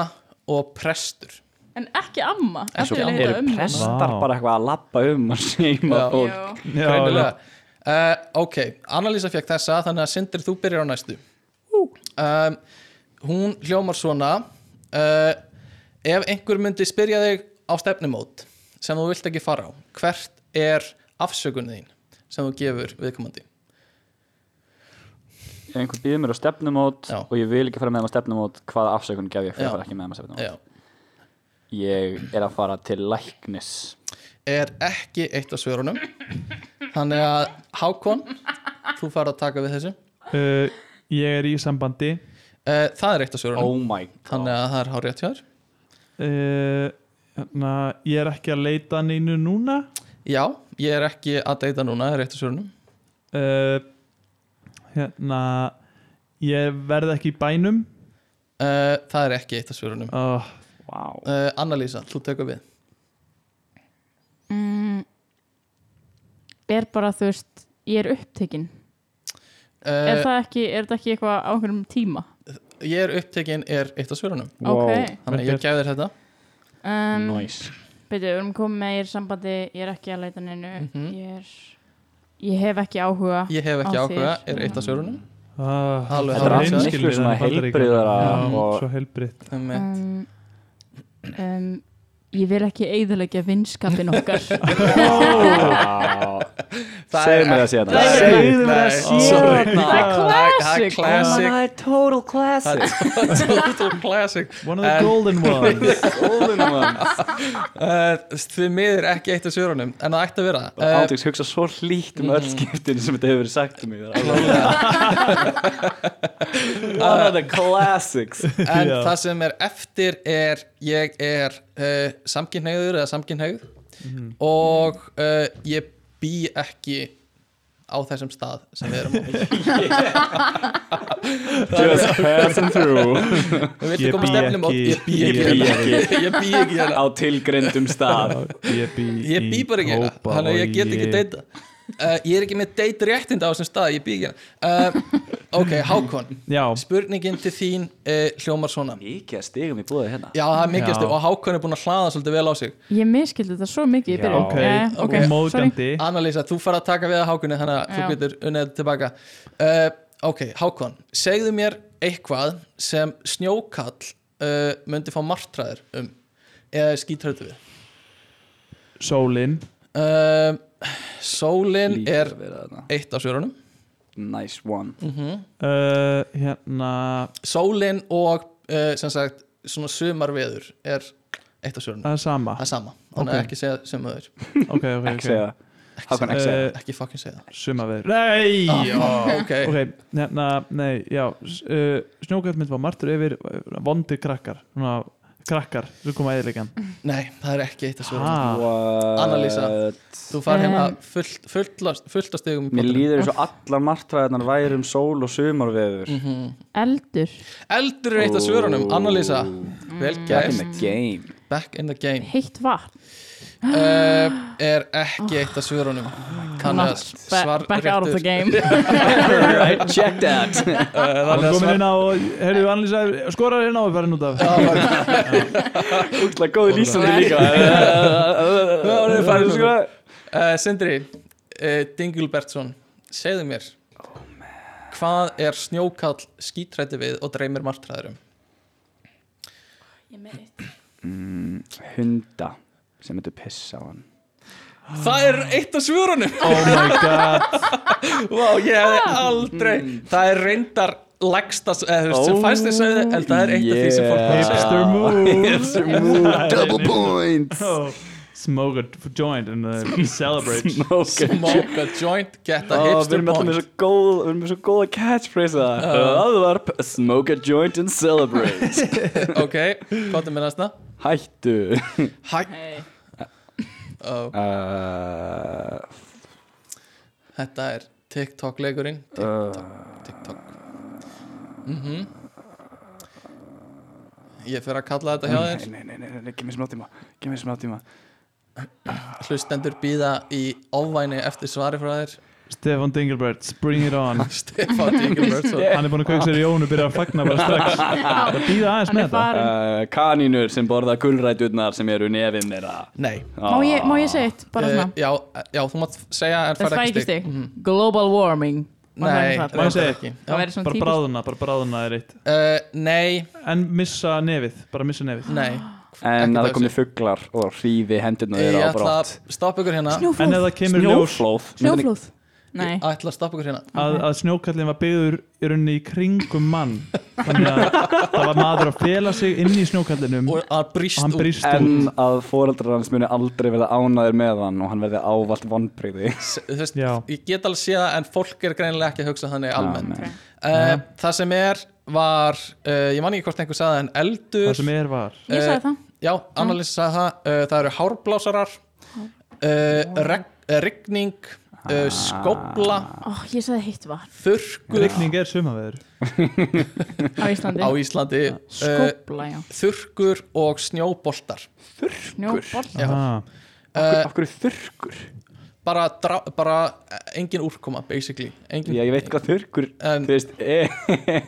[SPEAKER 3] og prestur.
[SPEAKER 4] En ekki amma,
[SPEAKER 2] En svo
[SPEAKER 4] eftir að heita
[SPEAKER 2] eru
[SPEAKER 4] ömmu
[SPEAKER 2] prestar
[SPEAKER 1] Vá.
[SPEAKER 2] bara eitthvað að lappa um og <laughs> seima
[SPEAKER 3] Já.
[SPEAKER 2] fólk
[SPEAKER 4] Já.
[SPEAKER 1] já, já,
[SPEAKER 3] Greinilega. Eh, Uh, ok, Annalísa fekk þessa þannig að Sindri þú byrjar á næstu um, hún hljómar svona uh, Ef einhver myndi spyrja þig á stefnumót sem þú vilt ekki fara á hvert er afsökun þín sem þú gefur viðkomandi
[SPEAKER 2] Ef einhver býður mér á stefnumót
[SPEAKER 3] Já.
[SPEAKER 2] og ég vil ekki fara með þeim á stefnumót hvaða afsökun gef ég fyrir
[SPEAKER 3] Já.
[SPEAKER 2] að fara ekki með þeim á stefnumót
[SPEAKER 3] Já.
[SPEAKER 2] ég er að fara til læknis
[SPEAKER 3] er ekki eitt af svörunum þannig að Hákon þú farið að taka við þessu
[SPEAKER 1] uh, Ég er í sambandi
[SPEAKER 3] uh, það er eitt af svörunum
[SPEAKER 2] oh my god
[SPEAKER 3] þannig að það er hár rétt hjá þér
[SPEAKER 1] uh, hérna, Ég er ekki að leita að neinu núna
[SPEAKER 3] já, ég er ekki að deyta núna það er eitt af svörunum
[SPEAKER 1] uh, Hérna Ég verð ekki í bænum
[SPEAKER 3] uh, það er ekki eitt af svörunum
[SPEAKER 1] oh,
[SPEAKER 2] wow.
[SPEAKER 3] uh, Annalísa, þú tekur við
[SPEAKER 4] mm, er bara þú veist ég er upptekinn er
[SPEAKER 3] uh,
[SPEAKER 4] það ekki, er það ekki eitthvað á einhverjum tíma
[SPEAKER 3] ég er upptekinn er eitt af svörunum
[SPEAKER 4] ok,
[SPEAKER 3] þannig að ég
[SPEAKER 1] Vel
[SPEAKER 3] gef þér þetta
[SPEAKER 4] um,
[SPEAKER 2] nice.
[SPEAKER 4] betur, við erum komið með ég er í sambandi, ég er ekki að leita neinu
[SPEAKER 3] Mhm.
[SPEAKER 4] ég er ég hef ekki áhuga
[SPEAKER 3] ég hef ekki
[SPEAKER 4] Á
[SPEAKER 3] áhuga,
[SPEAKER 4] þér.
[SPEAKER 3] er eitt af svörunum
[SPEAKER 1] ah, það
[SPEAKER 3] Alveg
[SPEAKER 1] er
[SPEAKER 3] hárrétt.
[SPEAKER 1] hreinskilnir
[SPEAKER 2] Miklu svona
[SPEAKER 1] en Bandaríkjunum.
[SPEAKER 2] heilbrigðara
[SPEAKER 1] Já,
[SPEAKER 2] og-
[SPEAKER 1] Svo heilbriðt
[SPEAKER 3] um,
[SPEAKER 4] um, um, ég vil ekki eigðalegja vinskapin okkar
[SPEAKER 2] wow.
[SPEAKER 3] Það
[SPEAKER 2] segðu
[SPEAKER 3] er
[SPEAKER 2] mér það síðan
[SPEAKER 4] Það er-
[SPEAKER 1] Segðu mér það síðan.
[SPEAKER 4] Það er
[SPEAKER 3] það er
[SPEAKER 4] classic.
[SPEAKER 3] classic
[SPEAKER 6] er Oh total
[SPEAKER 3] Það
[SPEAKER 6] classic
[SPEAKER 3] er total classic
[SPEAKER 1] One of the golden
[SPEAKER 3] <laughs>
[SPEAKER 1] ones
[SPEAKER 3] uh, Þið miður ekki eitt af svörunum En það ætti að vera <laughs> uh, mm.
[SPEAKER 2] Átjóks hugsa svo hlýtt um öll skiptin sem þetta hefur verið sagt
[SPEAKER 3] <laughs>
[SPEAKER 2] um mig One of the
[SPEAKER 3] <laughs>
[SPEAKER 2] classics
[SPEAKER 3] En
[SPEAKER 1] Já.
[SPEAKER 3] það sem er eftir er Ég er uh, samkynhneigður Eða samkynhneigð Mhm. Og uh, ég bý ekki Á þessum stað Sem við erum á
[SPEAKER 2] Just passing through
[SPEAKER 3] <laughs> Við
[SPEAKER 1] Ég
[SPEAKER 3] viltu koma
[SPEAKER 1] bý
[SPEAKER 3] stefnum á
[SPEAKER 1] ekki-
[SPEAKER 3] Ég bý
[SPEAKER 2] Ég
[SPEAKER 3] ekki
[SPEAKER 2] bý
[SPEAKER 3] hérna. <laughs> Ég bý ekki hérna
[SPEAKER 2] á tilgrindum stað
[SPEAKER 1] Ég bý,
[SPEAKER 3] Ég bý bara ekki hérna Þannig að ég get ekki deyta uh, Ég er ekki með deyt réttinda á þessum stað Ég bý ekki hérna uh, Ok, Hákon
[SPEAKER 1] Já,
[SPEAKER 3] Spurningin til þín uh, hljómar svona
[SPEAKER 2] Mikið að stigum í búið hérna
[SPEAKER 3] Já, það er mikið
[SPEAKER 1] Já.
[SPEAKER 3] stu og Hákon er búin að hlaða svolítið vel á sig
[SPEAKER 4] ég miskildi þetta svo mikið í
[SPEAKER 2] Já.
[SPEAKER 4] byrjun
[SPEAKER 1] ok,
[SPEAKER 4] Jæja,
[SPEAKER 1] ok,
[SPEAKER 4] Eh, sorry.
[SPEAKER 1] móðgandi
[SPEAKER 3] Annalísa, þú farið að taka við að Hákunni þannig að þú
[SPEAKER 4] Já.
[SPEAKER 3] getur unnið þetta tilbaka uh, Ok, Hákon, segðu mér eitthvað sem snjókall uh, myndi fá martræður um eða skítröðu við
[SPEAKER 1] Sólin
[SPEAKER 3] uh, Sólin
[SPEAKER 2] Hlýtur
[SPEAKER 3] er
[SPEAKER 2] að vera þarna.
[SPEAKER 3] eitt af svörunum
[SPEAKER 2] Nice one
[SPEAKER 1] uh, Hérna,
[SPEAKER 3] Sólin og uh, sem sagt svona sumarveður er eitt af
[SPEAKER 4] Ah,
[SPEAKER 3] svörunum
[SPEAKER 1] það er sama
[SPEAKER 3] Það er sama, þannig
[SPEAKER 1] Ok.
[SPEAKER 3] að ekki segja sem öður
[SPEAKER 1] Ok, ok,
[SPEAKER 2] Ekki
[SPEAKER 1] ok
[SPEAKER 2] segja það Hákan ekki segja það
[SPEAKER 3] Ekki fucking segja það
[SPEAKER 1] Sumaveður Nei,
[SPEAKER 3] Já, ok,
[SPEAKER 1] ok, hérna, nei, já s- uh, Snjókvæmt mynd var martur yfir uh, vondir krakkar Svona, krakkar, þú koma eðilegan
[SPEAKER 3] Nei, það er ekki eitt af svörunum
[SPEAKER 1] ah,
[SPEAKER 2] What?
[SPEAKER 3] Annalísa. Þú far hérna
[SPEAKER 4] Um,
[SPEAKER 3] fullt, fullt, last- fullt að stegum
[SPEAKER 2] Mér líður eins og allar martræðarnar væri um sól og sumarveður
[SPEAKER 4] eldur
[SPEAKER 3] Eldur Mm. er eitt af svörunum, Annalísa
[SPEAKER 4] Mm.
[SPEAKER 3] Vel
[SPEAKER 2] Back in
[SPEAKER 3] gæst,
[SPEAKER 2] the game
[SPEAKER 3] <laughs> back in the game
[SPEAKER 4] heitt vatn
[SPEAKER 3] uh, Er ekki eitt af svörunum Þannig að
[SPEAKER 4] Not ba-
[SPEAKER 3] svar
[SPEAKER 4] Oh back out of the
[SPEAKER 3] réttur. <laughs>
[SPEAKER 4] game
[SPEAKER 2] Right, check that
[SPEAKER 1] Hann er komin inn á, heyrðu, Annalisa skorar inn á og verðin út af
[SPEAKER 2] Útla góði lýsandi
[SPEAKER 3] <laughs>
[SPEAKER 2] líka Það er farið sko
[SPEAKER 3] uh, Sindri, uh, Dingulbertsson Segðu mér Hvað er snjókall skítrætti við og dreymir martræðurum?
[SPEAKER 2] Mm, Hunda sem myndi pissa á hann
[SPEAKER 3] Það er eitt af svörunum
[SPEAKER 1] Oh my god
[SPEAKER 3] <laughs> Vá, ég hefði aldrei Það er reyndar legsta eða, oh, sem
[SPEAKER 2] Oh,
[SPEAKER 3] fæst þess að en það er eitt af því sem fólk
[SPEAKER 2] yeah.
[SPEAKER 3] var að segja
[SPEAKER 1] <laughs> Hipster move
[SPEAKER 2] Double <laughs> points
[SPEAKER 1] Smoke a joint and uh, <laughs> celebrate
[SPEAKER 2] Okay.
[SPEAKER 3] Smoke a joint, get a
[SPEAKER 2] Oh, við
[SPEAKER 3] hipster
[SPEAKER 2] erum alltaf með
[SPEAKER 3] point
[SPEAKER 2] svo góð Við erum með svo góða catchphrase það Aðvarp, smoke a joint and
[SPEAKER 3] <laughs>
[SPEAKER 2] celebrate
[SPEAKER 3] Ok, hvað er með næsta? <laughs>
[SPEAKER 2] Hættu
[SPEAKER 3] Hæ Ó,
[SPEAKER 2] uh,
[SPEAKER 3] Þetta er TikTok-leikurinn TikTok, TikTok mm
[SPEAKER 2] Mhm.
[SPEAKER 3] Ég fer að kalla þetta hjá
[SPEAKER 2] nei,
[SPEAKER 3] þér
[SPEAKER 2] Mm. nei, nei, nei, nei, nei, gef mér smá tíma Gef mér smá tíma
[SPEAKER 3] Hlustendur býða í ofvæni eftir svari frá þér <laughs>
[SPEAKER 1] Stefan Dingelberts, bring it <laughs> on
[SPEAKER 3] Stefán
[SPEAKER 4] <laughs>
[SPEAKER 3] Dingulbertsson
[SPEAKER 1] Hann er búin að kveika sér í ónu og byrja að fagna bara strax Það býða aðeins
[SPEAKER 4] hann
[SPEAKER 1] með
[SPEAKER 4] er farin
[SPEAKER 2] uh, Kanínur sem borða gulræturnar sem eru nefinn þeirra
[SPEAKER 3] Nei
[SPEAKER 4] má ég, má ég segja eitt, bara
[SPEAKER 3] Eh,
[SPEAKER 4] svona
[SPEAKER 3] já, já, þú mátt segja en
[SPEAKER 4] það
[SPEAKER 3] fær
[SPEAKER 4] fæ
[SPEAKER 3] ekki
[SPEAKER 4] ekki
[SPEAKER 3] stig Mhm.
[SPEAKER 4] stig global warming Má það
[SPEAKER 3] Nei,
[SPEAKER 4] ekki
[SPEAKER 1] Má
[SPEAKER 4] fara?
[SPEAKER 1] ég
[SPEAKER 3] reyndar
[SPEAKER 1] segja?
[SPEAKER 3] ekki
[SPEAKER 4] það
[SPEAKER 3] Já.
[SPEAKER 4] verður
[SPEAKER 1] það
[SPEAKER 4] svona
[SPEAKER 1] Bara
[SPEAKER 4] típist
[SPEAKER 1] bráðuna, bara bráðuna er eitt
[SPEAKER 3] Eh, nei,
[SPEAKER 1] En missa nefið, bara missa nefið
[SPEAKER 3] nei
[SPEAKER 2] en að
[SPEAKER 3] Ekkert
[SPEAKER 2] það komi
[SPEAKER 3] þessu.
[SPEAKER 2] fuglar og hrífi hendurna
[SPEAKER 3] Ég
[SPEAKER 2] þeirra á
[SPEAKER 3] ætla að
[SPEAKER 2] brott
[SPEAKER 3] stoppa ykkur hérna
[SPEAKER 1] En ef
[SPEAKER 4] Snjóflóð
[SPEAKER 1] það kemur ljós
[SPEAKER 2] Snjóflóð
[SPEAKER 4] Snjóflóð Nei,
[SPEAKER 3] Ég ætla að stoppa ykkur hérna
[SPEAKER 1] að, að snjókallin var byggður í rauninni í kringum mann þannig að það var maður að fela sig inn í snjókallinum og
[SPEAKER 3] og að brýst
[SPEAKER 1] hann
[SPEAKER 3] út
[SPEAKER 1] brýst
[SPEAKER 2] En
[SPEAKER 1] út
[SPEAKER 2] að foreldrar hans muni aldrei verða ánaðir með hann og hann verði ávallt vonbrigði
[SPEAKER 3] S- þú veist,
[SPEAKER 1] Já.
[SPEAKER 3] ég get alveg séð það en fólk er greinilega ekki að hugsa þannig almennt
[SPEAKER 4] nei.
[SPEAKER 3] uh, það sem er var uh, ég man ekki hvort einhver sagði það, en eldur
[SPEAKER 1] það sem er var
[SPEAKER 4] ég sagði það
[SPEAKER 3] já, Annalisa sagði það uh, það eru hárblásarar uh, reg, eh, rigning
[SPEAKER 1] Ah.
[SPEAKER 3] uh, skobla,
[SPEAKER 4] Ó, ég sagði heitt vatn
[SPEAKER 3] þurrkur
[SPEAKER 1] Rigning er sumaveður
[SPEAKER 4] á Íslandi
[SPEAKER 3] á Íslandi
[SPEAKER 1] Ah.
[SPEAKER 3] uh,
[SPEAKER 4] Skópla, já
[SPEAKER 3] þurrkur og snjóboltar
[SPEAKER 4] Snjóboll
[SPEAKER 3] Já.
[SPEAKER 1] ah,
[SPEAKER 3] uh,
[SPEAKER 2] Af hverju þurrkur?
[SPEAKER 3] bara, drá, bara eh, engin úrkoma basically engin,
[SPEAKER 2] Já, ég veit hvað þurrkur
[SPEAKER 3] En-
[SPEAKER 2] Þú veist, e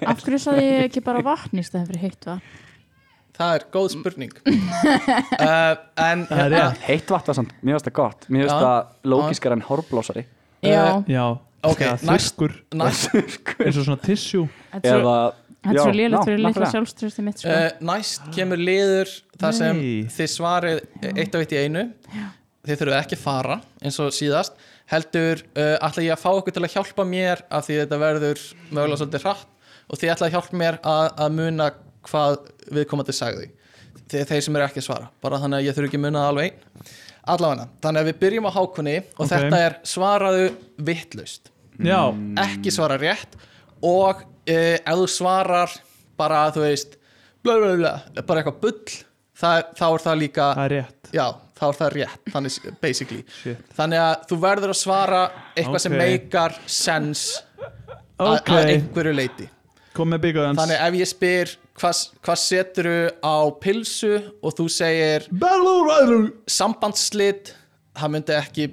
[SPEAKER 4] Af hverju sagði ég ekki bara vatn í stæðan fyrir heitt vatn?
[SPEAKER 3] það er
[SPEAKER 1] <laughs>
[SPEAKER 3] góð spurning uh, en
[SPEAKER 1] Það er
[SPEAKER 3] hérna-
[SPEAKER 1] rétt.
[SPEAKER 2] heitt vatn var samt, mér finnst það gott Mér
[SPEAKER 3] Já.
[SPEAKER 2] finnst það lógiskar en horblásari
[SPEAKER 3] Eh,
[SPEAKER 4] Já,
[SPEAKER 1] Já,
[SPEAKER 3] Ok,
[SPEAKER 1] það
[SPEAKER 3] næst-
[SPEAKER 1] þurrkur
[SPEAKER 3] Næst,
[SPEAKER 1] eins og svona tissjú
[SPEAKER 4] þetta er svo-
[SPEAKER 2] Eða
[SPEAKER 4] þetta er svo
[SPEAKER 2] já,
[SPEAKER 4] lélega
[SPEAKER 2] ná,
[SPEAKER 4] fyrir litla
[SPEAKER 2] nákvæmlega.
[SPEAKER 4] sjálfströsti mitt sko.
[SPEAKER 3] uh, næst kemur liður þar sem
[SPEAKER 1] Nei.
[SPEAKER 3] þið svarið eitt og eitt í einu þið þurfum ekki að fara eins og síðast heldur uh, ætla ég að fá okkur til að hjálpa mér af því þetta verður mögulega svolítið hratt og þið ætla að hjálpa mér að, að muna hvað viðkomandi sagði þeir, þeir sem eru ekki að svara bara þannig að ég þurfi ekki að muna það alveg einn allavega, þannig að við byrjum á hákunni og
[SPEAKER 1] Ok.
[SPEAKER 3] þetta er svaraðu vittlaust
[SPEAKER 1] Já,
[SPEAKER 3] ekki svara rétt og uh, ef þú svarar bara þú veist bla, bla, bla, bara eitthvað bull það, þá er það líka
[SPEAKER 1] það er rétt
[SPEAKER 3] já, þá er það rétt þannig, s- basically.
[SPEAKER 1] Shit.
[SPEAKER 3] þannig að þú verður að svara eitthvað sem
[SPEAKER 1] Ok.
[SPEAKER 3] meikar sens að,
[SPEAKER 1] Ok,
[SPEAKER 3] að einhverju leiti
[SPEAKER 1] kom með byggaðans
[SPEAKER 3] þannig ef ég spyr hvað, hvað setur á pilsu og þú segir sambandsslit það myndi ekki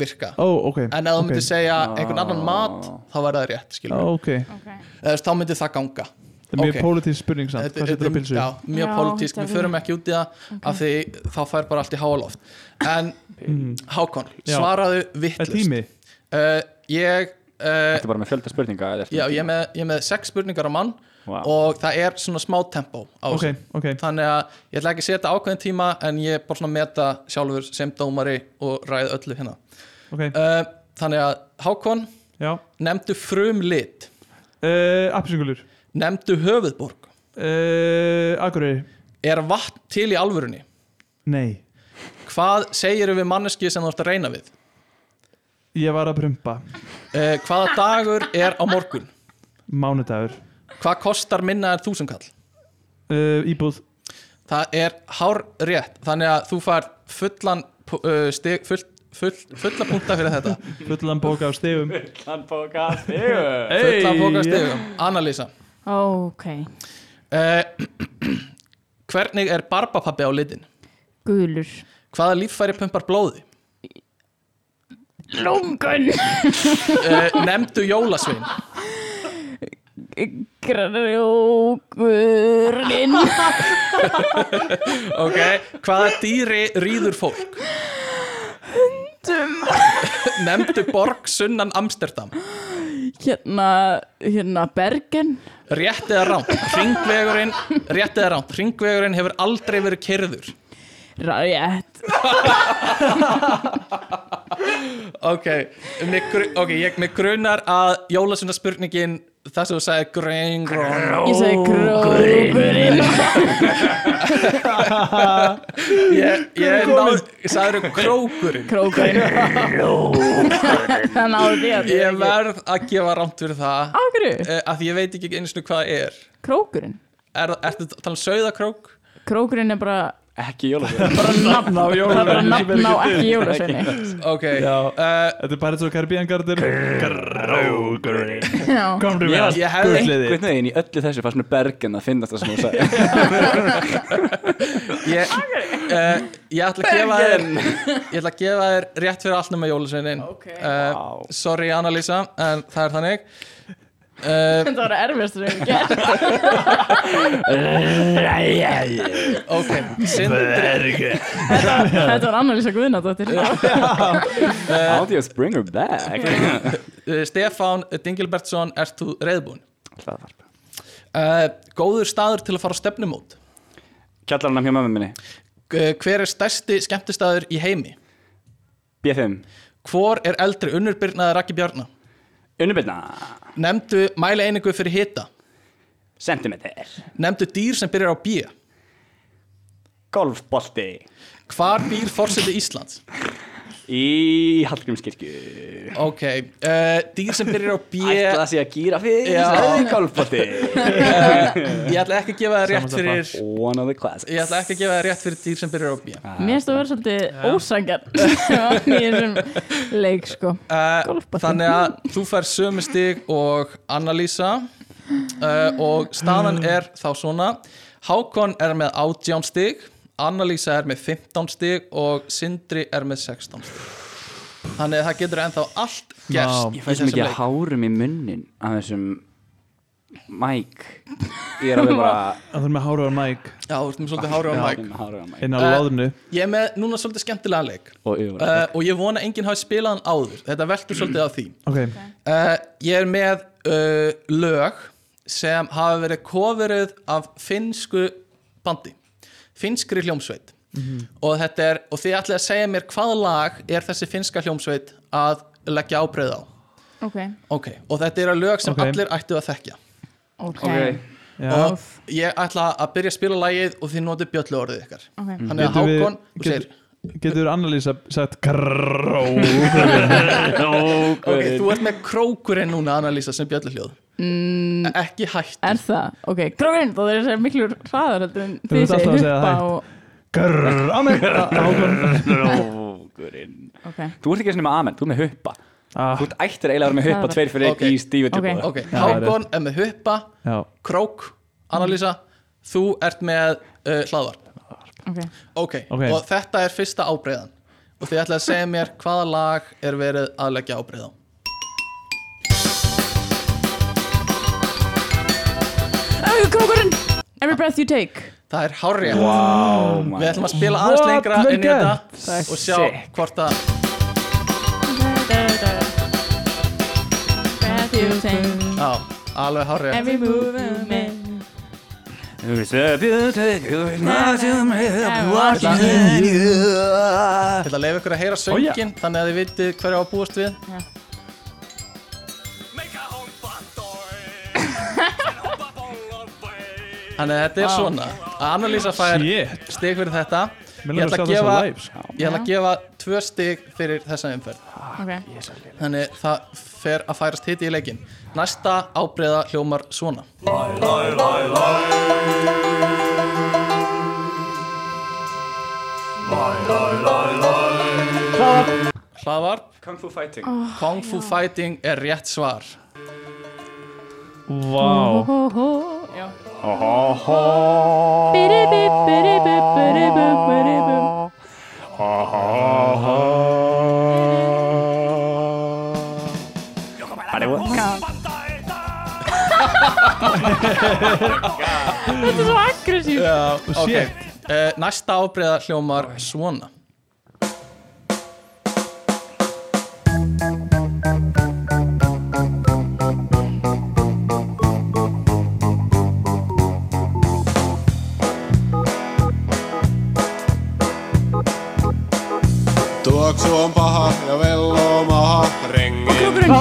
[SPEAKER 3] virka
[SPEAKER 1] Ó, ok
[SPEAKER 3] en ef þú
[SPEAKER 1] ok.
[SPEAKER 3] myndir segja einhvern annan mat þá verður það rétt skilur við.
[SPEAKER 1] Ok,
[SPEAKER 4] okay.
[SPEAKER 3] eða þú veist, þá myndi það ganga
[SPEAKER 1] það er mjög
[SPEAKER 3] Ok.
[SPEAKER 1] okay. pólitísk spurning samt
[SPEAKER 3] Þetta-
[SPEAKER 1] Hvað setur á
[SPEAKER 3] þetta-
[SPEAKER 1] pilsu?
[SPEAKER 3] já, mjög
[SPEAKER 4] Já,
[SPEAKER 3] pólitísk,
[SPEAKER 4] þetta
[SPEAKER 3] við
[SPEAKER 4] er-
[SPEAKER 3] förum ekki út í það af því þá fær bara allt í háaloft en Hákon,
[SPEAKER 1] Já. Það
[SPEAKER 3] svaraðu
[SPEAKER 1] er
[SPEAKER 3] vittlust
[SPEAKER 1] tími
[SPEAKER 3] uh, ég, uh,
[SPEAKER 2] Þetta er bara með fjölda spurninga eða ertu-
[SPEAKER 3] já, ég, er með, ég er með sex spurningar á mann
[SPEAKER 2] Vá.
[SPEAKER 3] og það er svona smá tempo á
[SPEAKER 1] Ok,
[SPEAKER 3] þessu.
[SPEAKER 1] ok
[SPEAKER 3] þannig að ég ætla ekki að setja ákveðin tíma en ég er bara svona að meta sjálfur sem dómari og ræð öllu hérna
[SPEAKER 1] ok,
[SPEAKER 3] uh, þannig að Hákon,
[SPEAKER 1] Já
[SPEAKER 3] nefndu frumlit
[SPEAKER 1] uh, Appisingulur
[SPEAKER 3] nefndu höfuðborg
[SPEAKER 1] uh, Akureyri
[SPEAKER 3] er vatn til í alvörunni
[SPEAKER 1] Nei,
[SPEAKER 3] hvað segir við manneski sem þú ert að reyna við
[SPEAKER 1] ég var að prumpa
[SPEAKER 3] uh, hvaða dagur er á morgun
[SPEAKER 1] Mánudagur
[SPEAKER 3] hvað kostar minna en þúsunkall
[SPEAKER 1] uh, Íbúð
[SPEAKER 3] það er hár rétt þannig að þú fær fullan pu- uh, stig, full, full, fulla punta fyrir þetta
[SPEAKER 1] Fullan bóka á stegum
[SPEAKER 2] Hann bókar þig
[SPEAKER 3] fulla
[SPEAKER 1] Hey,
[SPEAKER 3] bóka stigum Annalísa
[SPEAKER 4] ok,
[SPEAKER 3] uh, <clears throat> hvernig er barbapappi á litin
[SPEAKER 4] gulur
[SPEAKER 3] hvaða líffæri pumpar blóði
[SPEAKER 4] Lungun
[SPEAKER 3] uh, nefndu jólasvein
[SPEAKER 4] Grjókurinn
[SPEAKER 3] ok hvaða dýri rýður fólk
[SPEAKER 4] Dum
[SPEAKER 3] <laughs> nefndu borg sunnan Amsterdam
[SPEAKER 4] Hérna, hérna Bergen
[SPEAKER 3] rétt eða rámt ringvegurinn rétt eða rámt ringvegurinn hefur aldrei verið kyrður
[SPEAKER 4] Rætt
[SPEAKER 3] Ok, mig, gru- ok, ég, mig grunar að jólasuna spurningin það sem þú sagði grein, grón
[SPEAKER 4] Ég segi grókurinn
[SPEAKER 3] ég, ég náð, sagði þú krókurinn
[SPEAKER 4] Krókurinn Það <laughs> náðu því að
[SPEAKER 3] ég verð að gefa rámt fyrir það
[SPEAKER 4] Á hverju?
[SPEAKER 3] eh, af því ég veit ekki einu sinni hvað það er
[SPEAKER 4] Krókurinn
[SPEAKER 3] Er- Ertu að tala um sauðakrók?
[SPEAKER 4] Krókurinn er bara
[SPEAKER 2] Ekki jólagur
[SPEAKER 4] bara nafn á jólasveini bara nafn á ekki jólasveini
[SPEAKER 1] <laughs>
[SPEAKER 3] Ok,
[SPEAKER 1] Já.
[SPEAKER 3] uh,
[SPEAKER 1] Þetta er Pirates of the Caribbean Garden
[SPEAKER 4] Já.
[SPEAKER 1] Komdu
[SPEAKER 3] Ég-
[SPEAKER 1] með allt
[SPEAKER 3] ég hefði
[SPEAKER 1] gullið
[SPEAKER 2] Hvernig veginn í öllu þessu fannst mér bergen að finnast það sem þú sagði
[SPEAKER 3] ég, uh, ég ætla að gefa þér <laughs> ég ætla að gefa þér rétt fyrir allt nema jólasveinin
[SPEAKER 4] Ok.
[SPEAKER 3] uh, sorry Annalisa, en það er þannig uh,
[SPEAKER 4] þetta var erfist sem ég hef gert
[SPEAKER 3] ok, sindri
[SPEAKER 4] þetta var Annalisa Guðnadóttir
[SPEAKER 3] Eh.
[SPEAKER 2] How do you bring her back?
[SPEAKER 3] Uh, Stefán Dingilbertsson, ert þú reyðbúinn?
[SPEAKER 2] Hlaðvarp
[SPEAKER 3] uh, góður staður til að fara á stefnumót
[SPEAKER 2] Kjallarinn hjá mömmu minni
[SPEAKER 3] G- hver er stærsti skemmtistaður í heimi
[SPEAKER 2] B5
[SPEAKER 3] hvor er eldri Unnur Birna eða Raki Bjarna
[SPEAKER 2] Unnubirna
[SPEAKER 3] nefndu mæla einingu fyrir hita
[SPEAKER 2] Sentimeter
[SPEAKER 3] nefndu dýr sem byrjar á B
[SPEAKER 2] Golfbolti
[SPEAKER 3] hvar býr fórseti Íslands
[SPEAKER 2] Í Hallgrímskirkju
[SPEAKER 3] ok, uh, dýr sem byrjar á B
[SPEAKER 2] Ætla það sé að gýra fyrir
[SPEAKER 3] Já.
[SPEAKER 2] Það er golfbolti
[SPEAKER 3] ég ætla ekki að gefa það rétt
[SPEAKER 1] Samanstappa.
[SPEAKER 3] fyrir
[SPEAKER 2] One of the classics
[SPEAKER 3] ég ætla ekki að gefa það rétt fyrir dýr sem byrjar á B
[SPEAKER 4] Mér finnst það að vera svolítið ósangjarn <laughs> í þessum leik sko
[SPEAKER 3] uh,
[SPEAKER 4] Golfbolti.
[SPEAKER 3] þannig að þú fær sömu stig og Annalísa uh, og staðan er þá svona Hákon er með 18 stig Annalísa er með 15 stig og Sindri er með 16 stig þannig að það getur ennþá allt gerst
[SPEAKER 1] Vá.
[SPEAKER 2] Ég fæ svo mikið hárum í munnin af þessum Mike Ég er alveg bara
[SPEAKER 1] Það er með háraðar mæk
[SPEAKER 3] já, þú ert með svolítið hári á mæk
[SPEAKER 2] Hárum á Mike
[SPEAKER 1] inn á
[SPEAKER 3] Eh,
[SPEAKER 1] láðinu
[SPEAKER 3] ég er með núna svolítið skemmtilega leik
[SPEAKER 2] Og yfir
[SPEAKER 3] uh, og ég vona að enginn hafi spilað hann áður þetta veltur svolítið á því
[SPEAKER 1] Ok,
[SPEAKER 3] Uh, ég er með uh, lög sem hafa verið kofuruð af finnsku bandi finnskri hljómsveit og, þetta er, og þið ætlið að segja mér hvaða lag er þessi finnska hljómsveit að leggja ábreið á
[SPEAKER 4] Ok,
[SPEAKER 3] ok, og þetta eru lög sem
[SPEAKER 1] Ok.
[SPEAKER 3] allir ættu að þekkja
[SPEAKER 4] ok,
[SPEAKER 2] Ok.
[SPEAKER 1] já
[SPEAKER 3] og ég ætla að byrja að spila lagið og þið notið bjöllu orðið ykkar
[SPEAKER 4] ok
[SPEAKER 3] þannig að
[SPEAKER 1] Mm. Getum við-
[SPEAKER 3] Hákon, þú
[SPEAKER 1] getum-
[SPEAKER 3] segir
[SPEAKER 1] Getur Annalísa sagt Krrrró
[SPEAKER 3] ok, þú ert með krókurinn núna Annalísa sem bjöllu hljóð mm. ekki hætt
[SPEAKER 4] Er það? Ok, grófinn, þá þeir sér miklu hraðar heldur en
[SPEAKER 1] Þú
[SPEAKER 4] þið
[SPEAKER 1] ert alltaf að
[SPEAKER 4] segir
[SPEAKER 1] segja
[SPEAKER 4] huppa
[SPEAKER 1] hægt.
[SPEAKER 4] og
[SPEAKER 1] Krrrró Amen
[SPEAKER 3] Ah,
[SPEAKER 1] Hákon
[SPEAKER 2] Rókurinn
[SPEAKER 4] Ok,
[SPEAKER 2] Þú ert ekki eins og með amen, þú ert með huppa
[SPEAKER 1] Ah,
[SPEAKER 2] Þú ert ættir eiginlega að vera með huppa
[SPEAKER 4] Það er-
[SPEAKER 2] tveir fyrir
[SPEAKER 3] Ok.
[SPEAKER 2] okay. í stífi
[SPEAKER 4] Ok.
[SPEAKER 2] tilbúða
[SPEAKER 3] ok,
[SPEAKER 1] Já, það er
[SPEAKER 3] Hákon er með huppa
[SPEAKER 1] Já
[SPEAKER 3] Krók, Annalísa þú ert með uh, hlaðvarp
[SPEAKER 4] ok
[SPEAKER 3] okay.
[SPEAKER 1] Ok.
[SPEAKER 3] og þetta er fyrsta ábreiðan og þið ætlaði að segja mér hvaða lag er verið að leggja ábreið á
[SPEAKER 4] Oh, grófinn, every breath you take
[SPEAKER 3] það er hárið
[SPEAKER 2] Wow,
[SPEAKER 3] við
[SPEAKER 2] maður.
[SPEAKER 3] ætlum að spila aðeins
[SPEAKER 1] What?
[SPEAKER 3] lengra
[SPEAKER 1] Vel
[SPEAKER 3] inn í
[SPEAKER 1] gert.
[SPEAKER 3] þetta og sjá
[SPEAKER 2] Sick.
[SPEAKER 3] hvort að
[SPEAKER 4] Breath you take
[SPEAKER 3] á, alveg hárið
[SPEAKER 4] Every movement
[SPEAKER 3] ég ætla að leifa ykkur að heyra
[SPEAKER 1] Ó, já.
[SPEAKER 3] söngin þannig að þið vitið hverja á að búast við þannig að þetta er svona að Annalísa fær
[SPEAKER 1] Shit
[SPEAKER 3] stig fyrir þetta
[SPEAKER 1] Mér langar
[SPEAKER 3] Ég ætla
[SPEAKER 1] að
[SPEAKER 3] að
[SPEAKER 1] sjá þessa
[SPEAKER 3] gefa-
[SPEAKER 1] live sko.
[SPEAKER 3] ég ætla að gefa tvö stig fyrir þessa umferð
[SPEAKER 4] Ok,
[SPEAKER 3] Þannig það fer að færast hitt í leikin Næsta ábreyða hljómar svona Hlaðvarp
[SPEAKER 2] Kung Fu Fighting
[SPEAKER 3] Kung Fu Fighting er rétt svar
[SPEAKER 1] Vá
[SPEAKER 4] hó, hó. Já. Bidi-bi, bidi-bi, bidi-bu, bidi-bu. Þetta er svo aggressív
[SPEAKER 1] Shit
[SPEAKER 3] Eh, Næsta ábreyða hljómar svona
[SPEAKER 5] Tuoksu on paha ja velloo maha rengin.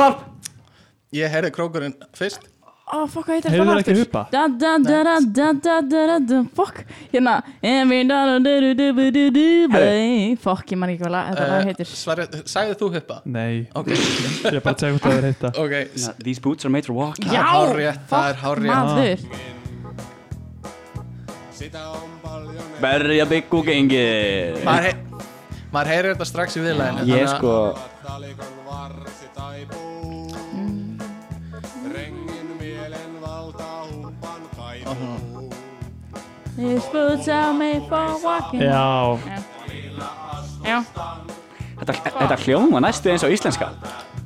[SPEAKER 3] Ég heyrði krókurinn fyrst
[SPEAKER 4] Ó, fokk, hvað heitir
[SPEAKER 1] Heyrðu
[SPEAKER 4] það
[SPEAKER 1] þér ekki huppa?
[SPEAKER 4] Da, da, da, da, da, da, da, da, da, fokk Hérna Every da, da, da, da, da, da, da, da, Fokk, ég man ekki hvað lag- þetta
[SPEAKER 3] Eh,
[SPEAKER 4] lag heitir
[SPEAKER 3] Sverri, sagði þú huppa?
[SPEAKER 1] Nei
[SPEAKER 3] Ok,
[SPEAKER 1] Ég er bara að teka út að það er hitta
[SPEAKER 3] ok
[SPEAKER 2] These boots are made for walking
[SPEAKER 3] Það er hárrétt, það er
[SPEAKER 4] Fokk,
[SPEAKER 3] hárrétt
[SPEAKER 4] maður
[SPEAKER 5] Sitä on paljon.
[SPEAKER 2] Berja bygg og gengið
[SPEAKER 3] Maður hey- maður heyrir þetta strax í viðlæðinu
[SPEAKER 2] Ég sko
[SPEAKER 5] Talikon varsi taipuu. Rengin mielen valtaa humpan kaipuu.
[SPEAKER 4] These boots are made for walking
[SPEAKER 1] Já
[SPEAKER 4] Já,
[SPEAKER 2] Þetta, þetta hljóma næstu eins og íslenska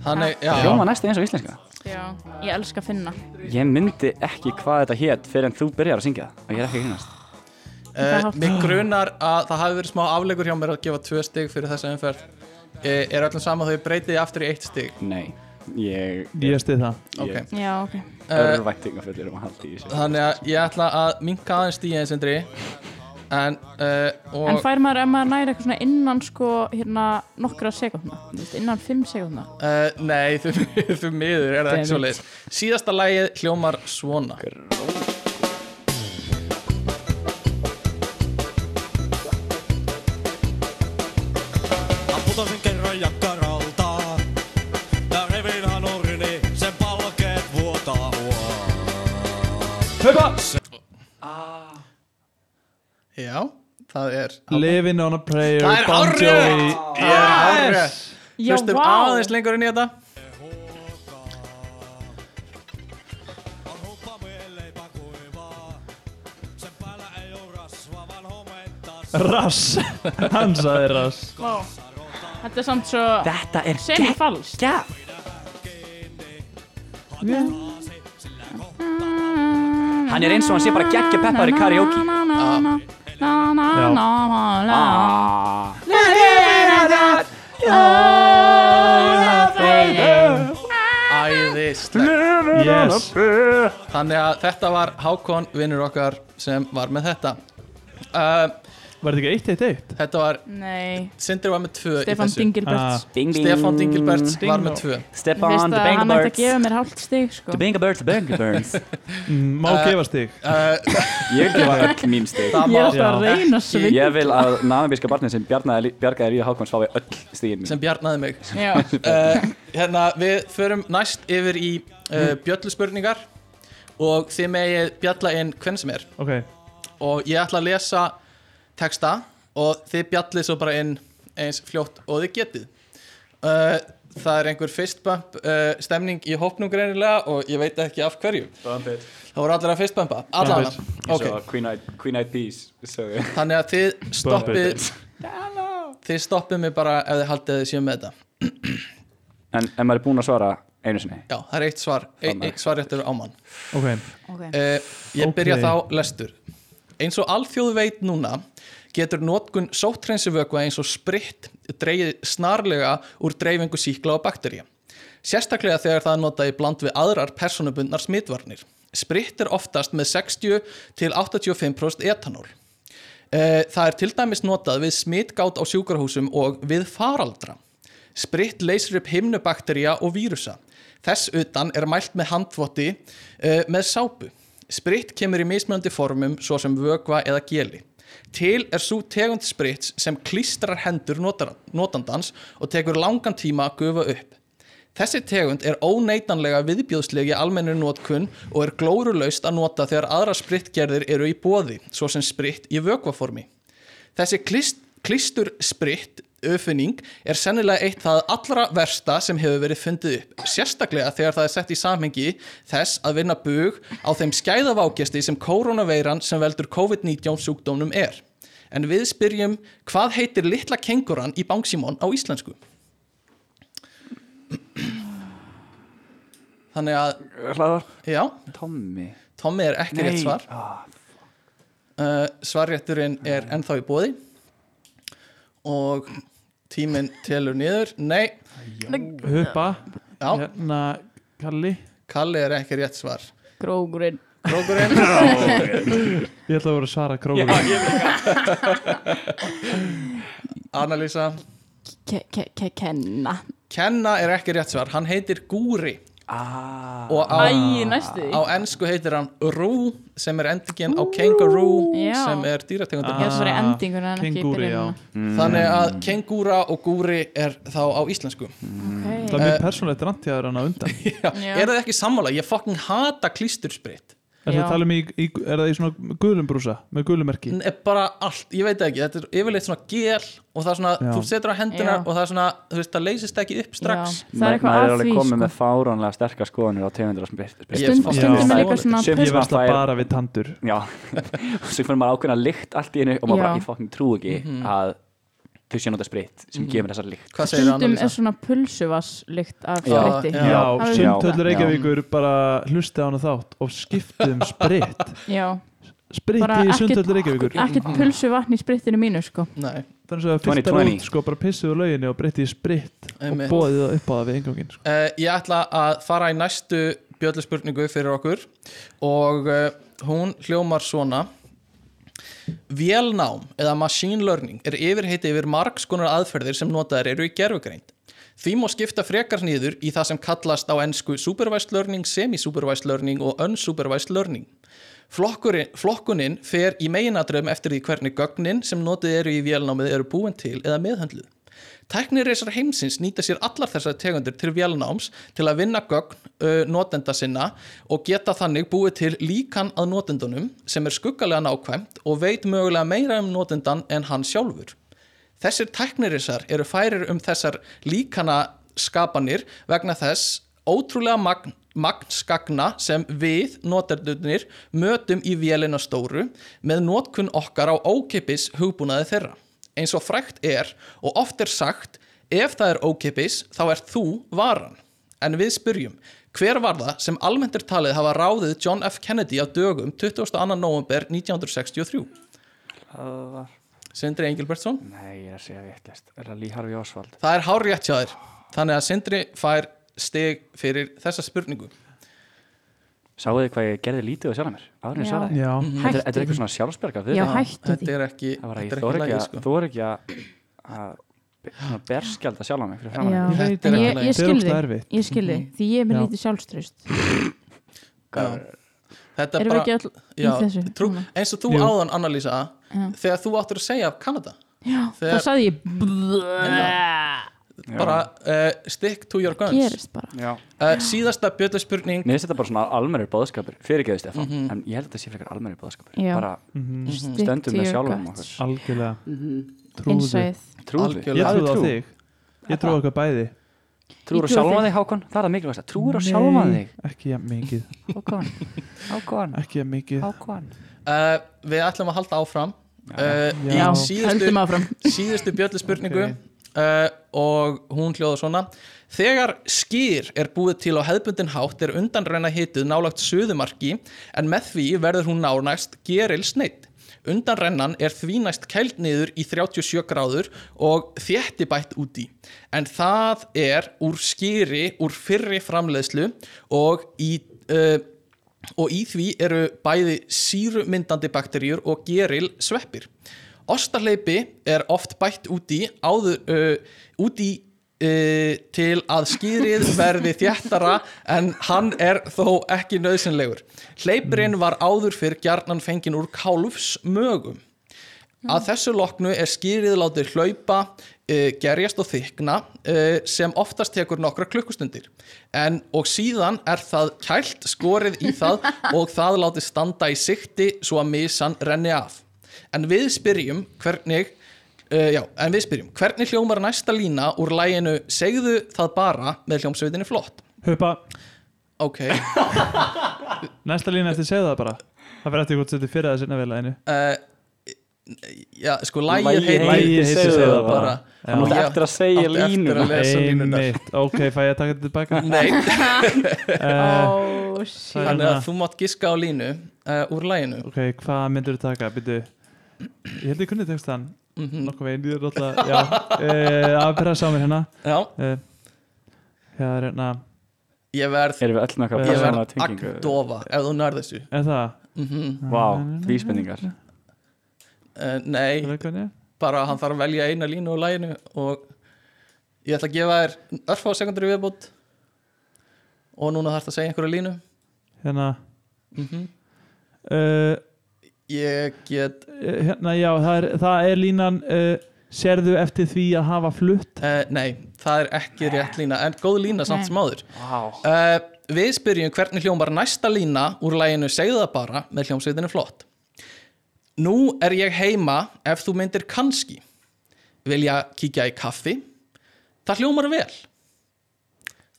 [SPEAKER 3] Þannig, já,
[SPEAKER 2] Hljóma næstu eins og íslenska
[SPEAKER 4] já Ég elska að finna
[SPEAKER 2] Ég myndi ekki hvað þetta hétt fyrir en þú byrjar að syngja það og ég er ekki að grínast
[SPEAKER 3] Uh,
[SPEAKER 4] hátt.
[SPEAKER 3] mér grunar að það hafi verið smá aflegur Eh, hjá mér að gefa tvö stig fyrir þessa umferð uh, er öllum sama þau breytiði aftur í eitt stig
[SPEAKER 2] Nei Ég
[SPEAKER 1] Ég stið það
[SPEAKER 3] Ok.
[SPEAKER 2] Ég
[SPEAKER 4] já, ok
[SPEAKER 3] Eh,
[SPEAKER 2] örvæntingafullir um að halda í þessu
[SPEAKER 3] Þannig að ég ætla að minka aðeins stíðin sindri En, uh,
[SPEAKER 4] En
[SPEAKER 3] og,
[SPEAKER 4] fær maður ef maður næri eitthvað svona innan sko hérna nokkra sekundna innan fimm sekundna
[SPEAKER 3] uh, nei, <laughs> þau, þau miður er það
[SPEAKER 4] Damn
[SPEAKER 3] ekki svo leið Síðasta lagið hljómar svona
[SPEAKER 6] putosin kerran jakkaralta. Ja revinhan orni, niin sen palkeet vuotaa uaa.
[SPEAKER 3] Já, það er
[SPEAKER 1] Living on a prayer
[SPEAKER 3] Það er
[SPEAKER 1] Bon Jovi.
[SPEAKER 3] hárrétt! Það er hárrétt.
[SPEAKER 4] Já,
[SPEAKER 3] Hlustum
[SPEAKER 4] vá
[SPEAKER 3] aðeins lengur inn í þetta
[SPEAKER 6] On huppa mieleipä kuivaa. Sen päällä ei oo rasva, vaan hometta
[SPEAKER 1] Rass Hann sagði rass
[SPEAKER 4] Vá. Þetta er samt svo
[SPEAKER 3] Þetta er
[SPEAKER 4] sem falskt
[SPEAKER 2] Hann er eins og hann sé bara geggja peppar í karaoke
[SPEAKER 4] karaoke
[SPEAKER 2] Ah,
[SPEAKER 3] Æðist
[SPEAKER 1] Yes
[SPEAKER 3] Þannig að þetta var Hákon, vinnur okkar sem var með þetta uh,
[SPEAKER 1] Var þetta ekki eitt eitt eitt?
[SPEAKER 3] Þetta var,
[SPEAKER 4] Nei,
[SPEAKER 3] Sindri var með tvö
[SPEAKER 4] Stefan
[SPEAKER 3] í þessu
[SPEAKER 1] Ah.
[SPEAKER 4] Dingilberts
[SPEAKER 2] Ding ding
[SPEAKER 3] Stefan Dingilberts
[SPEAKER 1] Ding
[SPEAKER 3] var
[SPEAKER 1] dong.
[SPEAKER 3] með tvö
[SPEAKER 4] Mér
[SPEAKER 2] Stefan,
[SPEAKER 4] finnst
[SPEAKER 2] the
[SPEAKER 4] að
[SPEAKER 2] Bang
[SPEAKER 4] hann ætti að
[SPEAKER 2] Birds
[SPEAKER 4] gefa mér hálft stig sko
[SPEAKER 2] The Bang Birds, the Bang Birds
[SPEAKER 1] Má
[SPEAKER 3] Eh,
[SPEAKER 1] gefa stig
[SPEAKER 3] uh,
[SPEAKER 2] Ég vil gefa öll mín stig
[SPEAKER 3] Það
[SPEAKER 4] Ég er
[SPEAKER 3] má
[SPEAKER 4] alltaf að
[SPEAKER 1] Já.
[SPEAKER 4] reyna svinn
[SPEAKER 2] Ég vil að namibíska barnið sem bjargaði lífi Hákons fái öll stigin mín
[SPEAKER 3] sem bjarnaði mig
[SPEAKER 4] Já,
[SPEAKER 3] uh, Hérna, við förum næst yfir í uh, bjölluspurningar og þið megið bjalla inn hvern sem er
[SPEAKER 1] Ok
[SPEAKER 3] og ég ætla að lesa texta og þið bjallið svo bara inn eins fljótt og þið getið uh, Það er einhver fistbump uh, stemning í hópnum greinilega og ég veit ekki af hverju Það voru allir að fistbumpa Allan
[SPEAKER 2] okay.
[SPEAKER 3] okay.
[SPEAKER 2] Queen, Eyed, Queen Eyed Peas sögðu.
[SPEAKER 3] Þannig að þið stoppið Þið stoppið mig bara ef þið haldið að þið séum með þetta
[SPEAKER 2] En ef maður er búinn að svara einu sinni
[SPEAKER 3] Já, það er eitt svar, eitt,
[SPEAKER 2] Þannig.
[SPEAKER 3] eitt svar réttur á mann
[SPEAKER 1] Ok
[SPEAKER 4] ok
[SPEAKER 3] Eh, ég
[SPEAKER 1] Ok.
[SPEAKER 3] byrja þá lestur. Eins og alþjóð veit núna getur notkun sóttrensivökva eins og spritt dreigið snarlega úr dreifingu síkla og bakterja. Sérstaklega þegar það er notað í bland við aðrar personubundnar smitvarnir. Spritt er oftast með 60 til 85% etanól. Eh, Það er til dæmis notað við smitgát á sjúkarhúsum og við faraldra. Spritt leysir upp himnubaktería og vírusa. Þess utan er mælt með handvotti eh, með sápu. Spritt kemur í mismunandi formum svo sem vögva eða geli. Til er svo tegund sprits sem klístrar hendur notar- notandans og tekur langan tíma að gufa upp. Þessi tegund er óneitanlega viðbjóðsleg í almennir notkun og er glórulaust að nota þegar aðra sprittgerðir eru í boði, svo sem spritt í vökvaformi. Þessi klist, klistur spritt öfunning er sennilega eitt það allra versta sem hefur verið fundið upp, sérstaklega þegar það er sett í samhengi þess að vinna bug á þeim skæðavákjasti sem koronaveiran sem veldur COVID-19 sjúkdómnum er. En við spyrjum, hvað heitir litla kenguran í Bangsímon á íslensku? Þannig að,
[SPEAKER 2] Hlaðar
[SPEAKER 3] já,
[SPEAKER 2] Tommy
[SPEAKER 3] Tommi er ekki rétt svar.
[SPEAKER 2] Ah,
[SPEAKER 3] Uh, svarrétturinn er ennþá í bóði og tíminn telur niður nei,
[SPEAKER 1] Huppa
[SPEAKER 3] já,
[SPEAKER 1] Hérna Kalli
[SPEAKER 3] Kalli er ekki rétt svar
[SPEAKER 4] Grógurinn
[SPEAKER 3] Krókurinn
[SPEAKER 1] Ég ætla að vera að svara krókur
[SPEAKER 3] Annalísa
[SPEAKER 4] Ke- ke- ke- kenna
[SPEAKER 3] Kenna er ekki rétt svar, hann heitir Gúri
[SPEAKER 2] ah.
[SPEAKER 3] og á,
[SPEAKER 4] Æ, næstu því
[SPEAKER 3] á ennsku heitir hann Rú sem er endingin á Kangaroo
[SPEAKER 4] Já.
[SPEAKER 3] sem er dýrategundin
[SPEAKER 1] Ah.
[SPEAKER 4] Ég svar í endingun en ekki í
[SPEAKER 1] Kengúri, já
[SPEAKER 4] byrjunum
[SPEAKER 3] þannig að Kengúra og Gúri er þá á íslensku
[SPEAKER 1] Það er mjög
[SPEAKER 3] Eh.
[SPEAKER 1] persónlegt rant hjá þér hann á undan
[SPEAKER 3] já,
[SPEAKER 4] Já.
[SPEAKER 3] <laughs> er það ekki sammála, ég fucking hata klísturspritt
[SPEAKER 1] Er það
[SPEAKER 4] Já.
[SPEAKER 1] að tala um í, í, er það í svona gulum brúsa með gulum merki?
[SPEAKER 3] N- er bara allt, ég veit það ekki, þetta er yfirleitt svona gel og það er svona,
[SPEAKER 1] Já.
[SPEAKER 3] þú setur á hendina
[SPEAKER 4] Já.
[SPEAKER 3] og það er svona, þú veist, það leysist ekki upp strax
[SPEAKER 4] Já, Það er eitthvað að
[SPEAKER 2] Maður er
[SPEAKER 4] því
[SPEAKER 2] alveg komið
[SPEAKER 4] sko.
[SPEAKER 2] með fáránlega sterkar skoðanir á tegundur sem byrst
[SPEAKER 3] Ég-
[SPEAKER 4] Stund-
[SPEAKER 3] Já.
[SPEAKER 4] Stundum er
[SPEAKER 3] Já.
[SPEAKER 4] líka svona
[SPEAKER 2] Sum-
[SPEAKER 1] Ég
[SPEAKER 4] pus-
[SPEAKER 1] versla
[SPEAKER 2] Það er-
[SPEAKER 1] bara við tandur
[SPEAKER 2] Já <laughs> Og svo fyrir maður ákveðna lykt allt í einu og maður
[SPEAKER 4] Já. Mhm.
[SPEAKER 2] bara ég fokkin trú ekki að þau séu nota sprit sem gefur þessar lykt
[SPEAKER 3] hvað segir
[SPEAKER 4] Stundum er
[SPEAKER 3] Annalisa?
[SPEAKER 4] svona pulsuvasslykt af
[SPEAKER 3] Já,
[SPEAKER 4] spritti
[SPEAKER 3] já.
[SPEAKER 1] Já,
[SPEAKER 4] Já.
[SPEAKER 1] sumtöld
[SPEAKER 2] Já.
[SPEAKER 1] Reykjavíkur bara hlusti á hana þátt og skipti um spritt
[SPEAKER 4] Já,
[SPEAKER 1] spritti
[SPEAKER 4] Bara
[SPEAKER 1] í
[SPEAKER 4] ekkert-
[SPEAKER 1] sundhöldur Reykjavíkur
[SPEAKER 4] ekkert
[SPEAKER 3] Mm.
[SPEAKER 4] pulsu vatn í sprittinu mínu sko
[SPEAKER 3] Nei,
[SPEAKER 1] þannig að fyrsta
[SPEAKER 2] 2020.
[SPEAKER 1] út sko bara pissið úr lauginni og breytti í spritt og
[SPEAKER 3] einmitt.
[SPEAKER 1] bóðið það upp á það við eingangin sko.
[SPEAKER 3] Eh, ég ætla að fara í næstu bjölluspurningu fyrir okkur og uh, hún hljómar svona Vélnám eða machine learning er yfirheiti yfir margs konar aðferðir sem notaðar eru í gerfugreind. Því má skipta frekar nýður í það sem kallast á ennsku supervised learning, semi-supervised learning og unsupervised learning. Flokkurin, flokkunin fer í meginadröfum eftir því hvernig gögnin sem notið eru í vélnámið eru búin til eða meðhöndluð. Teknireisar heimsins nýta sér allar þessar tegundir til vélnáms til að vinna gögn uh, notenda sinna og geta þannig búið til líkan að notendunum sem er skuggalega nákvæmt og veit mögulega meira um notendan en hann sjálfur. Þessir teknirisar eru færir um þessar líkana skapanir vegna þess ótrúlega magn, magn skagna sem við notendunir mötum í vélina stóru með notkun okkar á ókipis hugbúnaði þeirra. Eins og frækt er og oft er sagt ef það er ókipis þá er þú varan. En við spyrjum, hver var það sem almennt er talið hafa ráðið John F. Kennedy á dögum 22. november 1963?
[SPEAKER 2] Það var
[SPEAKER 3] Sindri Engilbertsson?
[SPEAKER 2] Nei, ég er að segja vittlist Er það Lee Harvey Oswald?
[SPEAKER 3] Það er hár rétt hjá þér Þannig að Sindri fær stig fyrir þessa spurningu
[SPEAKER 2] Sáuðu þið hvað ég gerði lítið og sjálf mér? Áður en ég
[SPEAKER 4] Já.
[SPEAKER 2] svaraði
[SPEAKER 1] já,
[SPEAKER 2] Þetta er- þetta er
[SPEAKER 4] Hættu
[SPEAKER 2] eitthvað svona sjálfsberga
[SPEAKER 4] Já,
[SPEAKER 2] Það
[SPEAKER 4] hættu
[SPEAKER 3] Þetta
[SPEAKER 4] því
[SPEAKER 3] er ekki
[SPEAKER 2] var að
[SPEAKER 3] Þetta
[SPEAKER 2] ég
[SPEAKER 3] er ekki
[SPEAKER 2] þor ekki
[SPEAKER 3] lagið
[SPEAKER 2] að
[SPEAKER 3] sko
[SPEAKER 2] Þú er ekki að að- svona berskjald að sjálfa mig fyrir framan
[SPEAKER 4] Já,
[SPEAKER 2] mig.
[SPEAKER 3] Þetta er
[SPEAKER 4] en
[SPEAKER 3] alveg-
[SPEAKER 4] ég, ég
[SPEAKER 1] þetta er
[SPEAKER 4] skil
[SPEAKER 1] óslega
[SPEAKER 4] þig
[SPEAKER 1] erfitt
[SPEAKER 4] Ég skil þig, því ég er með
[SPEAKER 1] Já.
[SPEAKER 4] lítið sjálfströst
[SPEAKER 3] Já. Þetta er
[SPEAKER 4] Erum við
[SPEAKER 3] bara
[SPEAKER 4] ekki all í
[SPEAKER 3] já,
[SPEAKER 4] þessu?
[SPEAKER 3] trú,
[SPEAKER 4] núna?
[SPEAKER 3] Eins og þú
[SPEAKER 1] Jú.
[SPEAKER 3] áðan Annalísa
[SPEAKER 4] Já.
[SPEAKER 3] Þegar þú áttur að segja af Kanada
[SPEAKER 4] Já,
[SPEAKER 3] þegar-
[SPEAKER 4] þá saði ég Hvað
[SPEAKER 3] Bara uh, stick to your guns
[SPEAKER 4] gerist bara?
[SPEAKER 2] Já.
[SPEAKER 3] uh, Síðasta bjöllspurning
[SPEAKER 2] Mér finnst þetta bara svona almennur bóðskapur Fyrirgeðu Stefán,
[SPEAKER 3] Mhm.
[SPEAKER 2] en ég held að þetta sé frekar almennur bóðskapur
[SPEAKER 4] Já.
[SPEAKER 2] Bara
[SPEAKER 1] Mm.
[SPEAKER 2] stöndum með sjálfum okkur
[SPEAKER 1] algjörlega trúðu
[SPEAKER 4] Innsæð
[SPEAKER 2] Trúðu
[SPEAKER 3] Algjörlega.
[SPEAKER 1] ég trúðu á
[SPEAKER 2] Hafðu trú.
[SPEAKER 1] þig ég trúðu á okkur bæði
[SPEAKER 2] Trúður á
[SPEAKER 4] Ég trúi
[SPEAKER 2] sjálfan
[SPEAKER 4] þig.
[SPEAKER 2] þig Hákon, það er það mikilvægast Trúður á sjálfan
[SPEAKER 1] Nei,
[SPEAKER 2] þig
[SPEAKER 1] ekki jafn mikið
[SPEAKER 2] Hákon, Hákon,
[SPEAKER 1] ekki jafn mikið
[SPEAKER 2] Hákon
[SPEAKER 3] uh, Við ætlum að halda áfram uh, Í
[SPEAKER 1] Já.
[SPEAKER 3] síðustu
[SPEAKER 4] höldum áfram
[SPEAKER 3] síðustu bjölluspurningu uh, og hún hljóða svona Þegar skýr er búið til á hefðbundin hátt er undanræna hitið nálagt söðumarki en með því verður hún nánægst gerilsneitt. Undanrennan er því næst kælt niður í 37 gráður og þéttibætt út í. En það er úr skýri, úr fyrri framleiðslu og í... Uh, og í því eru bæði sírumyndandi bakterjur og geril sveppir. Ostarleipi er oft bætt út í, áður, uh, út í uh, til að skýrið verði þjættara en hann er þó ekki nöðsynlegur. Hleypirinn var áður fyrr gjarnan fengin úr kálfsmögum. Að þessu loknu er skýrið látið hlaupa, uh, gerjast og þykna uh, sem oftast tekur nokkra klukkustundir. En, og síðan er það kælt skorið í það og það látið standa í sikti svo að misan renni af. En við spyrjum hvernig Uh, já, en við spyrjum, hvernig hljómar næsta lína úr læginu Segðu það bara með hljómsveitinni flott?
[SPEAKER 1] hupa
[SPEAKER 3] Ok, uh,
[SPEAKER 1] næsta lína eftir segðu það bara það verður eftir hvort þetta er fyrir að sinna vel að einu
[SPEAKER 3] já, eh, sko, lægið
[SPEAKER 2] Lagið
[SPEAKER 3] heitir
[SPEAKER 1] heitir Segðu það bara.
[SPEAKER 2] Hann átti
[SPEAKER 3] Já.
[SPEAKER 2] eftir að segja
[SPEAKER 3] Átti eftir
[SPEAKER 2] línuna
[SPEAKER 3] að lesa línuna.
[SPEAKER 1] einmitt ok, fæ ég að taka þetta tilbaka
[SPEAKER 3] Nei,
[SPEAKER 1] uh,
[SPEAKER 4] Ó, Oh, shit
[SPEAKER 3] Þannig að
[SPEAKER 1] Hérna.
[SPEAKER 3] þú mátt giska á línu uh, úr læginu
[SPEAKER 1] ok, hvað myndir þú taka byrju ég held ég kunni tekst þann
[SPEAKER 3] Mhm.
[SPEAKER 1] nokkuð veginn, ég er alltaf já, <laughs> uh, að pressa á mér hérna
[SPEAKER 3] Já,
[SPEAKER 1] uh, hérna, hérna
[SPEAKER 3] ég verð
[SPEAKER 2] Erum við öll með eitthvað
[SPEAKER 1] Ég
[SPEAKER 3] Ég
[SPEAKER 1] verð
[SPEAKER 2] persónulega
[SPEAKER 3] verð
[SPEAKER 2] tengingu?
[SPEAKER 3] agdofa ef þú nærð þessu Mhm.
[SPEAKER 1] er það,
[SPEAKER 2] Vá, vísbendingar
[SPEAKER 3] uh,
[SPEAKER 1] Hérna, er
[SPEAKER 3] Nei,
[SPEAKER 1] það hvernig
[SPEAKER 3] bara hann þarf að velja eina línu úr læginu og ég ætla að gefa þér örfá sekundur í viðbútt og núna þarf það að segja einhverja línu
[SPEAKER 1] hérna
[SPEAKER 3] mm
[SPEAKER 1] uh,
[SPEAKER 3] Ég get
[SPEAKER 1] hérna, já, það er, það er línan uh, sérðu eftir því að hafa flutt
[SPEAKER 3] uh, Nei, það er ekki rétt lína en góð lína samt
[SPEAKER 4] Nei.
[SPEAKER 3] sem áður
[SPEAKER 2] Vá,
[SPEAKER 3] Uh, við spyrjum hvernig hljómar næsta lína úr læginu Segðu það bara með hljómsveitinu flott. Nú er ég heima ef þú myndir kannski. Vilja kíkja í kaffi? Það hljómar vel.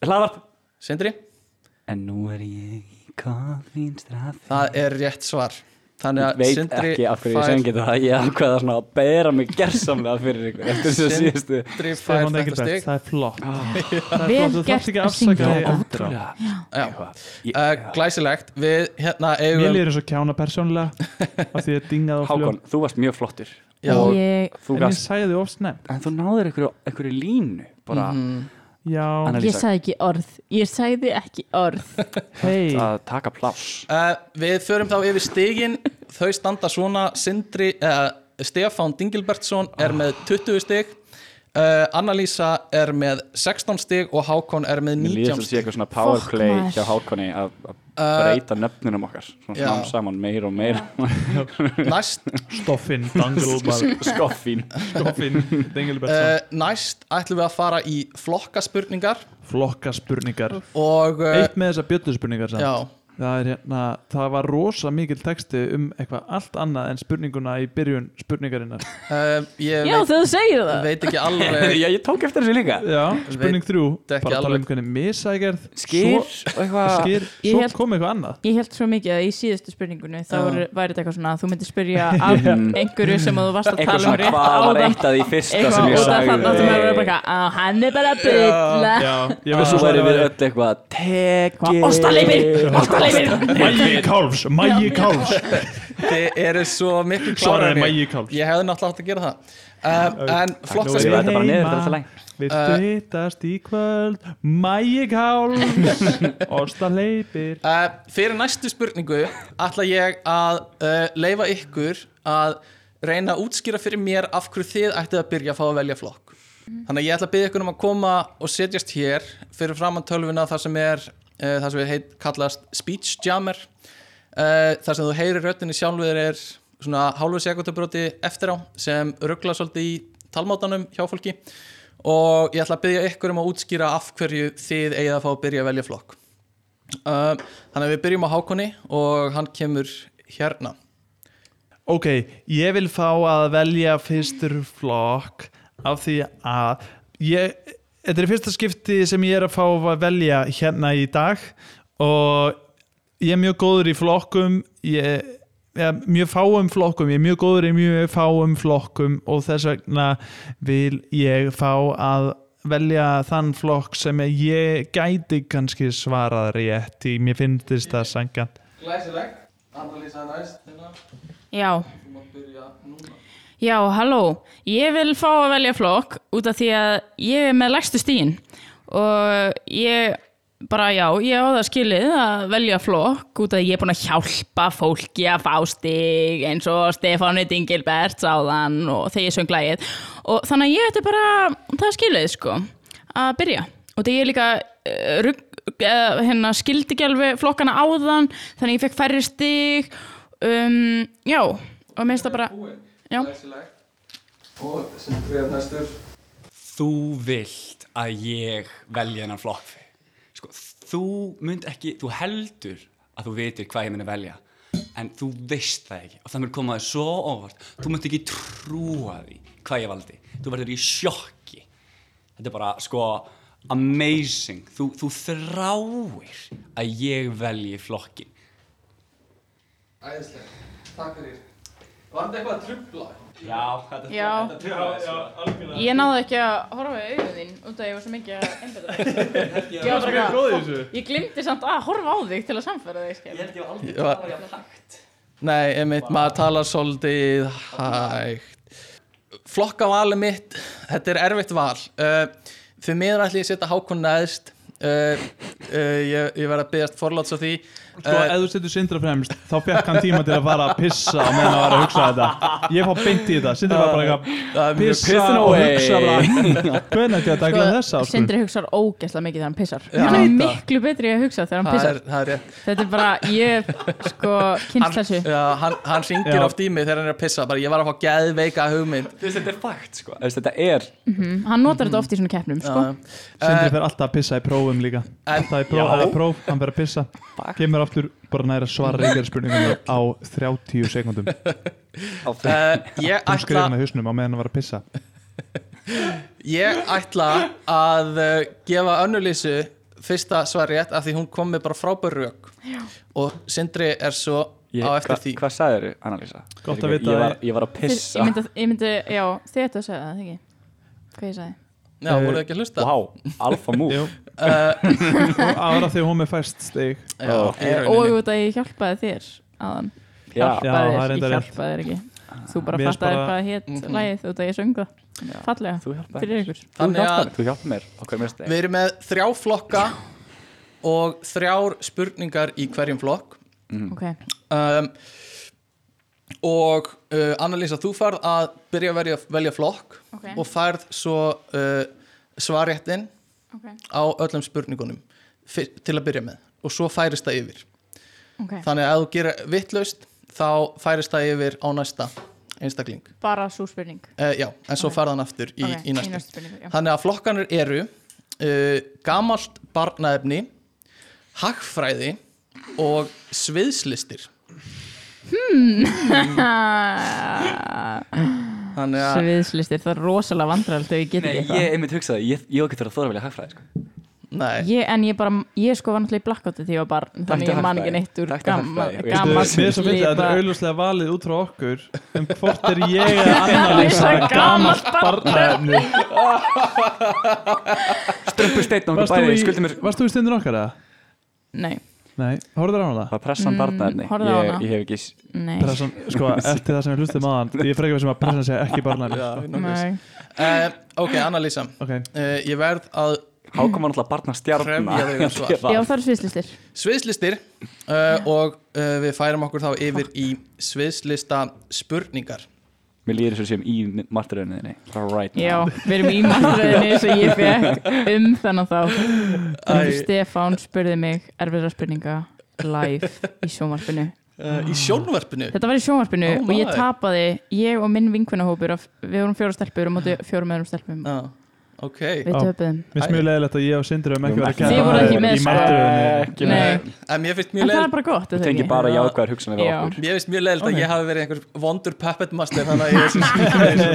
[SPEAKER 2] hlaðvarp
[SPEAKER 3] Sindri?
[SPEAKER 2] En nú er ég í koffínstrafi
[SPEAKER 3] Það er rétt svar. Þannig
[SPEAKER 2] Ég
[SPEAKER 3] að
[SPEAKER 2] veit
[SPEAKER 3] Sindri
[SPEAKER 2] ekki af hverju ég
[SPEAKER 3] fær-
[SPEAKER 2] sem getur það Ég ákveða svona að bera mig gersamlega fyrir ykkur Eftir þess að síðustu
[SPEAKER 3] Sindri fær
[SPEAKER 1] Stefán
[SPEAKER 3] þetta
[SPEAKER 1] Egilbert,
[SPEAKER 3] stig Ah.
[SPEAKER 1] það er flott Það er
[SPEAKER 4] Vel
[SPEAKER 1] flott, þú
[SPEAKER 4] gert
[SPEAKER 1] þarft ekki
[SPEAKER 4] að
[SPEAKER 1] að afsaka
[SPEAKER 4] syngja
[SPEAKER 1] þig
[SPEAKER 4] þetta.
[SPEAKER 1] aldra
[SPEAKER 3] Já.
[SPEAKER 2] Ég-
[SPEAKER 3] Uh, Glæsilegt, við hérna
[SPEAKER 1] Mér
[SPEAKER 3] eigum
[SPEAKER 1] líður eins og kjána persónulega af því að dingað á
[SPEAKER 2] Hákon, þú varst mjög flottur
[SPEAKER 3] Já.
[SPEAKER 2] Og
[SPEAKER 4] ég,
[SPEAKER 2] þú
[SPEAKER 1] En ég
[SPEAKER 2] gast
[SPEAKER 1] sagði þið of snemt
[SPEAKER 2] En þú náður einhverju, einhverju línu Bara
[SPEAKER 1] Já,
[SPEAKER 4] ég
[SPEAKER 2] Annalísa
[SPEAKER 4] sagði ekki orð ég sagði ekki orð
[SPEAKER 1] hei
[SPEAKER 2] Að taka pláss
[SPEAKER 3] Uh, við förum þá yfir stigin Þau standa svona Sindri, uh, Stefán Dingilbertsson er með
[SPEAKER 1] Ah.
[SPEAKER 3] 20 stig uh, Annalísa er með 16 stig og Hákon er með
[SPEAKER 2] Mér líður
[SPEAKER 3] 19
[SPEAKER 2] þess að sé
[SPEAKER 3] stig Eh,
[SPEAKER 2] eitthvað svona
[SPEAKER 4] Fokk
[SPEAKER 2] powerplay
[SPEAKER 4] maður.
[SPEAKER 2] hjá Hákoni að að breyta nöfnunum okkar Svona
[SPEAKER 3] Uh, Já.
[SPEAKER 2] smám saman meir og meir
[SPEAKER 1] <laughs>
[SPEAKER 3] Næst,
[SPEAKER 1] Stoffin, danglumar
[SPEAKER 2] Skoffín
[SPEAKER 1] Stoffin, Dengelbertsson
[SPEAKER 3] uh, næst ætlum við að fara í flokkaspurningar
[SPEAKER 1] Flokka spurningar
[SPEAKER 3] og uh,
[SPEAKER 1] Eitt með þessar bjöllu spurningar
[SPEAKER 3] já,
[SPEAKER 1] það, er hérna, það var rosa mikil texti um eitthvað allt annað en spurninguna í byrjun spurningarinnar
[SPEAKER 3] uh, ég
[SPEAKER 4] já
[SPEAKER 3] veit,
[SPEAKER 4] þú segir það
[SPEAKER 3] veit ekki
[SPEAKER 2] <laughs>
[SPEAKER 3] alveg
[SPEAKER 1] <laughs>
[SPEAKER 2] Já, ég tók eftir þessu líka
[SPEAKER 1] Já, spurning þrjú
[SPEAKER 3] ekki
[SPEAKER 1] Bara tala um
[SPEAKER 3] alveg.
[SPEAKER 1] hvernig misægerð
[SPEAKER 2] Skýr
[SPEAKER 1] Svo,
[SPEAKER 2] og eitthvað
[SPEAKER 1] skýr,
[SPEAKER 4] Ég
[SPEAKER 1] svo
[SPEAKER 4] held-
[SPEAKER 1] kom eitthvað annað
[SPEAKER 4] Ég held svo mikið að í síðustu spurningunni þá
[SPEAKER 3] Já.
[SPEAKER 4] var, var þetta eitthvað svona að þú
[SPEAKER 2] <laughs>
[SPEAKER 4] myndir spyrja af einhverju sem að þú varst að
[SPEAKER 2] Eitthvað
[SPEAKER 4] tala um
[SPEAKER 2] svona
[SPEAKER 4] rétt
[SPEAKER 2] hvað var
[SPEAKER 4] áðan
[SPEAKER 2] eitt af því fyrsta
[SPEAKER 4] eitthvað
[SPEAKER 2] sem ég
[SPEAKER 4] og það fann að þú
[SPEAKER 2] sagði
[SPEAKER 4] verður bara eitthvað "Á, hann er bara að bylla
[SPEAKER 1] Já, ég veist að
[SPEAKER 2] Ah. Svo
[SPEAKER 1] það
[SPEAKER 2] verðum við
[SPEAKER 1] var
[SPEAKER 2] öll eitthvað
[SPEAKER 4] Hvað,
[SPEAKER 2] Teki
[SPEAKER 4] Ostaleifir, ostaleifir
[SPEAKER 1] Mægi Kálfs, Mægi Kálfs
[SPEAKER 3] þið eru svo miklu klárar
[SPEAKER 1] Svaraði Mægi Kálfs
[SPEAKER 3] ég hefði náttúrulega átt að gera það uh, en
[SPEAKER 1] nú er
[SPEAKER 2] Ég
[SPEAKER 1] ég-
[SPEAKER 3] flokkaspurningar
[SPEAKER 2] læt þetta bara niður
[SPEAKER 1] Heima.
[SPEAKER 2] þetta er alltaf læg
[SPEAKER 1] Viltu hittast í kvöld Mægi Kálfs Ostaleipir
[SPEAKER 3] Uh, fyrir næstu spurningu ætla ég að uh, leifa ykkur að reyna að útskýra fyrir mér af hverju þið ættið að byrja að fá að velja flokk. Þannig að ég ætla að byrja ykkur um að koma og setjast hér fyrir framann tölvuna þar sem er uh, það sem við heit, kallast speech jammer uh, þar sem þú heyrir röttinni sjálfur er svona hálfu sekundabroti eftir á sem ruggla svolítið í talmátanum hjá fólki og ég ætla að byrja ykkur um að útskýra af hverju þið eigið að fá að byrja að velja flokk. Uh, þannig að við byrjum á Hákoni og hann kemur hérna
[SPEAKER 1] Ok, ég vil fá að velja fyrstur flokk af því að ég, þetta er fyrsta skipti sem ég er að fá að velja hérna í dag og ég er mjög góður í flokkum ég, ég mjög fáum flokkum ég er mjög góður í mjög fáum flokkum og þess vegna vil ég fá að velja þann flokk sem ég gæti kannski svarað rétt í, mér finnst það sangant
[SPEAKER 3] Glæsilegt, Annalísa næst hérna,
[SPEAKER 4] Já,
[SPEAKER 3] þú mátt byrja núna
[SPEAKER 4] já, halló Ég vil fá að velja flokk út af því að ég er með lægstu stíin og ég bara já, ég á það skilið að velja flokk út af því ég er búin að hjálpa fólki að fá stig eins og Stefáni Dingilberts áðan og þegar ég söng lagið og þannig að ég ætti bara það skilið sko að byrja og þegar ég líka uh, rugg, uh, hérna, skildi ekki alveg flokkana áðan þannig að ég fekk færri stig um, já og minnst það bara já,
[SPEAKER 3] Glæsilegt og sem byrjar næstur
[SPEAKER 7] þú vilt að ég velja hennan flokk sko, þú mynd ekki, þú heldur að þú vitir hvað ég myndi velja en þú veist það ekki og það mynd komaði svo óvart þú mynd ekki trúa því hvað ég valdi þú verður í sjokki þetta er bara sko amazing, þú, þú þráir að ég velji flokkin
[SPEAKER 3] Æðislega, takk fyrir Var þetta eitthvað að trubla?
[SPEAKER 7] já, þetta
[SPEAKER 4] já. ég náði ekki að horfa í augun þín út af því ég var svo mikið að einbeta ég var bara eitthvað ég glimti samt að horfa á þig til að samfæra þig skil.
[SPEAKER 7] ég var aldrei
[SPEAKER 3] Já.
[SPEAKER 7] ég takt
[SPEAKER 3] Nei, einmitt, maður talar svolítið hægt Flokkavali mitt, þetta er erfitt val uh, Fyrir mér ætli ég að setja Hákon neðst uh, uh, Ég, ég verð að byggjast forláts á því
[SPEAKER 1] Sko,
[SPEAKER 3] Eh,
[SPEAKER 1] ef þú setur Sindra fremst, þá fekk hann tíma til að fara að pissa á meðan að vera að hugsa þetta. Ég fá beint í þetta. Sindra var bara
[SPEAKER 3] það er
[SPEAKER 1] eitthvað
[SPEAKER 3] mjög
[SPEAKER 1] pissa og hugsa
[SPEAKER 3] <laughs>
[SPEAKER 1] bara. Hvernig ætti ég að dækla þessa?
[SPEAKER 4] Sko,
[SPEAKER 1] Sko?
[SPEAKER 4] Sindri hugsar ógeðslega mikið þegar hann pissar
[SPEAKER 3] Já.
[SPEAKER 4] hann
[SPEAKER 3] Veit
[SPEAKER 4] er
[SPEAKER 3] það.
[SPEAKER 4] miklu betri í að hugsa þegar hann
[SPEAKER 3] Það
[SPEAKER 4] pissar
[SPEAKER 3] er, það er rétt
[SPEAKER 4] þetta er bara, ég sko kynst þessu
[SPEAKER 3] já, hann, hann ringir
[SPEAKER 1] Já.
[SPEAKER 3] oft í mig þegar hann er að pissa bara ég var að fá geðveika hugmynd
[SPEAKER 7] þetta er fakt sko
[SPEAKER 2] Þú veist, Þetta er
[SPEAKER 4] Mhm. hann notar
[SPEAKER 3] Mhm.
[SPEAKER 4] þetta oft í svona keppnum sko.
[SPEAKER 3] Uh,
[SPEAKER 1] Sindri fer alltaf að pissa í prófum líka.
[SPEAKER 3] Eh,
[SPEAKER 1] Alltaf í próf,
[SPEAKER 2] Já.
[SPEAKER 1] eða próf, hann fer að pissa. Kemur aftur bara næra svara ykkar
[SPEAKER 3] <laughs>
[SPEAKER 1] spurningum á 30 sekundum.
[SPEAKER 2] á því
[SPEAKER 3] uh, ég,
[SPEAKER 1] Hún skrifir
[SPEAKER 3] ætla,
[SPEAKER 1] með hausnum á meðan að vera að pissa.
[SPEAKER 3] ég ætla að uh, gefa önnulísu fyrsta svar rétt af því hún kom með bara frábær rök og Sindri er svo
[SPEAKER 2] Ég,
[SPEAKER 3] á eftir því
[SPEAKER 2] Hvað sagðir þau, Annalísa?
[SPEAKER 1] Gott að
[SPEAKER 2] Ég-
[SPEAKER 1] vita
[SPEAKER 2] ég var,
[SPEAKER 1] að-
[SPEAKER 2] ég var að
[SPEAKER 4] Ég
[SPEAKER 2] pissa
[SPEAKER 4] myndi, ég myndi já, þið ættu að segja það, ekki? Hvað ég sagði?
[SPEAKER 3] Já, voruð þið ekki að hlusta?
[SPEAKER 2] Vá, alfa múf
[SPEAKER 1] Jú.
[SPEAKER 3] Eh.
[SPEAKER 1] <laughs> og aðra þegar hún er fæst stig
[SPEAKER 3] Já, í
[SPEAKER 4] Eh,
[SPEAKER 3] rauninni.
[SPEAKER 4] Og út að ég hjálpaði þér aðan
[SPEAKER 2] Já,
[SPEAKER 1] Já,
[SPEAKER 4] Hjálpaði
[SPEAKER 1] það er
[SPEAKER 4] þér,
[SPEAKER 1] reyndar
[SPEAKER 4] ég
[SPEAKER 1] rétt.
[SPEAKER 4] hjálpaði þér ekki Þú bara
[SPEAKER 1] Mér finnst
[SPEAKER 4] fattaði
[SPEAKER 1] bara-
[SPEAKER 4] hvað hétt mm
[SPEAKER 3] Mhm.
[SPEAKER 4] lagið út að ég söngu Fallega,
[SPEAKER 2] þú hjálpaði
[SPEAKER 4] fyrir ykkur
[SPEAKER 3] Þannig að
[SPEAKER 2] Þú hjálpaði mér á hverjum mest
[SPEAKER 3] Við erum með þrjá flokka og þrjár spurningar í hverjum flokk
[SPEAKER 4] Ok,
[SPEAKER 3] um, og uh, Annalisa, þú farð að byrja að velja, velja flokk
[SPEAKER 4] Ok.
[SPEAKER 3] og færð svo uh, svaréttin
[SPEAKER 4] ok,
[SPEAKER 3] á öllum spurningunum fyr, til að byrja með og svo færist það yfir
[SPEAKER 4] ok
[SPEAKER 3] þannig að ef þú gerir vittlaust þá færist það yfir á næsta einstakling
[SPEAKER 4] Bara svo spurning
[SPEAKER 3] uh, já, en svo
[SPEAKER 4] Ok.
[SPEAKER 3] færð hann aftur í,
[SPEAKER 4] Ok,
[SPEAKER 3] í næsta
[SPEAKER 4] spurningu já.
[SPEAKER 3] Þannig að flokkanir eru uh, gamalt barnaefni, hagfræði og sviðslistir. Þannig að,
[SPEAKER 4] Sviðslistir, það er rosalega vandræðalt ef ég get
[SPEAKER 2] Nei,
[SPEAKER 4] ekki
[SPEAKER 2] ég einmitt hugsaði, ég, ég var ekki þurfa að þóra að velja hagfræði sko.
[SPEAKER 3] nei,
[SPEAKER 4] Ég, en ég bara, ég sko var náttúrulega í blackouti því ég var barn þannig ég man ekki neitt úr
[SPEAKER 2] Taktu
[SPEAKER 4] gamma,
[SPEAKER 2] hagfræði, ok.
[SPEAKER 1] Mér
[SPEAKER 4] gamma
[SPEAKER 1] er svo myndið að þetta er auðvitað valið út frá okkur um hvort er ég að
[SPEAKER 4] <laughs>
[SPEAKER 1] annalýsa
[SPEAKER 4] Annalísa gamalt
[SPEAKER 1] gamalt barnaefni
[SPEAKER 2] Strömpu steinn og
[SPEAKER 1] Varst þú
[SPEAKER 2] bæði, skuldi
[SPEAKER 1] í,
[SPEAKER 2] mér
[SPEAKER 1] varst þú í stundin okkar eða?
[SPEAKER 4] Nei,
[SPEAKER 1] Nei, horfður á hana það?
[SPEAKER 2] Var pressan barnaefni?
[SPEAKER 4] horfði Mm, á
[SPEAKER 2] Ég-
[SPEAKER 4] hana.
[SPEAKER 2] Ég hef ekki s-
[SPEAKER 4] nei,
[SPEAKER 1] Pressan, sko, eftir það sem við hlustum aðan Ég er frekar sem að pressan segja ekki barnaefni
[SPEAKER 4] nei
[SPEAKER 3] uh, ok, Anna-Lísa, uh,
[SPEAKER 1] Ok,
[SPEAKER 3] ég verð að
[SPEAKER 2] Hákom var náttúrulega barnastjarna
[SPEAKER 3] Krefja
[SPEAKER 2] <laughs>
[SPEAKER 3] þig um svar.
[SPEAKER 4] Já, það er sviðslistir
[SPEAKER 3] sviðslistir uh, og uh, við færum okkur þá yfir í sviðslista spurningar.
[SPEAKER 2] Mér líður þessu sem í marturöðinni Right now
[SPEAKER 4] Já, við erum í mannröðinni sem ég fekk um þennan þá
[SPEAKER 3] Æ,
[SPEAKER 4] Stefán spurði mig erfiðra spurninga live í sjónvarpinu
[SPEAKER 3] uh, í sjónvarpinu,
[SPEAKER 4] Þetta var í sjónvarpinu
[SPEAKER 3] Oh
[SPEAKER 4] og ég
[SPEAKER 3] my.
[SPEAKER 4] tapaði ég og minn vinkunahópur af- við vorum fjóra stelpur og móti fjórum öðrum stelpum
[SPEAKER 3] uh, ok,
[SPEAKER 4] við
[SPEAKER 1] Á.
[SPEAKER 4] töpuðum
[SPEAKER 1] mér er mjög leðilegt að ég og Sindri um ekki verið að
[SPEAKER 4] Þið voru ekki
[SPEAKER 1] í
[SPEAKER 4] með, sko.
[SPEAKER 2] Eh,
[SPEAKER 1] martröðinni
[SPEAKER 4] Nei,
[SPEAKER 3] en mér finnst mjög
[SPEAKER 4] en það
[SPEAKER 3] leil
[SPEAKER 4] er bara gott er það
[SPEAKER 2] Tengi
[SPEAKER 4] ekki?
[SPEAKER 2] bara jákvæðar hugsanir við
[SPEAKER 4] Já.
[SPEAKER 2] okkur
[SPEAKER 3] Mér finnst mjög leiðilegt
[SPEAKER 1] Ok.
[SPEAKER 3] að ég hafi verið einhver vondur puppet master þannig að ég er sem <laughs> skýrður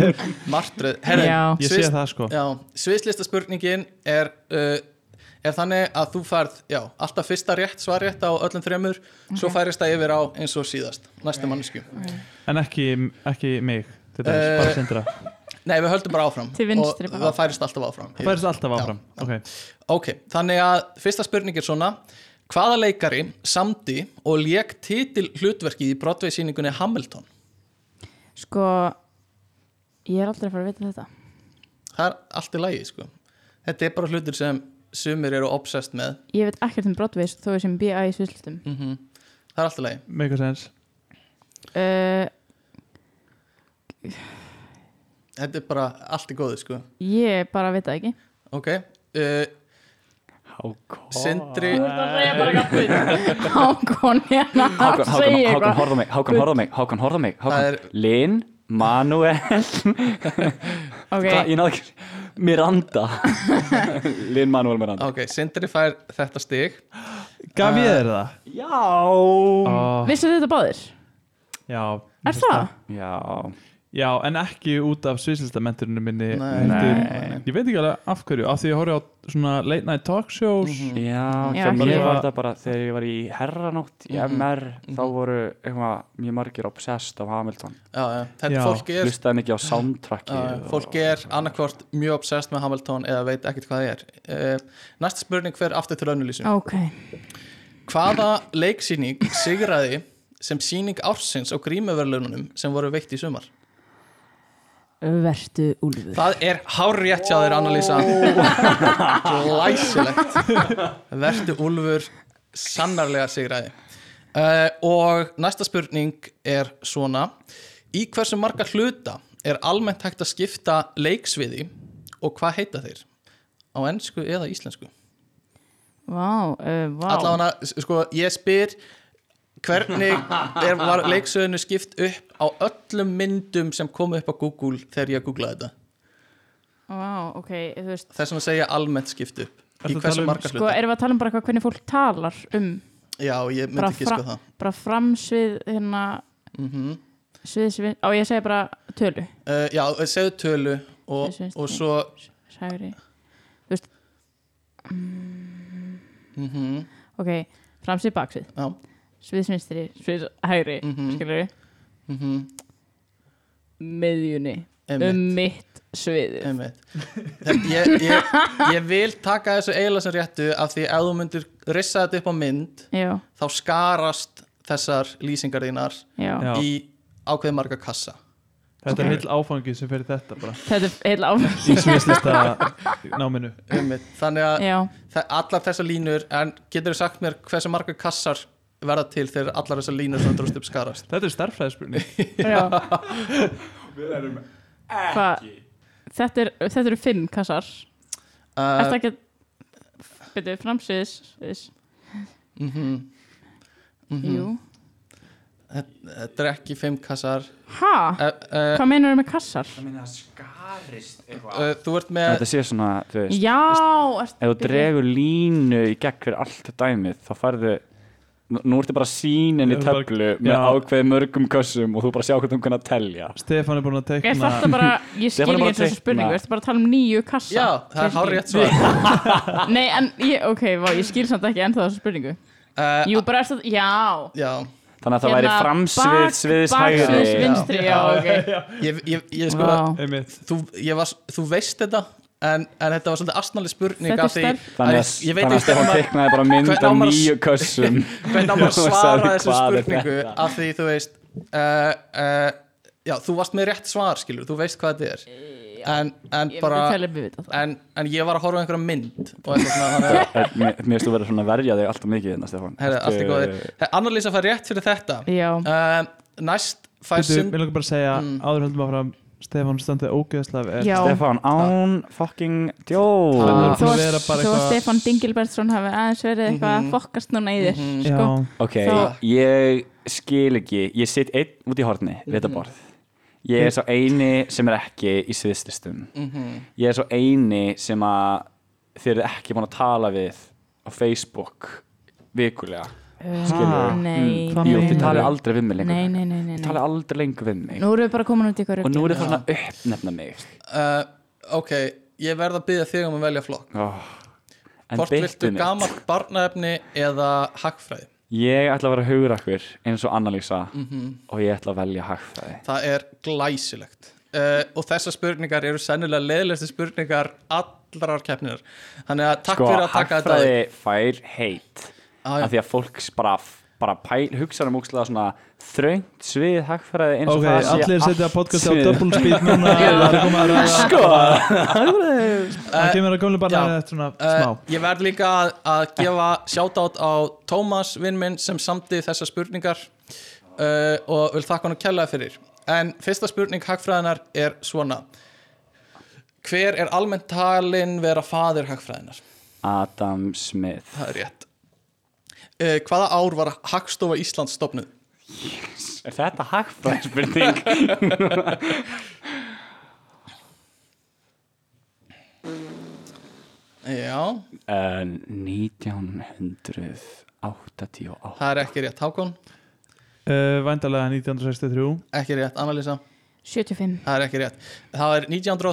[SPEAKER 3] martröð. Herri,
[SPEAKER 4] Já.
[SPEAKER 1] Ég sé það sko
[SPEAKER 3] Já, sviðslista spurningin er, uh, er þannig að þú færð, já, alltaf fyrsta rétt svar rétt á öllum þremur, svo færist það yfir á eins og síðast, næstu mannesku.
[SPEAKER 1] En ekki, ekki mig, þetta er
[SPEAKER 3] Eh,
[SPEAKER 1] bara Sindra
[SPEAKER 3] Nei, við höldum bara áfram.
[SPEAKER 4] Til vinstri
[SPEAKER 3] og
[SPEAKER 4] bara.
[SPEAKER 3] það færist alltaf áfram.
[SPEAKER 1] Það færist alltaf áfram
[SPEAKER 3] Já.
[SPEAKER 1] Ok,
[SPEAKER 3] Ok, þannig að fyrsta spurning er svona, hvaða leikari samdi og lék titil hlutverkið í brotveisýningunni Hamilton?
[SPEAKER 4] Sko, ég er aldrei að fara að vita þetta
[SPEAKER 3] Það er allt í lagi, sko. Þetta er bara hlutur sem sumir eru obsessed með.
[SPEAKER 4] Ég veit ekkert um Broadway þó ég sem B.I. í sviðslistum
[SPEAKER 3] Það er allt í lagi.
[SPEAKER 1] make a sense
[SPEAKER 4] uh,
[SPEAKER 3] Þetta er bara allt í góðu, sko.
[SPEAKER 4] Ég bara veit það ekki
[SPEAKER 3] Ok, uh,
[SPEAKER 2] Hákon
[SPEAKER 3] Sindri,
[SPEAKER 4] <laughs> Hákon hérna
[SPEAKER 2] Hákon,
[SPEAKER 4] að segja
[SPEAKER 2] Hákon,
[SPEAKER 4] eitthvað
[SPEAKER 2] horfðu á mig, Hákon, horfðu á mig, Hákon, horfðu á mig,
[SPEAKER 3] Það
[SPEAKER 2] Hákon,
[SPEAKER 3] er-
[SPEAKER 2] Lin, Manuel, hvað,
[SPEAKER 4] okay.
[SPEAKER 2] ég náðu ekki, Miranda,
[SPEAKER 4] <laughs>
[SPEAKER 2] Lin, Manuel, Miranda.
[SPEAKER 3] ok, Sindri fær þetta stig.
[SPEAKER 1] Gaf ég þér það?
[SPEAKER 2] Já,
[SPEAKER 1] Ó,
[SPEAKER 4] Vissu þetta báðir?
[SPEAKER 1] Já
[SPEAKER 4] Er það?
[SPEAKER 2] já,
[SPEAKER 1] Já, en ekki út af svislistamenturinu minni
[SPEAKER 3] Nei.
[SPEAKER 1] heldur-
[SPEAKER 2] Nei.
[SPEAKER 1] Ég veit ekki alveg af hverju Af því ég horfi á svona late night talk shows
[SPEAKER 2] já,
[SPEAKER 4] Já,
[SPEAKER 2] hjá mér
[SPEAKER 1] ekki.
[SPEAKER 2] var þetta bara þegar ég var í herranótt í MR, þá voru eitthvað mjög margir obsessed af Hamilton,
[SPEAKER 3] Já, já, þetta
[SPEAKER 1] Já,
[SPEAKER 3] fólk er,
[SPEAKER 2] hlustaði mikið á soundtracki.
[SPEAKER 3] uh, fólk er annarkvort mjög obsessed með Hamilton eða veit ekkert hvað það er. Uh, næsta spurning fer aftur til önnulísum.
[SPEAKER 4] Ok
[SPEAKER 3] Hvaða leiksýning sigraði sem sýning ársins á grímuverlunum sem voru veitt í sumar?
[SPEAKER 4] Vertu úlfur
[SPEAKER 3] Það er hárétt hjá þér, Annalísa. Læsilegt. Vertu Úlfur sannarlega sigraði. Uh, og næsta spurning er svona. Í hversu marga hluta er almennt hægt að skipta leiksviði og hvað heita þeir? Á ennsku eða íslensku?
[SPEAKER 4] Vá, uh, vá
[SPEAKER 3] Allavega, sko, ég spyr hvernig er, var leiksviðinu skipt upp á öllum myndum sem komu upp á Google þegar ég googlaði þetta?
[SPEAKER 4] Vá, ok, þú veist
[SPEAKER 3] þess vegna segja almennt skipt upp
[SPEAKER 1] Ertu að
[SPEAKER 3] í
[SPEAKER 1] tala
[SPEAKER 3] hversu
[SPEAKER 1] um-
[SPEAKER 3] marga
[SPEAKER 4] Sko,
[SPEAKER 3] hluta
[SPEAKER 4] erum við að tala um bara hvað, hvernig fólk talar um
[SPEAKER 3] já, ég myndi
[SPEAKER 4] bara,
[SPEAKER 3] ekki sko það Mhm.
[SPEAKER 4] bara framsvið hérna sviðsvið, á ég segi bara tölu
[SPEAKER 3] uh, já, segðu tölu
[SPEAKER 4] Ég
[SPEAKER 3] og,
[SPEAKER 4] syns
[SPEAKER 3] og
[SPEAKER 4] það.
[SPEAKER 3] svo
[SPEAKER 4] sagri þú veist mm, ok, framsvið baksvið
[SPEAKER 3] Mhm. já,
[SPEAKER 4] sviðsvinstri, sviðshægri mm
[SPEAKER 3] Mhm.
[SPEAKER 4] skilur við,
[SPEAKER 3] mm
[SPEAKER 4] miðjunni um mitt sviði
[SPEAKER 3] Einmitt. Ég, ég, ég vil taka þessu eiginlega sem réttu af því ef þú myndir rissa þetta upp á mynd
[SPEAKER 4] já,
[SPEAKER 3] þá skarast þessar lýsingar þínar
[SPEAKER 4] já,
[SPEAKER 1] Já.
[SPEAKER 3] í ákveðið marga kassa
[SPEAKER 1] Þetta er heil áfangi sem fer í þetta bara
[SPEAKER 4] þetta er heila áfæk
[SPEAKER 1] Í sviðslista náminu
[SPEAKER 3] Einmitt. þannig að
[SPEAKER 4] já,
[SPEAKER 3] það, allar þessar línur en getur þú sagt mér hversu marga kassar verða til þegar allar þessar línur sem dróst upp skarast
[SPEAKER 1] Þetta er starffræðspurning
[SPEAKER 4] já Hva, þetta, er, þetta eru fimm kassar uh,
[SPEAKER 3] uh,
[SPEAKER 4] Þetta ekki Byrju, framsviðis sviðs.
[SPEAKER 3] mm -hmm. Mhm.
[SPEAKER 4] Jú
[SPEAKER 3] þetta er ekki Eh, fimm kassar
[SPEAKER 4] Ha?
[SPEAKER 3] uh, uh,
[SPEAKER 4] Hvað meinar með kassar?
[SPEAKER 7] meina það skarist eitthvað
[SPEAKER 3] uh, þú ert með
[SPEAKER 2] Þetta sé svona, þú veist
[SPEAKER 4] Já ert-
[SPEAKER 2] Ef þú dregur línu í gegn fyrir allt dæmið Þá færðu Nú ertu bara sínin í
[SPEAKER 1] Ég er bara-
[SPEAKER 2] töflu
[SPEAKER 1] Já.
[SPEAKER 2] Með ákveði mörgum kössum Og þú bara sjá hvernig hún kannar að telja
[SPEAKER 1] Stefán er búin að
[SPEAKER 4] Er
[SPEAKER 1] tekna
[SPEAKER 4] þetta bara, ég skil
[SPEAKER 2] hérna. Stefán er
[SPEAKER 4] ekki
[SPEAKER 2] bara
[SPEAKER 4] eins og
[SPEAKER 2] teikna.
[SPEAKER 4] þessu spurningu, ertu bara að tala um nýju kassa?
[SPEAKER 3] já, það er hár rétt svar
[SPEAKER 4] Nei, en, ég, ok, vá, ég skil samt ekki ennþá þessu spurningu
[SPEAKER 3] uh,
[SPEAKER 4] Jú, bara er þetta, já
[SPEAKER 3] já
[SPEAKER 2] Þannig að það væri framsvið sviðis
[SPEAKER 4] Hérna, Baksviðs
[SPEAKER 2] hægri
[SPEAKER 4] vinstri, já, ok
[SPEAKER 3] ég, ég, ég sko
[SPEAKER 4] Vá.
[SPEAKER 1] Einmitt
[SPEAKER 3] þú, ég var, þú veist þetta en, en þetta var svolítið astnáli spurning
[SPEAKER 4] Þetta er
[SPEAKER 3] af því
[SPEAKER 4] stærð.
[SPEAKER 2] Þannig
[SPEAKER 3] að
[SPEAKER 2] að,
[SPEAKER 3] ég- ég veit
[SPEAKER 2] þannig að
[SPEAKER 3] ekki
[SPEAKER 2] Stefán
[SPEAKER 3] hvernig
[SPEAKER 2] teiknaði bara mynd
[SPEAKER 3] hvernig á
[SPEAKER 2] af
[SPEAKER 3] maður-
[SPEAKER 2] nýju kössum
[SPEAKER 3] hvernig á maður að
[SPEAKER 2] <laughs> Þú
[SPEAKER 3] svara
[SPEAKER 2] sagði,
[SPEAKER 3] þessu
[SPEAKER 2] "Hvað er
[SPEAKER 3] spurningu af því þú veist uh, uh, já, þú varst með rétt svar skilur, þú veist hvað þetta er en, en
[SPEAKER 4] Eh, Ég
[SPEAKER 3] bara
[SPEAKER 4] myndi telja upp við þetta
[SPEAKER 3] en, en ég var að horfa á einhverja mynd og eitthvað svona
[SPEAKER 2] <laughs>
[SPEAKER 3] þannig að
[SPEAKER 2] En Mér mér finnst þú verið svona að verja þig alltaf mikið hérna Stefán
[SPEAKER 3] Herra, allt er
[SPEAKER 2] Ertu- eh,
[SPEAKER 3] góðir. Herra, Anna-Lísa fær rétt fyrir þetta
[SPEAKER 4] Já,
[SPEAKER 3] uh, næst fær
[SPEAKER 1] Þetta
[SPEAKER 3] sim
[SPEAKER 1] er, mér langar bara að segja
[SPEAKER 3] Mm.
[SPEAKER 1] Áður höldum að fram Stefán standið ógeðslega vel.
[SPEAKER 4] já
[SPEAKER 2] Stefán, án fucking djóð
[SPEAKER 3] Ah.
[SPEAKER 4] Þó að,
[SPEAKER 1] Vera
[SPEAKER 4] þó
[SPEAKER 1] bara
[SPEAKER 4] að
[SPEAKER 1] eitthvað-
[SPEAKER 4] Stefán Dingilbertsson hafi aðeins verið eitthvað að
[SPEAKER 3] Mhm.
[SPEAKER 4] fokkast núna í þér
[SPEAKER 3] Mhm.
[SPEAKER 1] Já,
[SPEAKER 4] sko.
[SPEAKER 2] Ok,
[SPEAKER 4] Þá-
[SPEAKER 2] ég skil ekki Ég sitt einn út í horni við þetta borð Ég er svo eini sem er ekki í sviðslistum Ég er svo eini sem að þið eru ekki búin að tala við á Facebook vikulega Mm,
[SPEAKER 1] Ha? Hvað
[SPEAKER 4] Nei,
[SPEAKER 2] Hmm.
[SPEAKER 4] nei,
[SPEAKER 2] Jú,
[SPEAKER 1] meinarðu?
[SPEAKER 2] þið
[SPEAKER 4] nei.
[SPEAKER 2] talið aldrei við mig lengur
[SPEAKER 4] nei, nei, nei, nei,
[SPEAKER 2] Þið
[SPEAKER 4] nei.
[SPEAKER 2] talið aldrei lengur við mig
[SPEAKER 4] Nú erum við bara komin út í ykkur
[SPEAKER 2] Og nú er það svona uppnefna mig
[SPEAKER 3] uh, ok, ég verð að byggja þig um að velja flokk
[SPEAKER 2] oh. En
[SPEAKER 3] hvort viltu
[SPEAKER 2] byttu mig
[SPEAKER 3] gamalt barnaefni eða hagfræði
[SPEAKER 2] Ég ætla að vera hugrakkur eins og Annalísa
[SPEAKER 3] Mhm.
[SPEAKER 2] og ég ætla að velja hagfræði
[SPEAKER 3] Það er glæsilegt uh, og þessar spurningar eru sennilega leðilegstu spurningar allrar keppnir þannig að takk
[SPEAKER 2] Sko,
[SPEAKER 3] fyrir að taka þetta
[SPEAKER 2] hagfræði fær heit
[SPEAKER 3] Á, já.
[SPEAKER 2] af því að fólk bara, bara pæl, hugsa um úkslega svona þröngt svið hagfræði eins og
[SPEAKER 1] Ok,
[SPEAKER 2] það sé
[SPEAKER 1] allir
[SPEAKER 2] allt
[SPEAKER 3] Ah,
[SPEAKER 1] setja podcasti á
[SPEAKER 2] svið.
[SPEAKER 1] double speed
[SPEAKER 3] <laughs>
[SPEAKER 1] núna Það er komið að ræða
[SPEAKER 2] Sko,
[SPEAKER 1] Það kemur að gömlu bara
[SPEAKER 3] já.
[SPEAKER 1] eftir svona
[SPEAKER 3] Uh,
[SPEAKER 1] smá
[SPEAKER 3] ég verð líka að, að gefa shoutout á Tómas vinn minn sem samti þessar spurningar uh, og vil þakka hann að kella fyrir en fyrsta spurning hagfræðinar er svona hver er almennt talinn vera faðir hagfræðinar?
[SPEAKER 2] Adam Smith
[SPEAKER 3] Það er rétt uh, Hvaða ár var Hagstofa Íslands stopnuð?
[SPEAKER 2] Er þetta hagfræði spurning?
[SPEAKER 3] <laughs> Já,
[SPEAKER 2] 1988
[SPEAKER 3] það er ekki rétt Hákon
[SPEAKER 1] Uh, Vændalega 1963
[SPEAKER 3] Ekki rétt, Annalisa,
[SPEAKER 4] 75
[SPEAKER 3] það er ekki rétt Það er 1913 uh,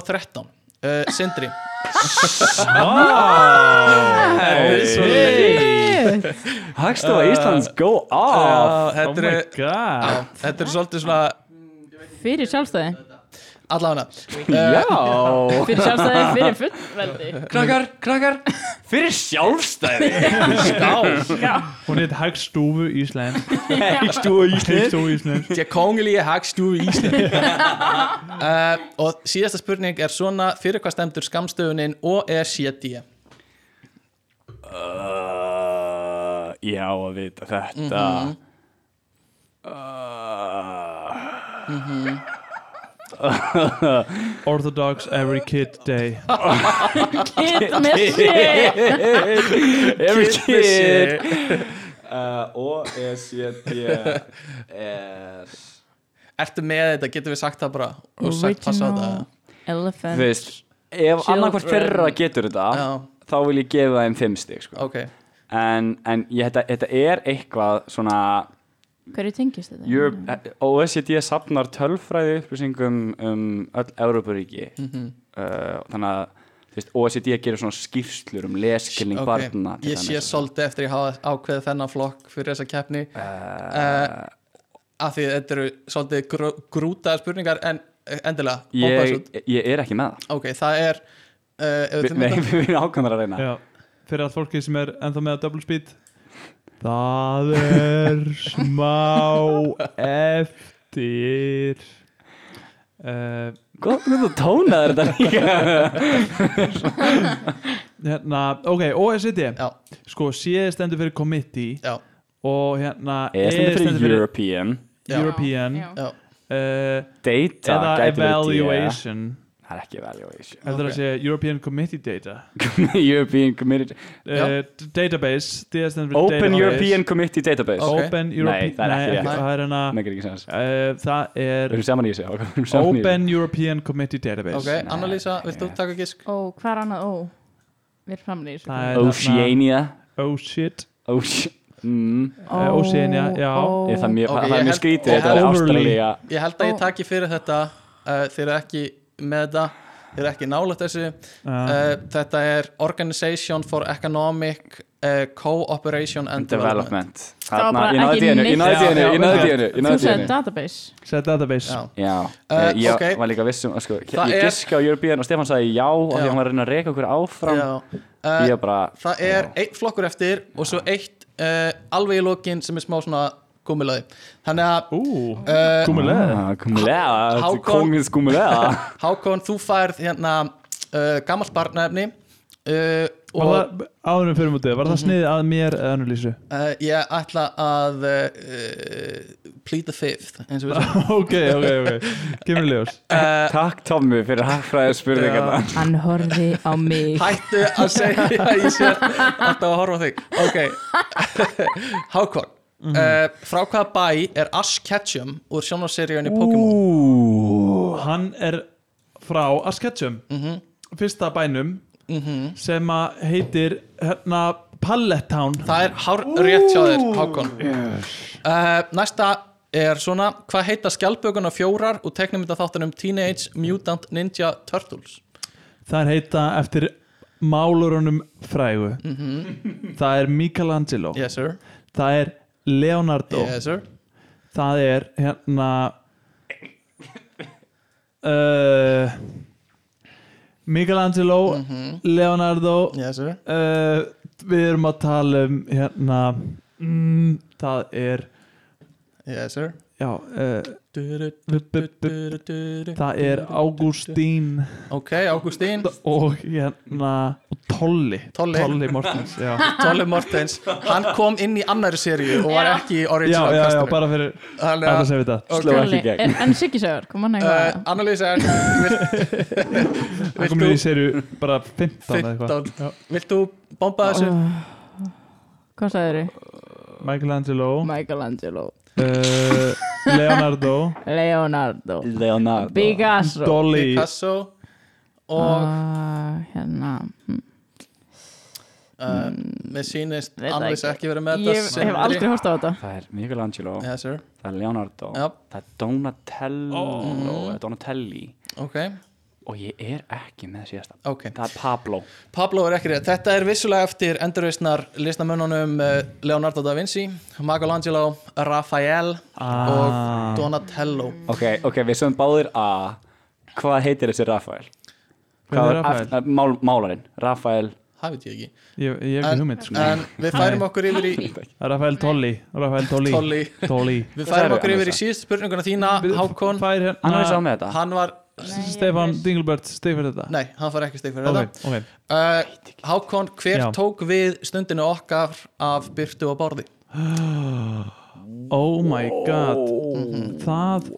[SPEAKER 3] Sindri,
[SPEAKER 2] Hagstofa Íslands, go off
[SPEAKER 3] uh,
[SPEAKER 1] Oh
[SPEAKER 3] þetta
[SPEAKER 1] my
[SPEAKER 3] er
[SPEAKER 1] god
[SPEAKER 3] Þetta er svolítið svona
[SPEAKER 4] Fyrir sjálfstæði
[SPEAKER 3] allafana
[SPEAKER 2] Já
[SPEAKER 4] Fyrir sjálfstæði, fyrir fullveldi
[SPEAKER 7] Krakkar, krakkar
[SPEAKER 2] Fyrir sjálfstæði
[SPEAKER 1] Hún heit Hagstofu Ísland
[SPEAKER 2] Stúi
[SPEAKER 1] Hagstofu Ísland
[SPEAKER 3] Því að kongulíi hagstjúi í
[SPEAKER 2] <laughs>
[SPEAKER 3] Ísland uh, Og síðasta spurning er svona Fyrir hvað stemdur skamstöfunin OECD
[SPEAKER 2] Uh, ég á að vita þetta mm -hmm. uh,
[SPEAKER 1] Orthodox every kid day
[SPEAKER 4] Hitt með sig
[SPEAKER 2] Every
[SPEAKER 3] the
[SPEAKER 2] kid uh, O-S-J-D er
[SPEAKER 3] Ertu með þetta, getum við sagt það bara Og sagt passa á þetta
[SPEAKER 2] Þú
[SPEAKER 4] Elephant
[SPEAKER 2] veist, ef annarkvort fyrra getur þetta
[SPEAKER 3] Já.
[SPEAKER 2] þá vil ég gefa þeim fimm stig sko.
[SPEAKER 3] Ok,
[SPEAKER 2] en, en ég, þetta, þetta er eitthvað svona
[SPEAKER 4] Hverju tengist þetta?
[SPEAKER 2] Europe, OECD safnar tölfræði upplýsingum um öll Európaríki mm -hmm. uh, þannig að þú þú veist, OECD gerir svona skýrslur um leskilning
[SPEAKER 3] Ok,
[SPEAKER 2] barna til
[SPEAKER 3] ég sé
[SPEAKER 2] dæmis. Eh,
[SPEAKER 3] svolítið eftir ég hafa ákveðið þennan flokk fyrir þessa keppni uh, af því þetta eru svolítið grú, grútaðar spurningar en eh, endilega, bomba þessu út.
[SPEAKER 2] ég, ég er ekki með það
[SPEAKER 3] ok, það er uh,
[SPEAKER 2] Vi- við við erum ákvæmðar að reyna
[SPEAKER 1] Já, fyrir allt fólki sem er ennþá með double speed Það er smá eftir uh,
[SPEAKER 2] gott með þú tónaður þetta líka
[SPEAKER 1] Hérna, ok, OECD
[SPEAKER 3] já,
[SPEAKER 1] Sko, C stendur fyrir committee
[SPEAKER 3] já,
[SPEAKER 1] og hérna
[SPEAKER 2] ég E stendur fyrir European
[SPEAKER 3] Já.
[SPEAKER 1] European
[SPEAKER 4] Já.
[SPEAKER 3] já,
[SPEAKER 1] uh,
[SPEAKER 2] data
[SPEAKER 1] eða
[SPEAKER 2] gæti verið D,
[SPEAKER 1] evaluation
[SPEAKER 2] ja. það er ekki evaluation <laughs>
[SPEAKER 1] heldur
[SPEAKER 3] Ok.
[SPEAKER 1] að segja European Committee Data
[SPEAKER 2] European Committee
[SPEAKER 1] uh, d- Database, D stendur fyrir
[SPEAKER 2] Open
[SPEAKER 1] database.
[SPEAKER 2] European Committee Database
[SPEAKER 3] Ok.
[SPEAKER 1] Open European
[SPEAKER 2] það er ekki rétt.
[SPEAKER 1] það er hérna
[SPEAKER 2] það er ekki sens
[SPEAKER 1] uh, það er
[SPEAKER 2] við erum saman í þessu ok, við erum saman í þessu.
[SPEAKER 1] Open European Committee Database
[SPEAKER 3] ok, Annalísa, viltu taka gísk?
[SPEAKER 4] Ó, hvað er annað ó? Við erum framan í þessu
[SPEAKER 1] Það er þarna-
[SPEAKER 2] Oceania
[SPEAKER 1] Oh shit
[SPEAKER 2] Oce- mm.
[SPEAKER 4] Ó,
[SPEAKER 1] eh, Oceania, já.
[SPEAKER 4] ó.
[SPEAKER 2] Er það er mjög,
[SPEAKER 3] Ok,
[SPEAKER 2] það
[SPEAKER 3] ég
[SPEAKER 2] er mjög
[SPEAKER 3] held-
[SPEAKER 2] skrítið
[SPEAKER 3] ég
[SPEAKER 2] þetta er
[SPEAKER 1] held-
[SPEAKER 2] Ástralía
[SPEAKER 3] ég held að ég taki fyrir þetta uh, þeir eru ekki með þetta þeir eru ekki nálægt þessu
[SPEAKER 1] Ah. Eh,
[SPEAKER 3] uh, þetta er Organization for Economic uh, Cooperation and Development,
[SPEAKER 2] Development
[SPEAKER 4] var
[SPEAKER 2] Þarna-
[SPEAKER 4] bara
[SPEAKER 2] ég náði
[SPEAKER 4] ekki
[SPEAKER 2] díðinu, ég
[SPEAKER 4] neitt.
[SPEAKER 2] náði díðinu,
[SPEAKER 3] Já,
[SPEAKER 2] ég
[SPEAKER 3] já,
[SPEAKER 2] náði
[SPEAKER 3] ok.
[SPEAKER 2] díðinu, ég
[SPEAKER 4] Þú
[SPEAKER 2] náði
[SPEAKER 4] sagði
[SPEAKER 2] díðinu
[SPEAKER 4] database
[SPEAKER 1] Set database
[SPEAKER 3] Já.
[SPEAKER 2] Já,
[SPEAKER 3] Eh,
[SPEAKER 2] ég
[SPEAKER 3] ok.
[SPEAKER 2] var líka viss um að sko, ég
[SPEAKER 3] Það er-
[SPEAKER 2] giska á European og Stefán sagði já og því
[SPEAKER 3] Já.
[SPEAKER 2] að hann var að reyna að reyka okkur áfram
[SPEAKER 3] Já,
[SPEAKER 2] Ég
[SPEAKER 3] uh,
[SPEAKER 2] er bara,
[SPEAKER 3] það er eitt flokkur eftir og svo eitt uh, alveg í lokin sem er smá svona gummilaði þannig að
[SPEAKER 1] Ú,
[SPEAKER 3] uh,
[SPEAKER 1] kúmulega
[SPEAKER 2] "Ah, kumulega,
[SPEAKER 3] Hákon-
[SPEAKER 2] kongins kumulega
[SPEAKER 3] <laughs> Hákon, þú færð hérna uh, gammalt barnaefni uh,
[SPEAKER 1] Var
[SPEAKER 3] og
[SPEAKER 1] það, áðurum fyrir mútið, var það sniðið að mér eða Annalísu?
[SPEAKER 3] uh, ég ætla að uh, plead the fifth
[SPEAKER 1] <laughs>
[SPEAKER 3] eins og við segjum
[SPEAKER 1] <laughs> ok, ok, ok, <laughs> kemur ljós
[SPEAKER 2] Takk Tommi fyrir hagfræði spurningarna
[SPEAKER 4] Hann horfi á mig
[SPEAKER 3] Hættu að segja að ég sé alltaf að horfa á þig Ok Hákon uh, Frá hvaða bæ er Ash Ketchum úr sjónarseríunni Pokémon?
[SPEAKER 1] Ú, hann er frá að sketchum
[SPEAKER 3] Mhm.
[SPEAKER 1] fyrsta bænum sem að heitir hérna Pallet Town
[SPEAKER 3] Það er hár rétt hjá þér, Hákon uh, Næsta er svona Hvað heita skjálpökuna fjórar úr teknimynda þáttunum Teenage Mutant Ninja Turtles?
[SPEAKER 1] Það er heita eftir málurunum frægu Það er Michelangelo
[SPEAKER 3] Mhm. Yes sir,
[SPEAKER 1] Það er Leonardo
[SPEAKER 3] yes sir
[SPEAKER 1] Það er hérna uh, Michelangelo Leonardo
[SPEAKER 3] Yes sir
[SPEAKER 1] uh, Við erum að tala um hérna mm, Það er
[SPEAKER 3] Yes sir
[SPEAKER 1] Já, uh,
[SPEAKER 3] Du-du,
[SPEAKER 1] bu, bu, bu,
[SPEAKER 3] du-du, du-du.
[SPEAKER 1] það er Ágústín
[SPEAKER 3] Ok, Ágústín
[SPEAKER 1] og hérna og Tolli
[SPEAKER 3] Tolli.
[SPEAKER 1] Tolli Mortens já.
[SPEAKER 3] <laughs> Tolli Mortens, hann kom inn í annari seríu og var ekki í
[SPEAKER 1] já,
[SPEAKER 3] original
[SPEAKER 1] já, já,
[SPEAKER 3] castinu.
[SPEAKER 1] bara fyrir að
[SPEAKER 3] Þannig
[SPEAKER 1] það
[SPEAKER 3] að
[SPEAKER 1] sem við það
[SPEAKER 2] Sló ekki í gegn
[SPEAKER 4] En Siggisögur, kom hann
[SPEAKER 3] uh,
[SPEAKER 1] <laughs>
[SPEAKER 4] eitthvað
[SPEAKER 3] Annalisa vilt,
[SPEAKER 1] Það komið í
[SPEAKER 3] vilt,
[SPEAKER 1] serju bara 15 eða eitthvað
[SPEAKER 3] 15 Vilt þú bomba þessu?
[SPEAKER 4] Hvað sagði þér?
[SPEAKER 1] Michelangelo
[SPEAKER 4] Michelangelo
[SPEAKER 1] uh, Leonardo
[SPEAKER 4] Leonardo
[SPEAKER 2] Leonardo
[SPEAKER 4] Picasso
[SPEAKER 1] Dolly
[SPEAKER 3] Picasso og
[SPEAKER 4] Ah, Hérna hm.
[SPEAKER 3] uh,
[SPEAKER 1] Mm.
[SPEAKER 3] mér sýnist
[SPEAKER 4] Veit það
[SPEAKER 3] Annalisa ekki verið með
[SPEAKER 4] Ég
[SPEAKER 3] þetta
[SPEAKER 4] hef aldrei horft á þetta
[SPEAKER 2] Það er Michelangelo,
[SPEAKER 3] Yes sir,
[SPEAKER 2] það er Leonardo
[SPEAKER 3] Já.
[SPEAKER 2] Það er Donatello eða Donatelli
[SPEAKER 3] ok
[SPEAKER 2] og ég er ekki með síðasta
[SPEAKER 3] Ok,
[SPEAKER 2] Það er Pablo
[SPEAKER 3] Pablo er ekki rétt. Þetta er vissulega eftir endurreisnar listamönnunum eh, Leonardo da Vinci, Michelangelo, Raphael
[SPEAKER 1] Ah.
[SPEAKER 3] og Donatello.
[SPEAKER 2] Ok, ok, við sögum báðir að hvað heitir þessi Rafael?
[SPEAKER 1] Hvað er Rafael?
[SPEAKER 2] Mál, málarinn, Rafael
[SPEAKER 3] Það veit ég ekki.
[SPEAKER 1] Ég, ég hef ekki
[SPEAKER 3] En-
[SPEAKER 1] hugmynd sko.
[SPEAKER 3] En við færum okkur yfir í
[SPEAKER 1] Rafael Tolli Rafael Tolli
[SPEAKER 3] Tolli.
[SPEAKER 1] Tolli
[SPEAKER 3] Við færum
[SPEAKER 2] sagðirðu,
[SPEAKER 3] okkur yfir í
[SPEAKER 2] Annalisa?
[SPEAKER 3] síðustu spurninguna þína, Hákon.
[SPEAKER 1] Fær
[SPEAKER 2] Annar er sá
[SPEAKER 1] hérna
[SPEAKER 2] með þetta
[SPEAKER 3] Hann var
[SPEAKER 1] Stefan Dinglebert Steg fyrir þetta
[SPEAKER 3] Nei, hann far ekki stig fyrir
[SPEAKER 1] Ok,
[SPEAKER 3] þetta
[SPEAKER 1] ok
[SPEAKER 3] uh, Hákon, hver
[SPEAKER 1] Já.
[SPEAKER 3] tók við stundinu okkar af Byrtu og Borði?
[SPEAKER 1] Oh my god Það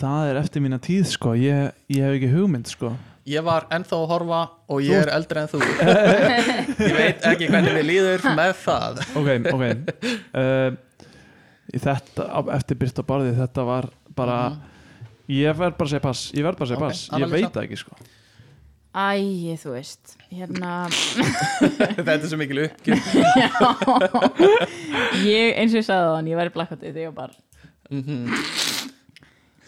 [SPEAKER 1] Það er eftir mína tíð sko Ég, ég hef ekki hugmynd sko
[SPEAKER 3] Ég var ennþá að horfa og ég er eldri en þú Ég veit ekki hvernig við líður með það <laughs>
[SPEAKER 1] Ok, ok uh, í Þetta, á- eftir byrta barði Þetta var bara Ég verð bara að segja pass Ég verð bara að segja
[SPEAKER 3] Mhm. Ok,
[SPEAKER 1] pass Ég
[SPEAKER 3] Anna-Lísa.
[SPEAKER 1] veit það ekki sko
[SPEAKER 4] Æ, þú veist Hérna
[SPEAKER 3] Þetta er svo mikil uppgjöf
[SPEAKER 4] Ég, eins og ég sagði þann, ég væri blackouti þegar ég var barn
[SPEAKER 3] Mhm.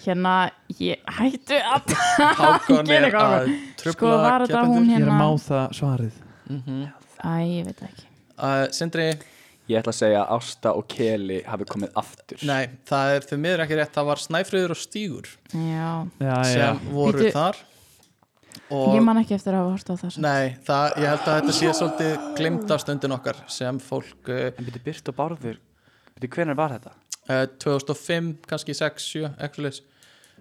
[SPEAKER 4] Hérna, ég hættu að
[SPEAKER 3] Hákon
[SPEAKER 4] Gerið
[SPEAKER 3] er
[SPEAKER 4] eitthvað
[SPEAKER 3] að
[SPEAKER 4] annað. Sko, var þetta hún
[SPEAKER 1] Ég er að
[SPEAKER 4] hérna?
[SPEAKER 1] má það svarið
[SPEAKER 4] Æ, ég veit það ekki.
[SPEAKER 3] Uh, Sindri,
[SPEAKER 2] Ég ætla að segja að Ásta og Keli hafi komið aftur
[SPEAKER 3] nei, það er þau miður ekki rétt það var Snæfriður og Stígur
[SPEAKER 4] Já,
[SPEAKER 1] Já, já,
[SPEAKER 3] sem voru
[SPEAKER 4] Bíddu.
[SPEAKER 3] þar
[SPEAKER 4] ég
[SPEAKER 3] og
[SPEAKER 4] man ekki eftir að hafa hort á það. samt.
[SPEAKER 3] nei, það, ég held að þetta sé svolítið glimt af stundin okkar sem fólk uh,
[SPEAKER 2] En byrju Byrt og Bárður Byrju hvernig var þetta?
[SPEAKER 3] uh, 2005, kannski 6, 7 eitthvað leys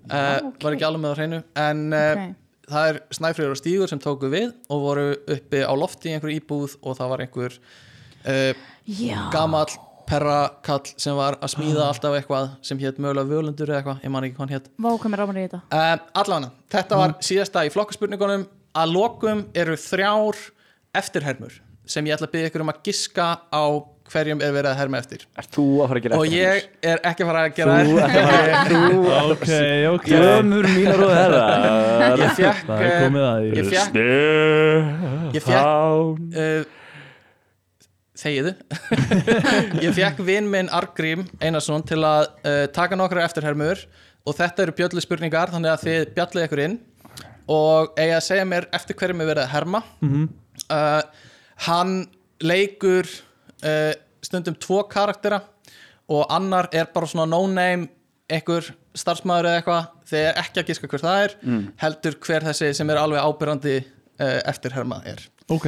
[SPEAKER 3] uh, var ekki alveg með það hreinu en uh,
[SPEAKER 4] Ok.
[SPEAKER 3] það er Snæfriður og Stígur sem tóku við og voru uppi á lofti í einhverju íbúð og það var einhver uh,
[SPEAKER 4] Já,
[SPEAKER 3] gamall perrakall sem var að smíða alltaf eitthvað sem hétt mögulega völundur eða eitthvað, ég man ekki hvað hann hétt
[SPEAKER 4] váka mér ámur í þetta.
[SPEAKER 3] uh, allavega, þetta
[SPEAKER 1] Mm.
[SPEAKER 3] var síðasta í flokkaspurningunum að lokum eru þrjár eftirhermur sem ég ætla að byggja ykkur um að giska á hverjum er verið að herma eftir
[SPEAKER 2] Er þú að fara að gera
[SPEAKER 3] og ég er ekki að fara að gera þær.
[SPEAKER 1] ok, ok
[SPEAKER 2] Gömur mínar og herrar
[SPEAKER 3] <laughs> ég fekk
[SPEAKER 1] Það er komið að því
[SPEAKER 3] ég fekk, ég fekk
[SPEAKER 2] Hán
[SPEAKER 3] uh, þegiðu <laughs> ég fekk vinn minn Argrím Einarsson til að uh, taka nokkra eftirhermur og þetta eru bjöllu spurningar þannig að þið bjallið ykkur inn og eiga að segja mér eftir hverjum er verið að herma uh, hann leikur uh, stundum tvo karaktera og annar er bara svona no-name einhver starfsmæður eða eitthvað þið er ekki að gíska hver það er heldur hver þessi sem er alveg ábyrrandi uh, eftirherma er
[SPEAKER 1] Ok,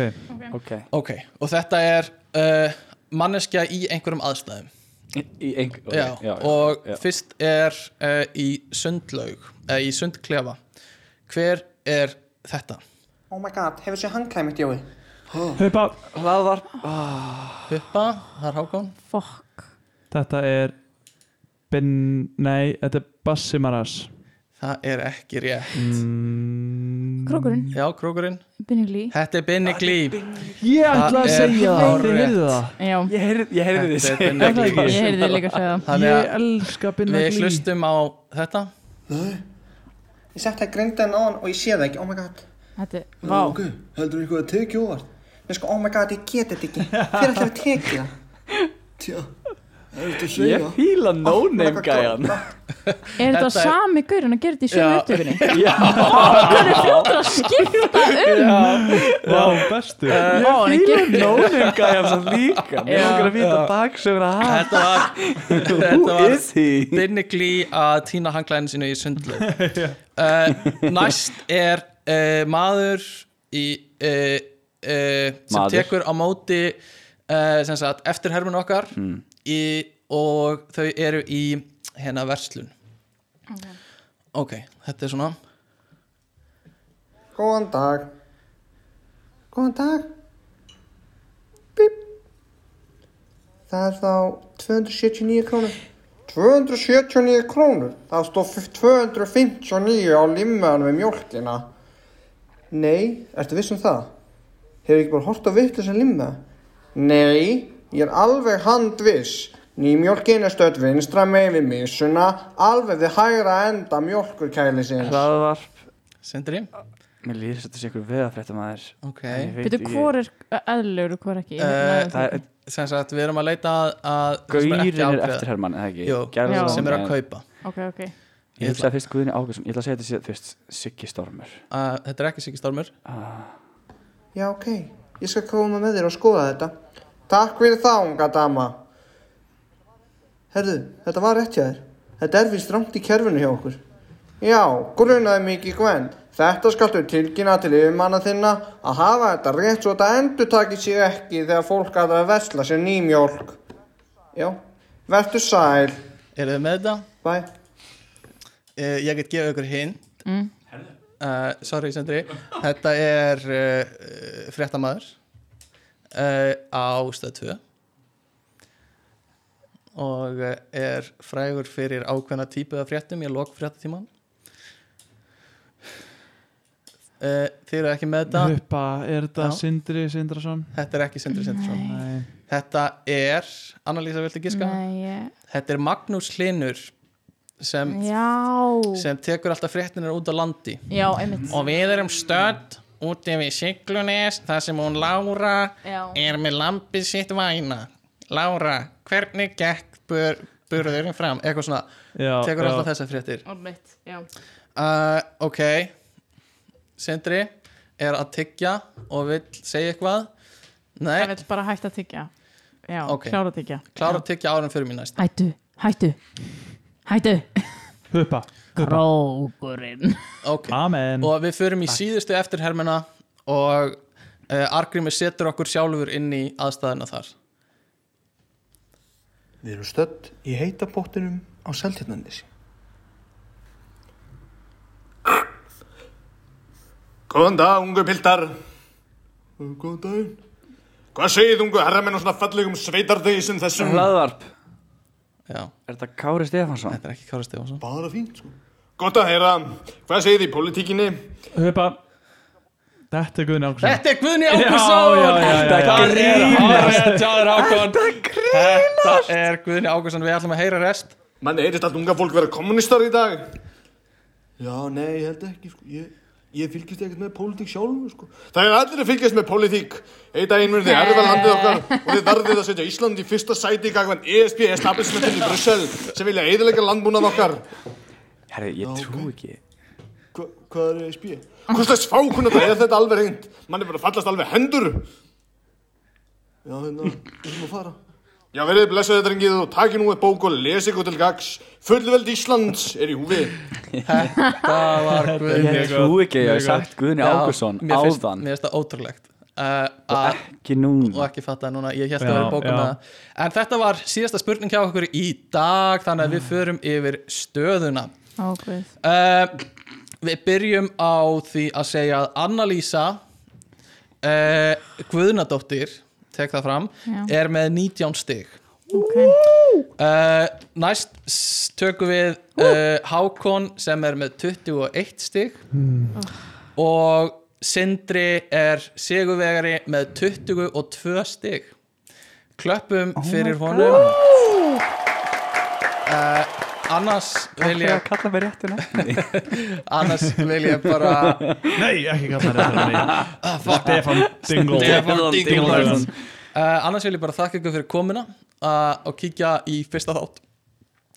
[SPEAKER 2] Ok
[SPEAKER 3] Ok, og þetta er uh, manneskja í einhverjum aðstæðum
[SPEAKER 2] Í- Í einhver ok,
[SPEAKER 3] já,
[SPEAKER 2] já, já,
[SPEAKER 3] og
[SPEAKER 2] já.
[SPEAKER 3] fyrst er uh, í sundlaug, eða í sundklefa hver er þetta?
[SPEAKER 8] Oh my god, hefur séð hangkæmi mitt Jói?
[SPEAKER 1] haupa
[SPEAKER 2] Hvað var
[SPEAKER 3] Huppa, það er Hákon
[SPEAKER 4] Fokk.
[SPEAKER 1] Þetta er Ben, nei, þetta er Bassimaras
[SPEAKER 3] það er ekki rétt,
[SPEAKER 4] Krókurinn,
[SPEAKER 3] Mm, já krókurinn
[SPEAKER 4] Binnigli.
[SPEAKER 3] þetta er Binni Glíb
[SPEAKER 1] Ég ætla að
[SPEAKER 3] er
[SPEAKER 1] segja það, þið
[SPEAKER 3] hárrétt.
[SPEAKER 1] heyrðu það
[SPEAKER 4] Já,
[SPEAKER 2] Ég heyrði, ég heyrði því
[SPEAKER 3] Þetta er
[SPEAKER 2] segja
[SPEAKER 3] Binni Glíb
[SPEAKER 4] <laughs> ég heyrði þig
[SPEAKER 3] <laughs>
[SPEAKER 4] líka að segja það.
[SPEAKER 3] þannig
[SPEAKER 1] Ég
[SPEAKER 3] að
[SPEAKER 1] elska Binna
[SPEAKER 3] við
[SPEAKER 1] Glý
[SPEAKER 3] hlustum á þetta
[SPEAKER 8] Ég sett það grindan on og ég sé það ekki, oh my god.
[SPEAKER 4] Þetta er, vá,
[SPEAKER 9] Heldur einhver að teki óvart?
[SPEAKER 8] Mér sko, oh my god, ég get þetta ekki. Hver ætlar að teki það?
[SPEAKER 9] Tja, það er þetta að
[SPEAKER 2] Ég
[SPEAKER 9] segja.
[SPEAKER 2] fíla no-name
[SPEAKER 8] God.
[SPEAKER 2] gæjan
[SPEAKER 4] er þetta
[SPEAKER 3] Þetta er-
[SPEAKER 4] sami gaur hann að gera þetta í
[SPEAKER 3] <laughs> Já.
[SPEAKER 4] sömu upptökunni?
[SPEAKER 2] Já
[SPEAKER 4] Það er fljóttur að skipta um.
[SPEAKER 1] Vá, bestu
[SPEAKER 3] Eh,
[SPEAKER 4] Vá, hann er
[SPEAKER 2] Fíla
[SPEAKER 4] gegn-
[SPEAKER 2] no-name gæjan svo líka Mér
[SPEAKER 4] Já.
[SPEAKER 2] langar að vita baksögur að hann
[SPEAKER 3] þetta var, þetta
[SPEAKER 2] Who
[SPEAKER 3] var
[SPEAKER 2] is he?
[SPEAKER 3] Binni Glí að týna hanglæðinu sínu í sundlaug uh, Næst er uh, maður í, uh, uh, sem
[SPEAKER 2] Maður.
[SPEAKER 3] tekur á móti uh, sem sagt, eftir hermun okkar
[SPEAKER 2] Hmm.
[SPEAKER 3] í, og þau eru í hérna verslun Ok, þetta er svona
[SPEAKER 8] Góðan dag. Góðan dag. Bip. Það er þá 279 krónur. 279 krónur? Það stóð 259 á limmaðan með mjólkina. Nei, ertu viss um það? Hefur ekki bara hort á vittu sem limma? Nei, ég er alveg handviss. Nýmjólkin er stödd vinstra megin við misuna, alveg við hægra enda mjólkurkælisins.
[SPEAKER 2] Hlaðvarp
[SPEAKER 3] Sindri
[SPEAKER 2] Mér lýðir þetta sé ykkur veðafrétta maður
[SPEAKER 3] Ok,
[SPEAKER 4] Veitu, hvor er eðlur og hvor ekki? Ég
[SPEAKER 3] Eh,
[SPEAKER 4] veit
[SPEAKER 2] Það er,
[SPEAKER 3] sem sagt við erum að leita að- að sem er
[SPEAKER 2] Gaurin
[SPEAKER 3] ekki
[SPEAKER 2] er
[SPEAKER 3] ákveða.
[SPEAKER 2] eftirhermann, eða ekki?
[SPEAKER 3] Jú,
[SPEAKER 2] Gerðar-
[SPEAKER 4] Já.
[SPEAKER 3] sem er að
[SPEAKER 2] en-
[SPEAKER 3] kaupa
[SPEAKER 4] Ok, ok.
[SPEAKER 2] Ég hugsaði fyrst Guðni Ágæsson, ég ætla að segja þetta sé fyrst Siggi Stormur
[SPEAKER 3] uh, Þetta er ekki Siggi Stormur
[SPEAKER 8] Já, ok. Ég skal koma með þér og skoða þetta. Takk fyrir þá, unga dama. Herðu, þetta var rétt hjá þér. Þetta er vist rangt í kerfinu hjá okkur. Já, grunaði mikið Gwen. Þetta skaltu tilkynna til yfirmanna þinna að hafa þetta rétt svo þetta endur takið sig ekki þegar fólk að það vesla sér nýmjólk. Já, vertu sæl.
[SPEAKER 3] Eru þið með þetta?
[SPEAKER 8] Bye.
[SPEAKER 3] uh, ég get gefið ykkur hint mm. sorry Sandri þetta er uh, fréttamaður uh, á stöð 2 og eh, er frægur fyrir ákveðna típu af fréttum ég lok fréttatíman uh, þið eru ekki með þetta
[SPEAKER 1] Haupa, er þetta
[SPEAKER 3] Já.
[SPEAKER 1] Sindri Sindrason?
[SPEAKER 3] þetta er ekki Sindri Sindrason
[SPEAKER 1] Nei
[SPEAKER 3] þetta er, Annalísa viltu giska
[SPEAKER 4] Nei, ég-
[SPEAKER 3] þetta er Magnús Hlinur sem,
[SPEAKER 4] já.
[SPEAKER 3] Mm. sem tekur alltaf fréttinir út á landi
[SPEAKER 4] Já, einmitt.
[SPEAKER 3] og við erum stödd úti við Siglunes þar sem hún Lára
[SPEAKER 4] Já.
[SPEAKER 3] er með lampið sitt væna Lára, hvernig gekk bur, burðurinn fram eitthvað svona,
[SPEAKER 1] Já,
[SPEAKER 3] tekur
[SPEAKER 1] já.
[SPEAKER 3] alltaf þessar fréttir
[SPEAKER 4] Einmitt, já.
[SPEAKER 3] uh, ok Uh, Sindri er að tyggja og vill segja eitthvað
[SPEAKER 10] Það
[SPEAKER 3] Nei,
[SPEAKER 10] vil bara hægt að tyggja Já,
[SPEAKER 3] Ok.
[SPEAKER 10] klára að tyggja
[SPEAKER 3] klára að tyggja árum fyrir mér næst
[SPEAKER 10] Hættu, hættu, hættu
[SPEAKER 1] Huppa, huppa
[SPEAKER 10] Krókurinn
[SPEAKER 3] Ok,
[SPEAKER 1] Amen
[SPEAKER 3] og við förum í síðustu eftirhermina og uh, Argrími setur okkur sjálfur inn í aðstæðina þar
[SPEAKER 8] Við erum stödd í heita pottinum á Seltjarnandis.
[SPEAKER 5] Góðan dag, ungu piltar.
[SPEAKER 9] Góðan daginn.
[SPEAKER 5] Hvað segið ungu herramenn á svona fallegum sveitardegi sem þessum?
[SPEAKER 2] Hlaðvarp,
[SPEAKER 3] Já,
[SPEAKER 2] er þetta Kári Stefánsson?
[SPEAKER 3] þetta er ekki Kára Stefánsson
[SPEAKER 9] Bara fínt, sko.
[SPEAKER 5] Gott að heyra. Hvað segið í pólitíkinni?
[SPEAKER 1] Huppa Þetta er Guðni Ákvæmst
[SPEAKER 3] Þetta er Guðni
[SPEAKER 1] já, já, já,
[SPEAKER 3] Ágússon
[SPEAKER 1] já, já.
[SPEAKER 3] Það er hárrétt hjá þér, Hákon. Þetta er Guðni Ágússon Við ætlum að heyra rest
[SPEAKER 5] Manni, heyrist allt unga fólk vera kommunistar í dag?
[SPEAKER 9] Já, nei, ég held ekki, sko. Ég, ég fylgist ekkert með pólitík sjálfur, sko.
[SPEAKER 5] Það er allir að fylgjast með pólitík. Eitt daginn munið þið erfa landið
[SPEAKER 9] <laughs>
[SPEAKER 5] okkar og þið verðið að setja Ísland í fyrsta sæti í E gagvann ESB establishmentin í Brussel sem vilja eiðilega landbúnað okkar.
[SPEAKER 2] Herri, ég trú ekki
[SPEAKER 9] Hva, hvað er E ESB?
[SPEAKER 5] Hvað slags fákunna það er þetta alveg reynd? Manni verður að fallast alveg hendur.
[SPEAKER 9] Já, hérna, við erum að fara.
[SPEAKER 5] Já, verðið blessaðið drengið og takið nú eitt bók og lesið ykkur til gags. Fullveld Íslands er í húfi.
[SPEAKER 3] Það var Guðni
[SPEAKER 2] Ég trú ekki, ég hef sagt Guðni
[SPEAKER 3] Já,
[SPEAKER 2] Ágússon
[SPEAKER 3] mér finnst-
[SPEAKER 2] áðan
[SPEAKER 3] Mér finnst það ótrúlegt uh,
[SPEAKER 2] og
[SPEAKER 3] að,
[SPEAKER 2] ekki
[SPEAKER 3] og
[SPEAKER 2] núna
[SPEAKER 3] ekki fatta það núna, ég held
[SPEAKER 1] Já,
[SPEAKER 3] að vera bókum
[SPEAKER 1] já.
[SPEAKER 3] með það En þetta var síðasta spurning hjá okkur í dag þannig að við förum yfir stöðuna
[SPEAKER 10] Ákveð
[SPEAKER 3] uh, Við byrjum á því að segja að Annalísa uh, Guðnadóttir tek það fram,
[SPEAKER 2] Eh.
[SPEAKER 10] Já.
[SPEAKER 3] er með 19 stig
[SPEAKER 10] okay.
[SPEAKER 3] Uh, næst s- tökum við uh, Hákon sem er með 21 stig
[SPEAKER 2] Hmm.
[SPEAKER 3] og Sindri er Sigurvegari með 22 stig klöppum
[SPEAKER 2] Oh
[SPEAKER 3] fyrir honum uh, annars vil
[SPEAKER 2] Ég að
[SPEAKER 3] ég
[SPEAKER 2] kalla mig réttina
[SPEAKER 3] <laughs> annars vil ég bara
[SPEAKER 1] Nei, ekki kalla þetta mig
[SPEAKER 3] Ah,
[SPEAKER 1] Stefan Dingle
[SPEAKER 3] Stefán
[SPEAKER 1] Dingle.
[SPEAKER 3] Dingle Uh, annars vil ég bara þakka ykkur fyrir komuna uh, og kíkja í fyrsta þátt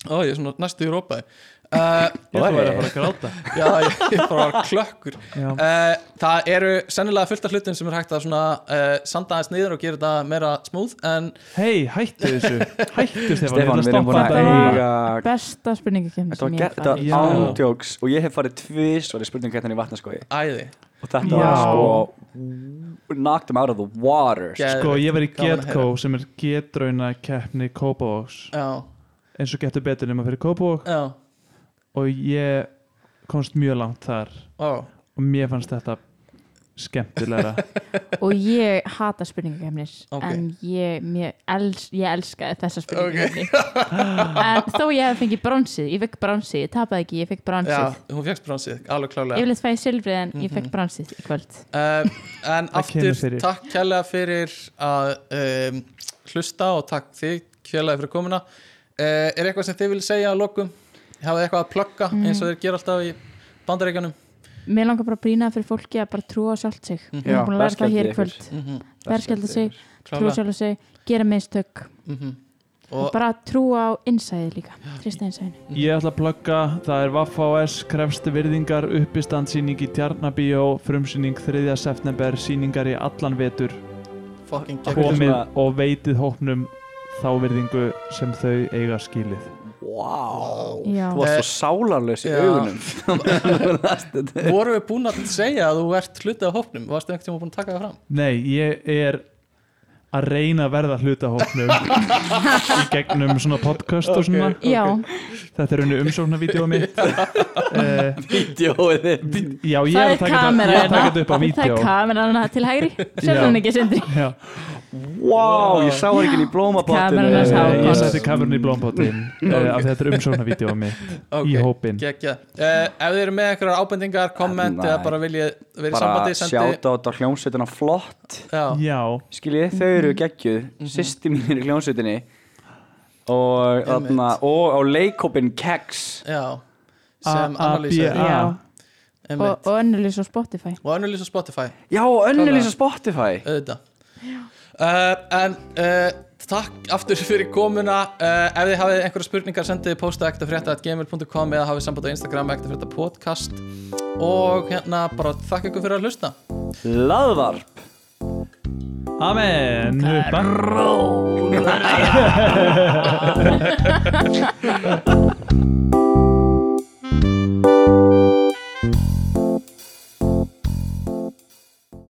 [SPEAKER 3] Ó, ég er svona næstu í rópaði uh,
[SPEAKER 1] Ég ætla að vera að fara að gráta
[SPEAKER 3] Já, ég, ég bara var klökkur
[SPEAKER 1] Já.
[SPEAKER 3] uh, Það eru sennilega fullt af hlutum sem er hægt að svona uh, sanda aðeins niður og gera þetta meira smooth en
[SPEAKER 1] Hei, hættu þessu Hættu Stefán, ég ætla að
[SPEAKER 2] Stefán, við erum
[SPEAKER 1] stoppa
[SPEAKER 2] búin að
[SPEAKER 1] þetta
[SPEAKER 10] í-
[SPEAKER 1] í-
[SPEAKER 2] eiga
[SPEAKER 10] Besta spurningakefni
[SPEAKER 2] Þetta
[SPEAKER 10] sem
[SPEAKER 2] var
[SPEAKER 10] ég hef
[SPEAKER 2] gert þetta
[SPEAKER 10] farið í.
[SPEAKER 1] Já.
[SPEAKER 2] ándjóks og ég hef farið tvís og það er spurningkættan í vatnaskói
[SPEAKER 3] æði
[SPEAKER 2] og þetta var
[SPEAKER 1] Já.
[SPEAKER 2] sko knocked him out of the water
[SPEAKER 3] Geðveikt.
[SPEAKER 1] Sko, ég var í
[SPEAKER 3] Gaman að
[SPEAKER 1] Getco sem er getrauna keppni Kópavóks
[SPEAKER 3] Já,
[SPEAKER 1] eins og getur betur nema fyrir Kópavók
[SPEAKER 3] já,
[SPEAKER 1] og ég komst mjög langt þar
[SPEAKER 3] ó
[SPEAKER 1] og mér fannst þetta skemmtilegra
[SPEAKER 10] Og ég hata spurningakefnir
[SPEAKER 3] Ok.
[SPEAKER 10] En ég, mér, els, ég elskaði þessa spurningakefni En þó ég hef fengið bronsið Ég fekk bronsið, ég tapaði ekki, ég fekk
[SPEAKER 3] Já,
[SPEAKER 10] bronsið
[SPEAKER 3] hún fjöxt bronsið, alveg
[SPEAKER 10] Ég
[SPEAKER 3] klálega
[SPEAKER 10] vil eitthvað í silfrið en ég
[SPEAKER 2] Mhm.
[SPEAKER 10] fekk bronsið í kvöld
[SPEAKER 3] uh, En
[SPEAKER 1] kemur
[SPEAKER 3] aftur,
[SPEAKER 1] fyrir.
[SPEAKER 3] takk kærlega fyrir að um, hlusta og takk þig kærlega fyrir komuna uh, Er eitthvað sem þið vil segja að lokum? Hafið þið eitthvað að plugga eins
[SPEAKER 10] Mm.
[SPEAKER 3] og þeir gera alltaf í bandaríkjanum?
[SPEAKER 10] Mér langar bara að brýna fyrir fólki að bara trúa á sjálft sig Ég er búin að læra það
[SPEAKER 2] verðskeldið
[SPEAKER 10] hér í
[SPEAKER 2] Mhm. ykkur.
[SPEAKER 10] kvöld Verskjölda sig, trúa
[SPEAKER 3] Mhm, Klárlega. Mhm.
[SPEAKER 10] sjálf og sig Gera mistök
[SPEAKER 3] Og-
[SPEAKER 10] Og bara trúa á innsæði líka Trista innsæðinu
[SPEAKER 1] Ég ætla að plugga, það er Vaff HS krefst virðingar uppistandsýning í Tjarnabíó frumsýning 3. september sýningar í allan vetur
[SPEAKER 3] Fucking geggjum
[SPEAKER 1] komið
[SPEAKER 2] svona-
[SPEAKER 1] og veitið hópnum þá virðingu sem þau eiga skilið
[SPEAKER 2] wow
[SPEAKER 10] Já.
[SPEAKER 2] þú varst svo sálarlaus í
[SPEAKER 3] Já.
[SPEAKER 2] augunum Þetta er-
[SPEAKER 3] voru við búin að segja að þú ert hlutið á hópnum varstu einhvern tíma búin að taka það fram
[SPEAKER 1] Nei, ég er að reyna að verða hlutahóknum í gegnum svona podcast og svona
[SPEAKER 10] Já,
[SPEAKER 1] Þetta er unni umsóknarvídeóið
[SPEAKER 2] <laughs>
[SPEAKER 1] mitt uh,
[SPEAKER 2] Vídeóið þitt.
[SPEAKER 1] Já, ég
[SPEAKER 10] það
[SPEAKER 1] er
[SPEAKER 10] er
[SPEAKER 1] að taka þetta-
[SPEAKER 10] kamera hérna.
[SPEAKER 1] ég er að taka þetta upp á
[SPEAKER 10] Það er
[SPEAKER 1] vídeó
[SPEAKER 10] kamera hana til hægri
[SPEAKER 1] Já.
[SPEAKER 10] Sjálf hann ekki sindri
[SPEAKER 1] Já,
[SPEAKER 2] wow, ég sá ekki í blómapottinu
[SPEAKER 10] Kameran hans
[SPEAKER 1] eh,
[SPEAKER 10] Hákon.
[SPEAKER 1] Ég setti kamerun í blómpottin uh, af þetta er umsóknarvídeóið mitt í hópin
[SPEAKER 3] Geggjað. Eh, ef þið eru með einhverjar ábendingar, komment
[SPEAKER 2] Nei.
[SPEAKER 3] eða bara viljið vera í
[SPEAKER 2] bara
[SPEAKER 3] sambandi sendi,
[SPEAKER 2] sjáta á hljómsveitina flott
[SPEAKER 3] já,
[SPEAKER 1] Já,
[SPEAKER 2] skiljið, þau eru geggjuð mm sýsti mín er í hljómsveitinni og, þarna, og á leikopin Keks
[SPEAKER 3] já, sem analýsa
[SPEAKER 1] A-A-B-A
[SPEAKER 10] Já. og, og önnulís á Spotify
[SPEAKER 3] og önnulís á Spotify
[SPEAKER 2] já, önnulís á Spotify
[SPEAKER 3] auðvitað uh, en uh, takk aftur fyrir komuna uh, ef þið hafið einhverja spurningar sendið posta ektafrétta.gmail.com eða hafið samband á Instagram ektafrétta podcast og hérna bara þakk ykkur fyrir að hlusta
[SPEAKER 2] Laðvarp
[SPEAKER 1] Amen Huppa
[SPEAKER 4] Ró